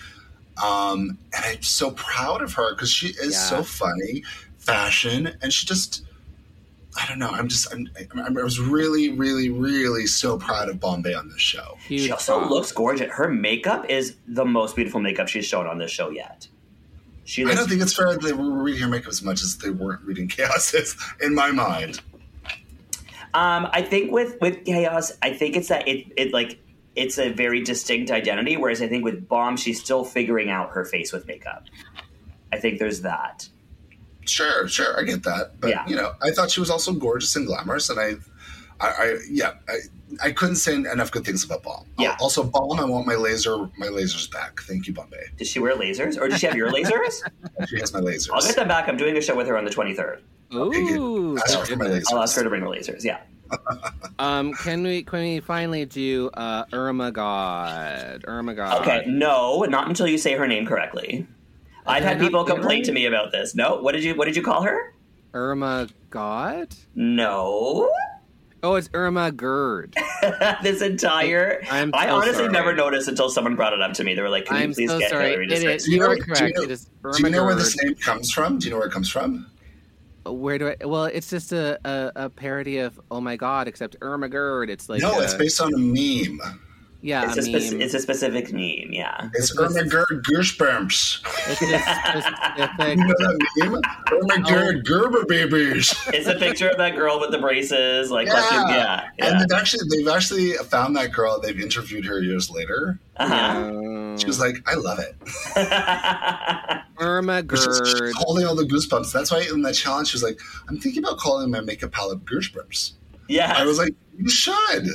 Speaker 9: Um, and I'm so proud of her because she is
Speaker 8: Yeah.
Speaker 9: so funny, fashion, and she just. I don't know. I'm just. I'm, I'm. I was really, really, really so proud of Bombay on this show.
Speaker 8: huge
Speaker 7: She also
Speaker 8: props.
Speaker 7: looks gorgeous. Her makeup is the most beautiful makeup she's shown on this show yet. She
Speaker 9: I
Speaker 7: looks
Speaker 9: don't think it's fair that they were reading her makeup as much as they weren't reading Chaos's. In my mind,
Speaker 7: Um, I think with with chaos, I think it's that it it like it's a very distinct identity. Whereas I think with bomb, she's still figuring out her face with makeup. I think there's that.
Speaker 9: Sure, sure, I get that, but
Speaker 7: Yeah.
Speaker 9: you know, I thought she was also gorgeous and glamorous, and I, I, I yeah, I, I couldn't say enough good things about Balm.
Speaker 7: Yeah.
Speaker 9: Also, Balm, I want my laser, my lasers back. Thank you, Bombay.
Speaker 7: Does she wear lasers, or does she have your lasers?
Speaker 9: She has my lasers.
Speaker 7: I'll get them back. I'm doing a show with her on the 23rd.
Speaker 8: Ooh,
Speaker 9: Ask her for my lasers.
Speaker 7: I'll ask her to bring the lasers. Yeah.
Speaker 8: um can we can we finally do uh irma god irma god
Speaker 9: Uh,
Speaker 7: Okay. No, not until you say her name correctly. I've
Speaker 8: Did I
Speaker 7: had
Speaker 8: not
Speaker 7: people
Speaker 8: get her
Speaker 7: complain to
Speaker 8: name?
Speaker 7: me about this. No, what did you what did you call her?
Speaker 8: irma god
Speaker 7: No.
Speaker 8: oh it's irma gerd
Speaker 7: this entire
Speaker 8: I'm
Speaker 7: I
Speaker 8: so
Speaker 7: honestly
Speaker 8: sorry.
Speaker 7: never noticed until someone brought it up to me. They were like, "Can you
Speaker 8: i'm
Speaker 7: please
Speaker 8: so
Speaker 7: get
Speaker 8: sorry
Speaker 7: Hillary
Speaker 8: it
Speaker 7: to say
Speaker 8: is
Speaker 9: Do you
Speaker 8: you
Speaker 9: know-
Speaker 8: are
Speaker 9: do you
Speaker 8: correct
Speaker 9: know-
Speaker 8: it is irma
Speaker 9: Do you know where
Speaker 8: gerd.
Speaker 9: this name comes from? Do you know where it comes from?
Speaker 8: where do I? Well, it's just a, a, a parody of Oh My God, except Irma Gerd. It's like uh,
Speaker 9: no,
Speaker 8: a,
Speaker 9: it's based on a meme.
Speaker 8: yeah,
Speaker 7: It's
Speaker 8: a
Speaker 7: a, spec-
Speaker 8: meme.
Speaker 7: it's a specific meme, yeah.
Speaker 9: It's Irma Gerd Gershberms.
Speaker 8: It's a specific.
Speaker 9: You know that meme? Irma Gerd Gerber babies.
Speaker 7: It's a picture of that girl with the braces, like,
Speaker 9: Yeah.
Speaker 7: like, yeah, yeah.
Speaker 9: And they've actually they've actually found that girl. They've interviewed her years later.
Speaker 7: Uh-huh.
Speaker 9: She was like, "I love it."
Speaker 8: Irma Gerd.
Speaker 9: She's holding all the goosebumps. That's why in that challenge, she was like, "I'm thinking about calling my makeup palette goosebumps."
Speaker 7: Yes,
Speaker 9: I was like, "You should."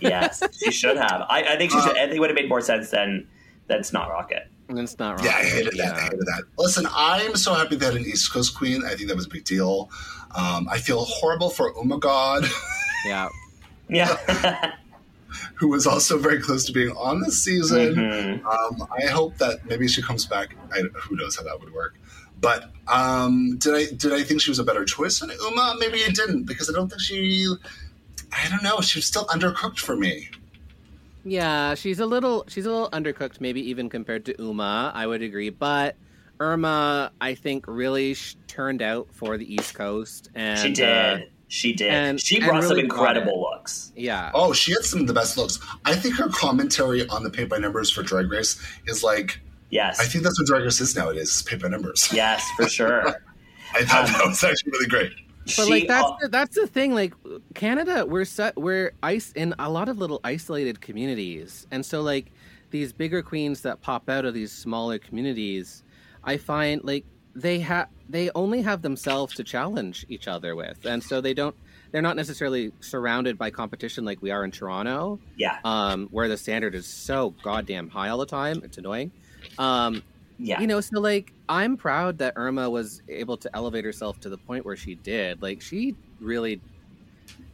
Speaker 7: yes, she should have. I, I think she
Speaker 9: Uh,
Speaker 7: should. I think it would have made more sense than than Snot Rocket.
Speaker 8: And it's not wrong.
Speaker 9: Yeah, I hated that. I
Speaker 8: Yeah.
Speaker 9: hated that. Listen, I'm so happy they had an East Coast queen. I think that was a big deal. Um, I feel horrible for Uma Oh God.
Speaker 8: Yeah.
Speaker 7: Yeah.
Speaker 9: who was also very close to being on this season. Um, I hope that maybe she comes back. I, who knows how that would work? But um, did I did I think she was a better choice than Uma? Maybe I didn't because I don't think she. I don't know. She was still undercooked for me.
Speaker 8: Yeah, she's a little she's a little undercooked, maybe even compared to Uma. I would agree, but Irma, I think, really sh- turned out for the East Coast, and
Speaker 7: she
Speaker 8: uh,
Speaker 7: did. She did.
Speaker 8: and-
Speaker 7: she
Speaker 8: and
Speaker 7: brought some
Speaker 8: really brought it.
Speaker 7: incredible looks.
Speaker 8: yeah,
Speaker 9: Oh, she had some of the best looks. I think her commentary on the paint by numbers for Drag Race is like.
Speaker 7: Yes.
Speaker 9: I think that's what Drag Race is nowadays. Is paint by numbers.
Speaker 7: yes, for sure.
Speaker 9: I thought that was actually really great.
Speaker 8: But
Speaker 7: She-
Speaker 8: like that's the, that's the thing. Like Canada, we're su- we're ice in a lot of little isolated communities, and so like these bigger queens that pop out of these smaller communities, I find like they have they only have themselves to challenge each other with, and so they don't they're not necessarily surrounded by competition like we are in Toronto
Speaker 7: yeah.
Speaker 8: um, where the standard is so goddamn high all the time. It's annoying. Um,
Speaker 7: Yeah.
Speaker 8: You know, so like, I'm proud that Irma was able to elevate herself to the point where she did. Like, she really,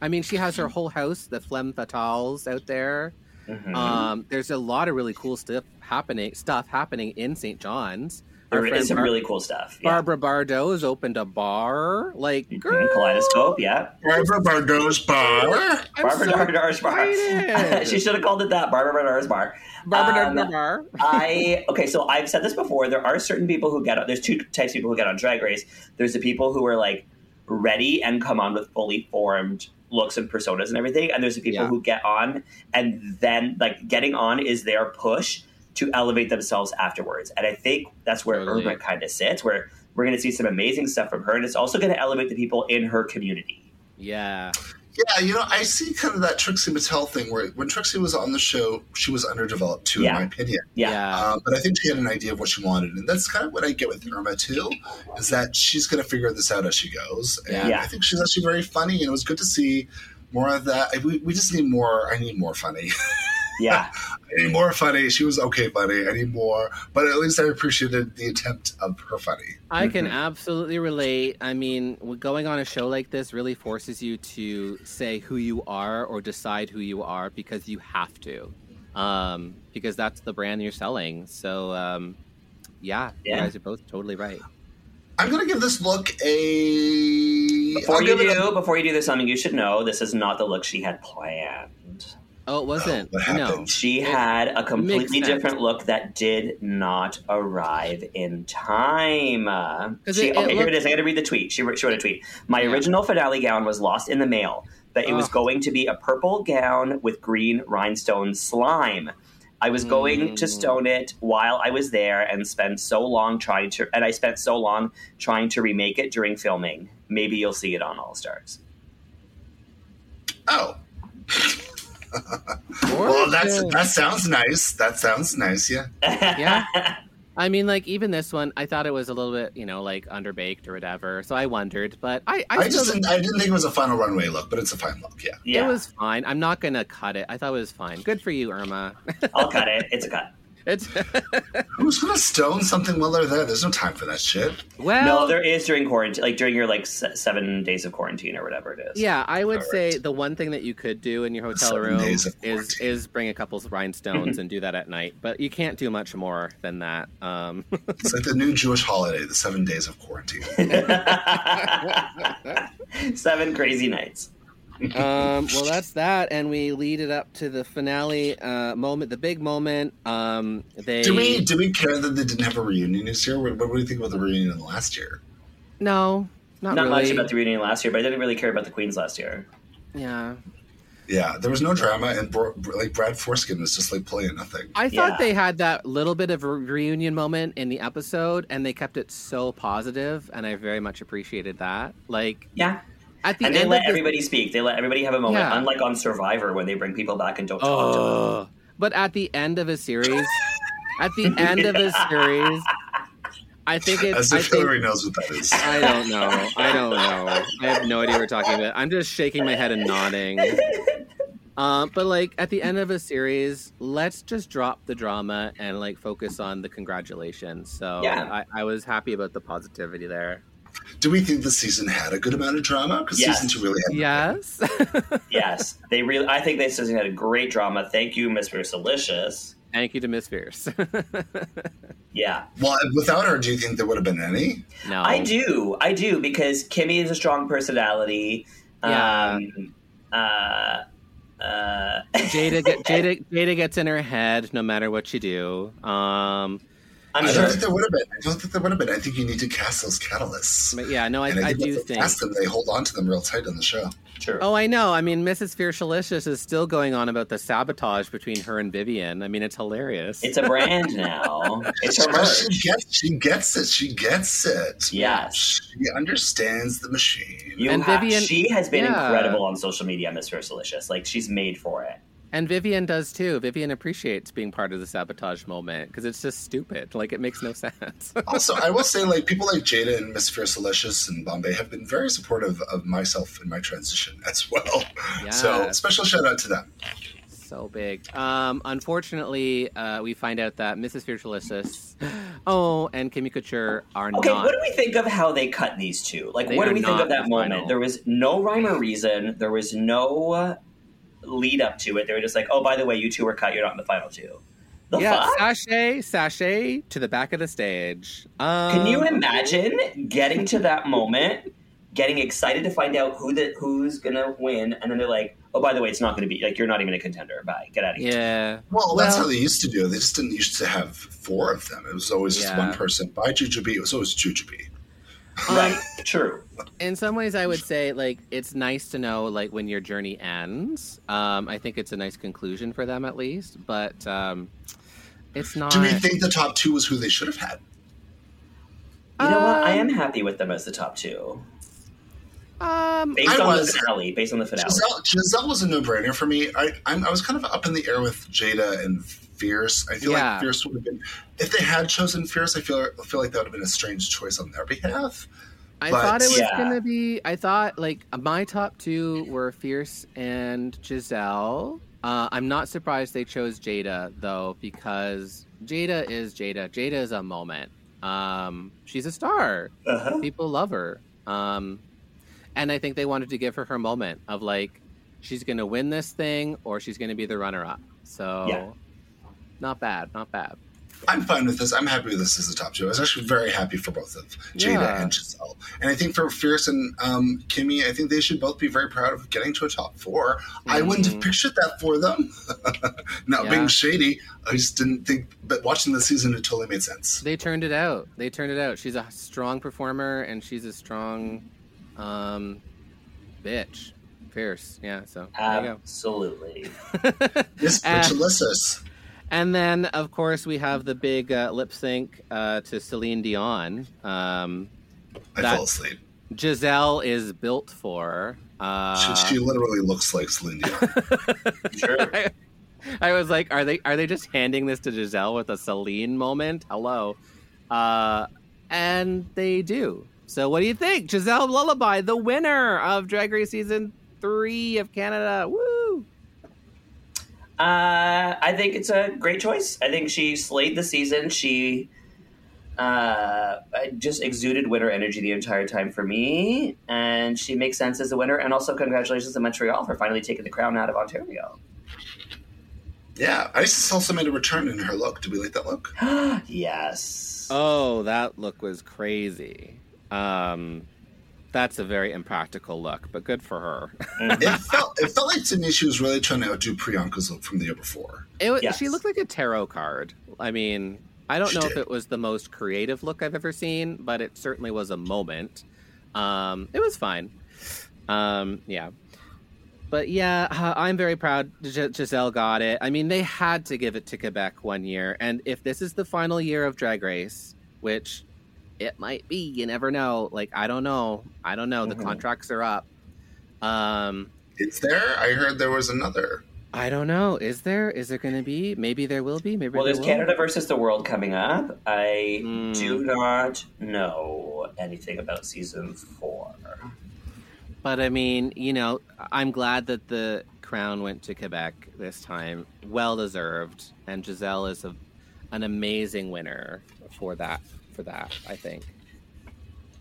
Speaker 8: I mean, she has her
Speaker 7: Mm-hmm.
Speaker 8: whole house, the Flem Fatales out there.
Speaker 7: Mm-hmm.
Speaker 8: Um, there's a lot of really cool stuff happening, stuff happening in St. John's. Our
Speaker 7: there
Speaker 8: friend
Speaker 7: is some
Speaker 8: Bar-
Speaker 7: really cool stuff. Yeah.
Speaker 8: Barbara Bardo has opened a bar. Like, girl,
Speaker 7: Mhm, Kaleidoscope, yeah.
Speaker 9: Barbara Bardot's bar.
Speaker 8: I'm
Speaker 7: Barbara
Speaker 8: so
Speaker 7: Dardar's bar.
Speaker 8: excited.
Speaker 7: she should have called it that. Barbara Dardar's bar.
Speaker 8: Barbara
Speaker 7: Um,
Speaker 8: Dardo bar.
Speaker 7: I okay, so I've said this before. There are certain people who get on. There's two types of people who get on Drag Race. There's the people who are like ready and come on with fully formed looks and personas and everything, and there's the people
Speaker 8: Yeah.
Speaker 7: who get on and then like getting on is their push to elevate themselves afterwards. And I think that's where
Speaker 8: Totally.
Speaker 7: Irma kind of sits, where we're going to see some amazing stuff from her, and it's also going to elevate the people in her community.
Speaker 8: Yeah.
Speaker 9: Yeah, you know, I see kind of that Trixie Mattel thing where when Trixie was on the show, she was underdeveloped too,
Speaker 7: Yeah. Uh.
Speaker 9: in my opinion.
Speaker 7: Yeah.
Speaker 9: Um, but I think she had an idea of what she wanted, and that's kind of what I get with Irma too, is that she's going to figure this out as she goes. And
Speaker 7: Yeah.
Speaker 9: I think she's actually very funny, and it was good to see more of that. I- We, we just need more. I need more funny.
Speaker 7: Yeah.
Speaker 9: I need more funny. She was okay funny. I need more, but at least I appreciated the attempt of her funny.
Speaker 8: I can absolutely relate. I mean, w- going on a show like this really forces you to say who you are or decide who you are because you have to, um, because that's the brand you're selling. So, um, yeah, you
Speaker 7: Yeah.
Speaker 8: guys are both totally right.
Speaker 9: I'm going to give this look a.
Speaker 7: Before
Speaker 9: I'll
Speaker 7: you
Speaker 9: give it a-
Speaker 7: do, before you do, there's something you should know. This is not the look she had planned.
Speaker 8: Oh, it wasn't.
Speaker 9: What
Speaker 8: no.
Speaker 9: happened?
Speaker 7: She had a completely
Speaker 8: sense.
Speaker 7: different look that did not arrive in time. Uh,
Speaker 8: 'Cause
Speaker 7: She,
Speaker 8: it- it
Speaker 7: okay, here it
Speaker 8: looked-
Speaker 7: is. I got to read the tweet. She wrote, she wrote a tweet. My
Speaker 8: Yeah.
Speaker 7: original finale gown was lost in the mail, but it was
Speaker 8: Ugh.
Speaker 7: going to be a purple gown with green rhinestone slime. I was going
Speaker 8: Mm.
Speaker 7: to stone it while I was there and spend so long trying to, and I spent so long trying to remake it during filming. Maybe you'll see it on All Stars.
Speaker 9: Oh. Well, that's that sounds nice. That sounds nice. Yeah.
Speaker 8: yeah. I mean, like even this one, I thought it was a little bit, you know, like underbaked or whatever. So I wondered, but I, I,
Speaker 9: I
Speaker 8: still
Speaker 9: just didn't, I didn't think it was a final runway look, but it's a fine look. Yeah.
Speaker 7: Yeah,
Speaker 8: it was fine. I'm not gonna cut it. I thought it was fine. Good for you, Irma.
Speaker 7: I'll cut it. It's a cut.
Speaker 8: it's
Speaker 9: Who's gonna stone something while they're there? There's no time for that shit.
Speaker 8: well.
Speaker 7: No, there is during quarantine, like during your like s- seven days of quarantine or whatever it is.
Speaker 8: Yeah, I would say
Speaker 9: Correct.
Speaker 8: the one thing that you could do in your hotel
Speaker 9: Seven
Speaker 8: room
Speaker 9: days of
Speaker 8: is
Speaker 9: quarantine.
Speaker 8: is bring a couple of rhinestones and do that at night. But you can't do much more than that. Um,
Speaker 9: It's like the new Jewish holiday, the seven days of quarantine.
Speaker 7: seven crazy nights.
Speaker 8: um, well, that's that, and we lead it up to the finale uh, moment, the big moment. Um, they
Speaker 9: do we do we care that they didn't have a reunion this year? What, what do we think about the reunion last year?
Speaker 8: no, not,
Speaker 7: Not
Speaker 8: really.
Speaker 7: much about the reunion last year, but I didn't really care about the Queens last year.
Speaker 8: yeah.
Speaker 9: Yeah, there was no drama, and bro, like Brad Forskin was just like playing nothing.
Speaker 8: I thought
Speaker 7: Yeah.
Speaker 8: they had that little bit of a reunion moment in the episode, and they kept it so positive, and I very much appreciated that. Like
Speaker 7: Yeah.
Speaker 8: at the
Speaker 7: And they
Speaker 8: end,
Speaker 7: let
Speaker 8: of the-
Speaker 7: everybody speak. They let everybody have a moment,
Speaker 8: Yeah.
Speaker 7: unlike on Survivor when they bring people back and don't talk to them.
Speaker 8: Oh. But at the end of a series, at the end of a series, I think it's.
Speaker 9: As
Speaker 8: I,
Speaker 9: if Hillary
Speaker 8: think,
Speaker 9: knows what that is.
Speaker 8: I don't know. I don't know. I have no idea what we're talking about. I'm just shaking my head and nodding. Um, but like at the end of a series, let's just drop the drama and like focus on the congratulations. So
Speaker 7: Yeah.
Speaker 8: I, I was happy about the positivity there.
Speaker 9: Do we think the season had a good amount of drama? Because
Speaker 7: Yes.
Speaker 9: season two really had.
Speaker 8: Yes.
Speaker 7: yes, they really. I think they said they had a great drama. Thank you, Miss Delicious.
Speaker 8: Thank you to Miss Fierce.
Speaker 7: Yeah,
Speaker 9: Well, without her, do you think there would have been any?
Speaker 8: no.
Speaker 7: I do. I do because Kimmy is a strong personality.
Speaker 8: Yeah.
Speaker 7: Um, uh, uh,
Speaker 8: Jada, get, Jada, Jada gets in her head no matter what you do. Um,
Speaker 7: I'm
Speaker 9: I
Speaker 7: sure.
Speaker 9: don't think there would have been. I don't think there would have been. I think you need to cast those catalysts.
Speaker 8: but yeah, no, I,
Speaker 9: And
Speaker 8: I
Speaker 9: once
Speaker 8: do
Speaker 9: they
Speaker 8: think.
Speaker 9: Cast them. They hold on to them real tight on the show.
Speaker 7: True.
Speaker 8: Oh, I know. I mean, Mrs. Fiercelicious is still going on about the sabotage between her and Vivian. I mean, it's hilarious.
Speaker 7: It's a brand now. It's her
Speaker 9: She
Speaker 7: merch.
Speaker 9: gets. She gets it. She gets it.
Speaker 7: Yes.
Speaker 9: She understands the machine.
Speaker 7: You
Speaker 8: And
Speaker 7: have,
Speaker 8: Vivian-
Speaker 7: she has been
Speaker 8: yeah.
Speaker 7: incredible on social media, Miss Delicious. Like she's made for it.
Speaker 8: and Vivian does too. Vivian appreciates being part of the sabotage moment because it's just stupid. Like, it makes no sense.
Speaker 9: also, I will say, like people like Jada and Miss Fierce Delicious and Bombay have been very supportive of myself and my transition as well. So,
Speaker 8: Yes.
Speaker 9: special shout out to them.
Speaker 8: so big. Um, unfortunately, uh, we find out that Mrs. Fiercelicious, oh, and Kimmy Couture are
Speaker 7: Okay,
Speaker 8: not.
Speaker 7: what do we think of how they cut these two? Like,
Speaker 8: They
Speaker 7: what
Speaker 8: are
Speaker 7: do we think
Speaker 8: not
Speaker 7: of that
Speaker 8: the
Speaker 7: moment?
Speaker 8: final.
Speaker 7: There was no rhyme or reason. There was no uh, lead up to it. They were just like, "Oh, by the way, you two were cut. You're not in the final two. The
Speaker 8: yeah,
Speaker 7: fuck?
Speaker 8: sashay, sashay to the back of the stage. Um,
Speaker 7: Can you imagine getting to that moment, getting excited to find out who the who's gonna win, and then they're like, "Oh, by the way, it's not gonna be like you're not even a contender. Bye, get out of here."
Speaker 8: Yeah.
Speaker 9: Well, that's how they used to do it. They just didn't used to have four of them. It was always just
Speaker 8: Yeah.
Speaker 9: one person. By Jujubee, it was always Jujubee. Um,
Speaker 7: Right? True.
Speaker 8: in some ways i would say like it's nice to know like when your journey ends um i think it's a nice conclusion for them at least but um it's not
Speaker 9: Do we think the top two was who they should have had?
Speaker 7: You know what? I am happy with them as the top two.
Speaker 8: um
Speaker 7: Based
Speaker 9: I
Speaker 7: on the
Speaker 9: was-
Speaker 7: finale, based on the finale.
Speaker 9: Giselle, Giselle was a no-brainer for me. I, I'm, I was kind of up in the air with Jada and Fierce. I feel
Speaker 8: Yeah.
Speaker 9: like Fierce would have been if they had chosen Fierce. I feel I feel like that would have been a strange choice on their behalf.
Speaker 8: i
Speaker 9: but-
Speaker 8: thought it was
Speaker 7: Yeah.
Speaker 8: gonna be i thought like uh, my top two were fierce and giselle uh, i'm not surprised they chose jada though because jada is jada jada is a moment um she's a star
Speaker 7: Uh-huh.
Speaker 8: people love her um and i think they wanted to give her her moment of like she's gonna win this thing or she's gonna be the runner-up so
Speaker 7: Yeah.
Speaker 8: not bad not bad
Speaker 9: I'm fine with this. I'm happy with this as a top two. I was actually very happy for both of Jada
Speaker 8: Yeah.
Speaker 9: and Giselle. And I think for Fierce and um, Kimmy, I think they should both be very proud of getting to a top 4 I wouldn't have pictured that for them. Not
Speaker 8: Mm-hmm. Yeah.
Speaker 9: being shady, I just didn't think. But watching the season, it totally made sense.
Speaker 8: they turned it out they turned it out she's a strong performer and she's a strong um bitch fierce yeah so Oh, there
Speaker 7: Ah.
Speaker 8: you go
Speaker 7: Absolutely.
Speaker 9: This
Speaker 8: Uh,
Speaker 9: Alyssa.
Speaker 8: And then, of course, we have the big uh, lip sync uh, to Celine Dion. Um,
Speaker 9: I
Speaker 8: that-
Speaker 9: fell asleep.
Speaker 8: Giselle is built for.
Speaker 9: She,
Speaker 8: Uh,
Speaker 9: she literally looks like Celine Dion.
Speaker 7: Sure.
Speaker 8: I was like, are they are they just handing this to Giselle with a Celine moment? Hello, uh, and they do. So, what do you think, Giselle Lullaby, the winner of Drag Race season three of Canada? Woo!
Speaker 7: Uh, I think it's a great choice. I think she slayed the season. She uh, just exuded winner energy the entire time for me, and she makes sense as a winner. And also, congratulations to Montreal for finally taking the crown out of Ontario.
Speaker 9: yeah, Isis also made a return in her look. Did we like that look?
Speaker 7: Yes.
Speaker 8: Oh, that look was crazy. Um, that's a very impractical look, but good for her.
Speaker 9: it felt it felt like to me she was really trying to outdo Priyanka's look from the year before.
Speaker 8: It was,
Speaker 7: Yes.
Speaker 8: She looked like a tarot card. I mean, I don't
Speaker 9: She
Speaker 8: know if
Speaker 9: did.
Speaker 8: it was the most creative look I've ever seen, but it certainly was a moment. Um, it was fine. Um, yeah. But yeah, uh, I'm very proud G- Giselle got it. I mean, they had to give it to Quebec one year. And if this is the final year of Drag Race, which it might be, you never know. Like, I don't know. I don't know. The contracts are up. Um,
Speaker 9: It's there. I heard there was another.
Speaker 8: I don't know. Is there? Is there going to be? Maybe there will be. Maybe
Speaker 7: Well,
Speaker 8: there
Speaker 7: there's
Speaker 8: will
Speaker 7: Canada versus the world coming up. I
Speaker 8: Mm.
Speaker 7: do not know anything about season four.
Speaker 8: But I mean, you know, I'm glad that the crown went to Quebec this time. Well deserved. And Giselle is a, an amazing winner for that. For that, I think.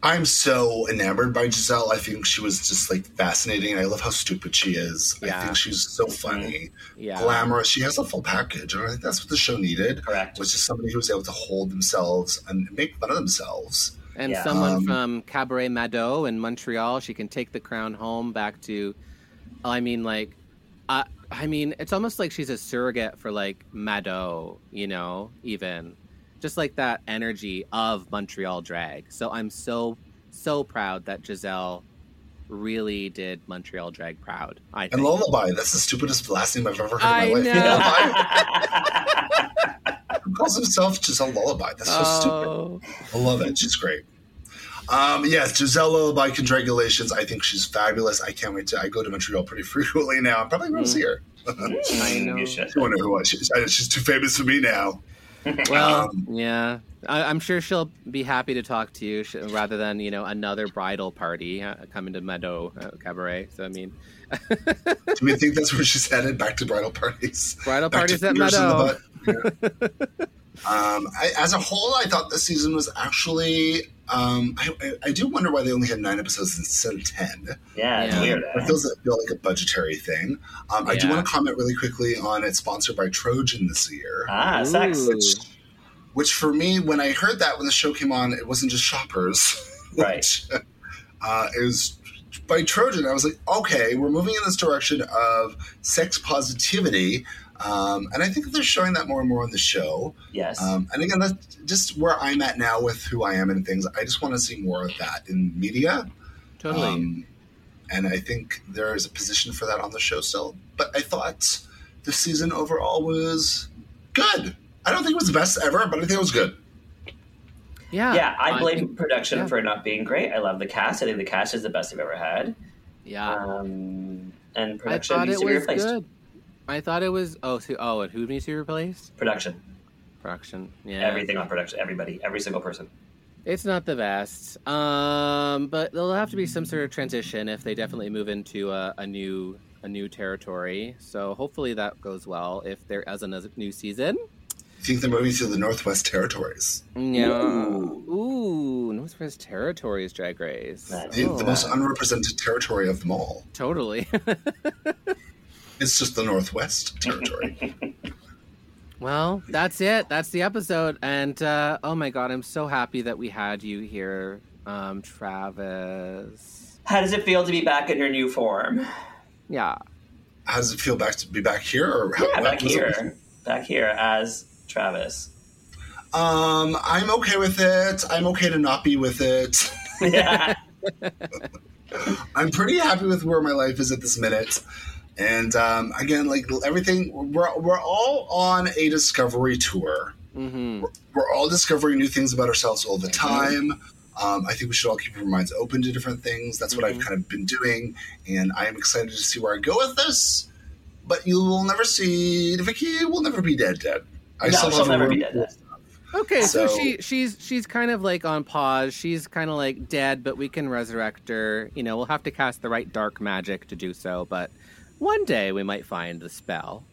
Speaker 9: I'm so enamored by Giselle. I think she was just like fascinating. I love how stupid she is. I
Speaker 8: Yeah. Mm-hmm.
Speaker 9: think she's so funny,
Speaker 8: Yeah.
Speaker 9: glamorous. She has a full package, and I think that's what the show needed.
Speaker 7: Correct.
Speaker 9: Was just somebody who was able to hold themselves and make fun of themselves.
Speaker 8: And
Speaker 7: Yeah.
Speaker 8: someone from Cabaret Mado in Montreal, she can take the crown home back to. I mean, like, I, I mean, it's almost like she's a surrogate for like Mado, you know, even just like that energy of Montreal drag. So I'm so so proud that Giselle really did Montreal drag proud. I
Speaker 9: And
Speaker 8: think.
Speaker 9: lullaby. That's the stupidest last name I've ever heard
Speaker 8: I
Speaker 9: in my life.
Speaker 8: know.
Speaker 9: Lullaby. who calls himself Giselle Lullaby? That's so stupid.
Speaker 8: oh,
Speaker 9: I love it. She's great. Um, yes, Giselle Lullaby Congratulations. I think she's fabulous. I can't wait to. I go to Montreal pretty frequently now. I'm probably going to see her.
Speaker 8: I know.
Speaker 7: Hmm. You should.
Speaker 9: I wonder who I she's. I- She's too famous for me now.
Speaker 8: Well,
Speaker 9: Um,
Speaker 8: yeah, I, I'm sure she'll be happy to talk to you sh- rather than you know another bridal party uh, coming to Meadow uh, Cabaret. So I mean,
Speaker 9: Do we think that's where she's headed? Back to bridal parties.
Speaker 8: Bridal
Speaker 9: Back to
Speaker 8: parties at
Speaker 9: fingers in the
Speaker 8: Meadow.
Speaker 9: butt. Yeah. um, I, as a whole, I thought this season was actually. Um, I, I, I do wonder why they only had nine episodes instead of ten.
Speaker 7: Yeah, it's
Speaker 8: Yeah.
Speaker 7: weird. eh?
Speaker 9: It feels it feel like a budgetary thing. Um, I do
Speaker 8: Yeah.
Speaker 9: want to comment really quickly on it's sponsored by Trojan this year.
Speaker 7: Ah, sex.
Speaker 8: Ooh.
Speaker 9: which for me, when I heard that when the show came on, it wasn't just shoppers.
Speaker 7: Right.
Speaker 9: Which, uh, it was by Trojan. I was like, okay, we're moving in this direction of sex positivity. Um, and I think they're showing that more and more on the show.
Speaker 7: Yes.
Speaker 9: Um, and again, that's just where I'm at now with who I am and things. I just want to see more of that in media.
Speaker 8: totally.
Speaker 9: Um, and I think there is a position for that on the show still. But I thought the season overall was good. I don't think it was the best ever, but I think it was good.
Speaker 8: yeah,
Speaker 7: yeah, I blame
Speaker 8: think-
Speaker 7: production
Speaker 8: yeah.
Speaker 7: for it not being great. I love the cast. I think the cast is the best I've ever had.
Speaker 8: Yeah,
Speaker 7: Um, and
Speaker 8: Uh, I
Speaker 7: uh, production
Speaker 8: thought
Speaker 7: needs
Speaker 8: it
Speaker 7: to be
Speaker 8: was
Speaker 7: replaced.
Speaker 8: good. I thought it was oh so, oh and who needs to be replaced?
Speaker 7: Production.
Speaker 8: Production. Yeah,
Speaker 7: Everything on production. Everybody. Every single person.
Speaker 8: It's not the best, um, but there'll have to be some sort of transition if they definitely move into a, a new a new territory. So hopefully that goes well if there is a new season.
Speaker 9: I think they're moving to the Northwest Territories.
Speaker 8: Yeah. Ooh, Northwest Territories Drag Race.
Speaker 7: Nice.
Speaker 9: The, the most
Speaker 8: Oh,
Speaker 9: unrepresented territory of them all.
Speaker 8: totally.
Speaker 9: It's just the Northwest Territory.
Speaker 8: well, that's it. That's the episode. And uh, oh my god, I'm so happy that we had you here, um, Travis.
Speaker 7: How does it feel to be back in your new form?
Speaker 8: Yeah.
Speaker 9: how does it feel back to be back here? Or how,
Speaker 7: Yeah, back
Speaker 9: was it-
Speaker 7: here. Back here as Travis.
Speaker 9: Um, I'm okay with it. I'm okay to not be with it.
Speaker 7: Yeah.
Speaker 9: I'm pretty happy with where my life is at this minute. And um, again, like everything, we're, we're all on a discovery tour.
Speaker 8: Mm-hmm.
Speaker 9: We're all discovering new things about ourselves all the
Speaker 7: Mm-hmm.
Speaker 9: time. Um, I think we should all keep our minds open to different things. That's what
Speaker 7: Mm-hmm.
Speaker 9: I've kind of been doing. And I am excited to see where I go with this. But you will never see, Vicky will never be dead, dead. I
Speaker 7: no, she'll never
Speaker 9: room
Speaker 7: be dead.
Speaker 8: Okay, so,
Speaker 9: So-
Speaker 8: she she's she's kind of like on pause. She's kind of like dead, but we can resurrect her. You know, we'll have to cast the right dark magic to do so, but one day we might find the spell.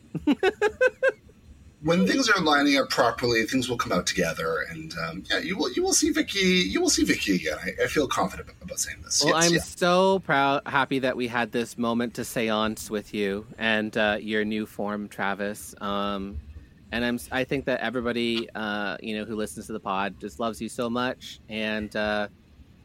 Speaker 9: when things are lining up properly, things will come out together, and um, yeah, you will you will see Vicky you will see Vicky again. I, I feel confident about, about saying this.
Speaker 8: Well,
Speaker 9: Yes,
Speaker 8: I'm
Speaker 9: yeah.
Speaker 8: so proud, happy that we had this moment to seance with you and uh, your new form, Travis. Um, and I'm, I think that everybody, uh, you know, who listens to the pod just loves you so much, and uh,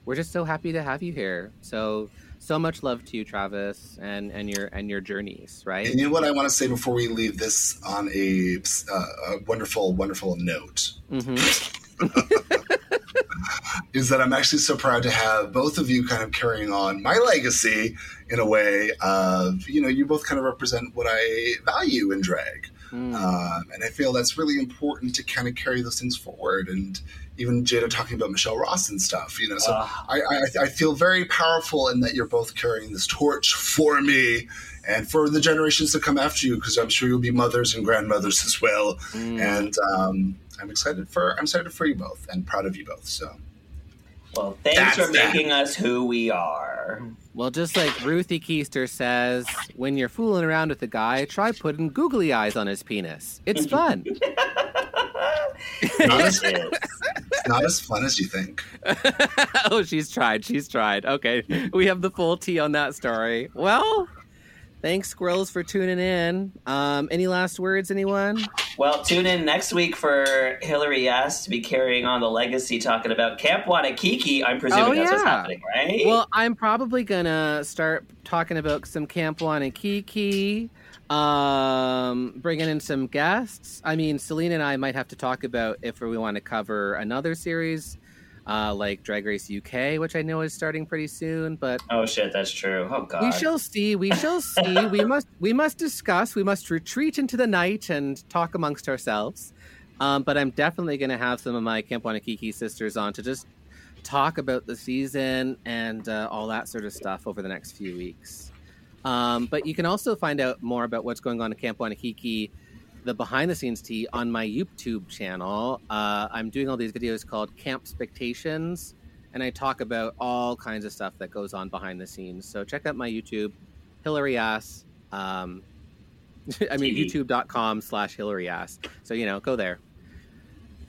Speaker 8: we're just so happy to have you here. So, so much love to you, Travis, and and your and your journeys,
Speaker 9: And
Speaker 8: right?
Speaker 9: you know what I want to say before we leave this on a, uh, a wonderful, wonderful note
Speaker 8: hmm
Speaker 9: is that I'm actually so proud to have both of you kind of carrying on my legacy in a way of, you know, you both kind of represent what I value in drag. Um, and I feel that's really important to kind of carry those things forward. And even Jada talking about Michelle Ross and stuff, you know. So I, I, I feel very powerful in that you're both carrying this torch for me and for the generations to come after you, because I'm sure you'll be mothers and grandmothers as well. And um, I'm excited for I'm excited for you both and proud of you both. So.
Speaker 7: Well, thanks
Speaker 9: That's
Speaker 7: for
Speaker 9: that.
Speaker 7: making us who we are.
Speaker 8: Well, just like Ruthie Keister says, when you're fooling around with a guy, try putting googly eyes on his penis. It's fun.
Speaker 7: It is.
Speaker 9: It's not as fun as you think.
Speaker 8: oh, she's tried. She's tried. Okay. We have the full tea on that story. Well, thanks, squirrels, for tuning in. Um, any last words, anyone?
Speaker 7: Well, tune in next week for Hillary Yes to be carrying on the legacy, talking about Camp Wanakiki. I'm presuming
Speaker 8: Oh,
Speaker 7: that's what's
Speaker 8: yeah.
Speaker 7: happening, right?
Speaker 8: Well, I'm probably gonna start talking about some Camp Wanakiki, um, bringing in some guests. I mean, Celine and I might have to talk about if we want to cover another series, uh, like Drag Race UK, which I know is starting pretty soon. But
Speaker 7: oh shit, that's true. Oh god.
Speaker 8: we shall see. We shall see. we must. We must discuss. We must retreat into the night and talk amongst ourselves. Um, but I'm definitely going to have some of my Camp Wanakiki sisters on to just talk about the season and uh, all that sort of stuff over the next few weeks. Um, but you can also find out more about what's going on at Camp Wanakiki, the behind the scenes tea, on my YouTube channel. Uh, I'm doing all these videos called Camp Spectations, and I talk about all kinds of stuff that goes on behind the scenes. So check out my YouTube, Hillary Ass. Um, I mean,
Speaker 7: TV.
Speaker 8: youtube.com slash Hillary Ass. So, you know, go there.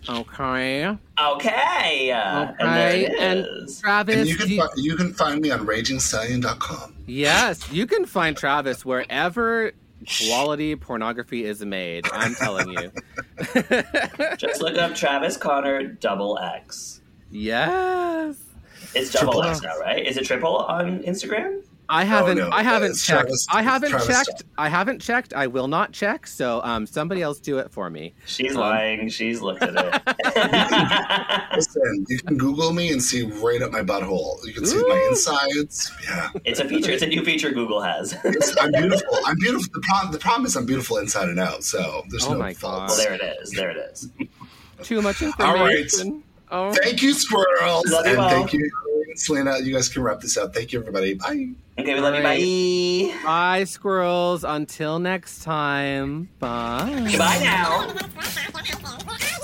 Speaker 8: Okay.
Speaker 7: Okay. Uh, And there
Speaker 8: Okay,
Speaker 7: it
Speaker 8: and
Speaker 7: is.
Speaker 8: Travis,
Speaker 9: And you can
Speaker 8: do-
Speaker 9: fi- you can find me on RagingStallion.com.
Speaker 8: yes, you can find Travis wherever quality pornography is made. I'm telling you.
Speaker 7: Just look up Travis Connor double X.
Speaker 8: Yes,
Speaker 7: It's double
Speaker 9: Triple
Speaker 7: X
Speaker 9: X.
Speaker 7: now, right? Is it triple on Instagram?
Speaker 8: I haven't.
Speaker 9: Oh, no,
Speaker 8: I haven't
Speaker 9: it's
Speaker 8: checked.
Speaker 9: Travis-
Speaker 8: I haven't
Speaker 9: Travis
Speaker 8: checked.
Speaker 9: Scott.
Speaker 8: I haven't checked. I will not check. So, um, somebody else do it for me.
Speaker 7: She's
Speaker 8: Um,
Speaker 7: lying. She's looked at it.
Speaker 9: Listen, you can Google me and see right up my butthole. You can see my insides. Yeah,
Speaker 7: It's a feature. It's a new feature Google has.
Speaker 9: It's- I'm beautiful. I'm beautiful. The problem, the problem is I'm beautiful inside and out. So there's
Speaker 8: Oh
Speaker 9: no
Speaker 8: my
Speaker 9: faults.
Speaker 8: God.
Speaker 7: there it is. There it is.
Speaker 8: Too much
Speaker 9: All right.
Speaker 8: information. All right.
Speaker 9: Thank you, squirrels,
Speaker 7: Love you
Speaker 9: and
Speaker 7: all.
Speaker 9: thank you, Selena. You guys can wrap this up. Thank you, everybody. Bye.
Speaker 7: Okay, we love you. Bye.
Speaker 8: Bye, squirrels. Until next time. Bye.
Speaker 7: Goodbye now.
Speaker 10: Bye.